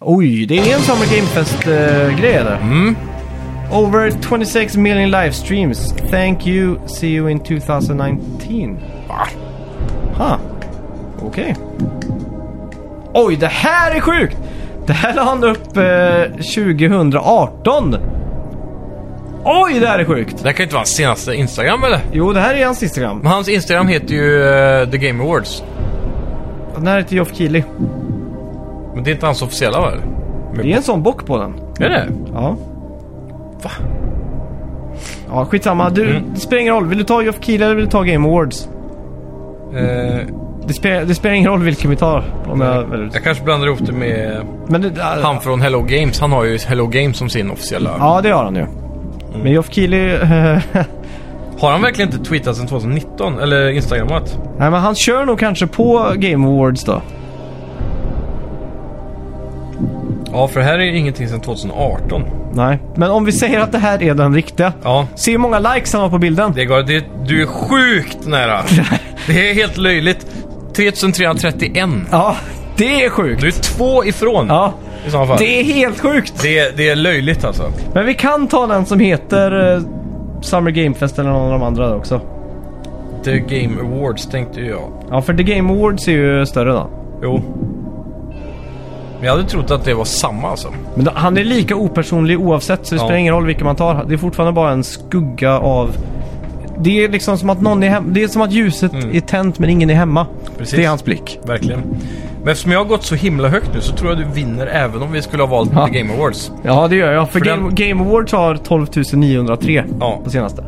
Speaker 1: Oj, det är en Summer Gamefest-grej eller?
Speaker 2: Mm.
Speaker 1: Over 26 million livestreams. Thank you. See you in 2019.
Speaker 2: Va?
Speaker 1: Ha. Okej. Oj, det här är sjukt! Det här la han upp eh, 2018. Oj, det här är sjukt!
Speaker 2: Det här kan ju inte vara hans senaste Instagram eller?
Speaker 1: Jo, det här är hans Instagram.
Speaker 2: Men hans Instagram heter ju eh, The Game Awards.
Speaker 1: Den här heter Geoff Keighley.
Speaker 2: Men det är inte hans officiella va? eller?
Speaker 1: Det är en sån bock på den.
Speaker 2: Är det?
Speaker 1: Ja.
Speaker 2: Va?
Speaker 1: Ja, skitsamma. Du,
Speaker 2: Mm.
Speaker 1: Det spelar ingen roll. Vill du ta Geoff Keighley eller vill du ta Game Awards?
Speaker 2: Eh,
Speaker 1: Det, spe- det spelar ingen roll vilken vi tar. Om jag, väljer ut.
Speaker 2: jag kanske blandar ihop det med
Speaker 1: men det,
Speaker 2: Mm. han från Hello Games. Han har ju Hello Games som sin officiella.
Speaker 1: Ja, det gör han ju.
Speaker 2: Mm.
Speaker 1: Men Geoff Keighley...
Speaker 2: Har han verkligen inte tweetat sedan 2019? Eller instagrammat?
Speaker 1: Nej, men han kör nog kanske på Game Awards då.
Speaker 2: Ja, för här är ju ingenting sedan 2018.
Speaker 1: Nej, men om vi säger att det här är den riktiga.
Speaker 2: Ja,
Speaker 1: Se hur många likes han har på bilden.
Speaker 2: Det går, det, du är sjukt nära. Det är helt löjligt. 3331.
Speaker 1: Ja, det är sjukt.
Speaker 2: Du är två ifrån
Speaker 1: Ja,
Speaker 2: i så fall. Det...
Speaker 1: det är helt sjukt.
Speaker 2: Det, är löjligt alltså.
Speaker 1: Men vi kan ta den som heter eh, Summer Game Fest eller någon av de andra där också.
Speaker 2: The Game Awards tänkte ju jag.
Speaker 1: Ja, för The Game Awards är ju större då.
Speaker 2: Jo. Men jag hade trott att det var samma alltså.
Speaker 1: Men då, han är lika opersonlig oavsett så det
Speaker 2: Ja.
Speaker 1: spelar ingen roll vilken man tar. Det är fortfarande bara en skugga av... Det är liksom som att någon är hem... Det är som att ljuset är tänt men ingen är hemma.
Speaker 2: Precis.
Speaker 1: Det är hans blick.
Speaker 2: Verkligen. Men eftersom jag har gått så himla högt nu så tror jag du vinner även om vi skulle ha valt
Speaker 1: Ja.
Speaker 2: The Game Awards.
Speaker 1: Ja, det gör jag. För, Mm.
Speaker 2: För
Speaker 1: Game,
Speaker 2: den-
Speaker 1: Game Awards har 12 903
Speaker 2: Ja.
Speaker 1: på senaste.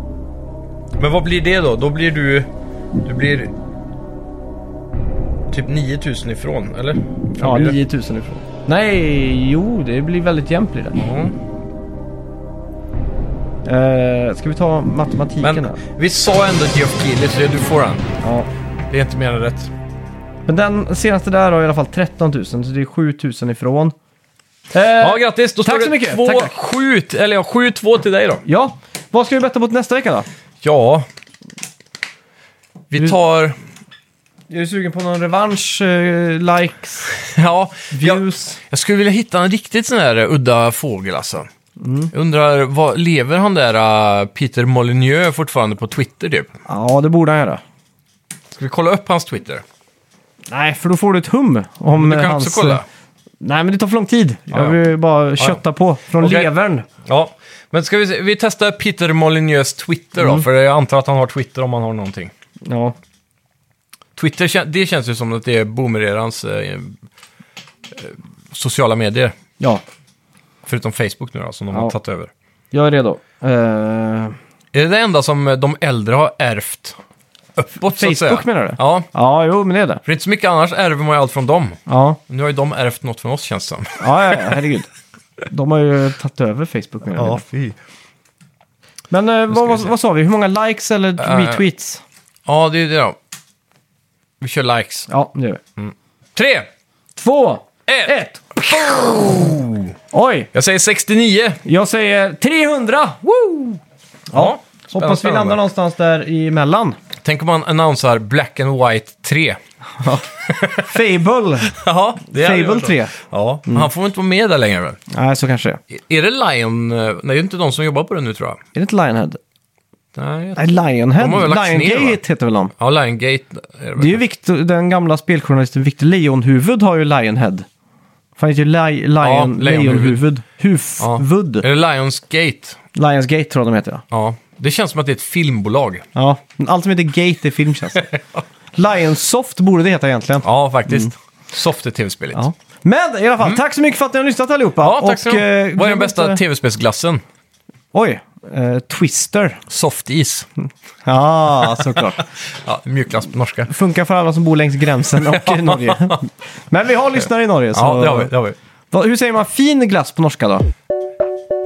Speaker 2: Men vad blir det då? Då blir du... Du blir... Typ 9000 ifrån, eller? Hur
Speaker 1: Ja,
Speaker 2: blir det?
Speaker 1: 9000 ifrån. Nej, jo, det blir väldigt jämnt blir det.
Speaker 2: Ja.
Speaker 1: Eh, ska vi ta matematiken
Speaker 2: Men
Speaker 1: här?
Speaker 2: vi sa ändå Geoff Keighley, så det- du får han.
Speaker 1: Ja.
Speaker 2: Det är inte mer än
Speaker 1: Eh,
Speaker 2: rätt.
Speaker 1: Men den senaste där har i alla fall 13 000, så det är 7 000 ifrån. Eh,
Speaker 2: Ja, grattis! Då
Speaker 1: tack så
Speaker 2: står det
Speaker 1: mycket.
Speaker 2: 2
Speaker 1: Tack, tack.
Speaker 2: 7 eller ja, 7-2 till dig då.
Speaker 1: ja, vad ska vi betta på till nästa vecka då?
Speaker 2: Ja. Vi tar...
Speaker 1: Är du sugen på någon revansch, eh, likes,
Speaker 2: Ja, jag,
Speaker 1: views?
Speaker 2: jag skulle vilja hitta en riktigt sån här eh, udda fågel alltså.
Speaker 1: Mm.
Speaker 2: Jag undrar, vad, lever han där eh, Peter Molyneux fortfarande på Twitter typ?
Speaker 1: Ja, det borde han göra.
Speaker 2: Ska vi kolla upp hans Twitter?
Speaker 1: Nej, för då får du ett hum om
Speaker 2: Du kan
Speaker 1: eh, hans...
Speaker 2: också kolla.
Speaker 1: Nej, men det tar för lång tid.
Speaker 2: ja.
Speaker 1: Jag vill bara kötta på. Från
Speaker 2: Okej.
Speaker 1: levern.
Speaker 2: Ja, men ska vi, se- vi testar Peter Molyneux Twitter
Speaker 1: Mm.
Speaker 2: då, för jag antar att han har Twitter om han har någonting.
Speaker 1: Ja.
Speaker 2: Twitter, kän- det känns ju som att det är boomererans eh, eh, sociala medier.
Speaker 1: ja,
Speaker 2: Förutom Facebook nu då, som de har
Speaker 1: Ja.
Speaker 2: tagit över.
Speaker 1: jag är redo. Eh,
Speaker 2: Är det det enda som eh, de äldre har ärvt uppåt så att säga?
Speaker 1: Facebook menar du?
Speaker 2: Ja,
Speaker 1: ja, jo, men det är det.
Speaker 2: för det är inte så mycket annars ärver man ju allt från dem.
Speaker 1: Ja,
Speaker 2: Nu har ju de ärvt något från oss känns det som.
Speaker 1: ja, ja herregud. De har ju tagit över Facebook menar jag.
Speaker 2: fy.
Speaker 1: Men eh,
Speaker 2: ska
Speaker 1: vad,
Speaker 2: vi
Speaker 1: vad,
Speaker 2: se.
Speaker 1: vad sa vi? Hur många likes eller
Speaker 2: Eh.
Speaker 1: retweets?
Speaker 2: Ja, det är ju det då. Vi kör likes.
Speaker 1: Ja, det gör vi.
Speaker 2: Tre,
Speaker 1: Två,
Speaker 2: ett!
Speaker 1: ett! Oj!
Speaker 2: Jag säger 69.
Speaker 1: Jag säger 300! Woo! Ja, hoppas vi
Speaker 2: spännande.
Speaker 1: landar någonstans där emellan.
Speaker 2: Tänk om man annonserar Black and White 3.
Speaker 1: Fable!
Speaker 2: Ja, det hade ju
Speaker 1: Fable
Speaker 2: varit
Speaker 1: 3.
Speaker 2: så. Ja, men Mm. han får inte vara med där längre väl?
Speaker 1: Nej, så kanske det är.
Speaker 2: Är det Lion... eh, Nej, det är inte de som jobbar på det nu tror jag.
Speaker 1: Är det inte Lionhead?
Speaker 2: Nej, jag-
Speaker 1: Nej, Lionhead?
Speaker 2: De har väl lagts ner,
Speaker 1: Liongate heter väl de?
Speaker 2: Ja, Liongate är det
Speaker 1: Det är
Speaker 2: väl.
Speaker 1: ju Victor, den gamla speljournalisten Victor Leonhuvud har ju Lionhead. Fan, heter ju Li- Lion,
Speaker 2: Ja, Leonhuvud.
Speaker 1: Leonhuvud. Hufvud.
Speaker 2: Eller Lionsgate.
Speaker 1: Lionsgate tror jag de heter, ja.
Speaker 2: Ja, det känns som att det är ett filmbolag.
Speaker 1: Ja, men allt som heter Gate är film känns det. Lionsoft borde det heta egentligen.
Speaker 2: Ja, faktiskt. Soft är tv-spelet.
Speaker 1: Mm. Ja.
Speaker 2: Ja.
Speaker 1: Men i alla fall, tack så mycket för att ni har lyssnat allihopa.
Speaker 2: Mm.
Speaker 1: eh,
Speaker 2: tack så mycket. Vad är den
Speaker 1: glöm
Speaker 2: bästa
Speaker 1: inte-
Speaker 2: tv-spelsglassen?
Speaker 1: Oj, eh, Twister.
Speaker 2: Softis.
Speaker 1: Ja, såklart.
Speaker 2: Ja, mjukglass på norska.
Speaker 1: Funkar för alla som bor längs gränsen och i Norge. Men vi har lyssnare i Norge. Så...
Speaker 2: Ja, det har vi. Det har vi.
Speaker 1: Vad- Hur säger man fin glass på norska då?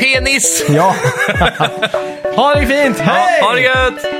Speaker 2: Penis!
Speaker 1: Ja. ha det fint! Hej!
Speaker 2: Ja, ha det gött!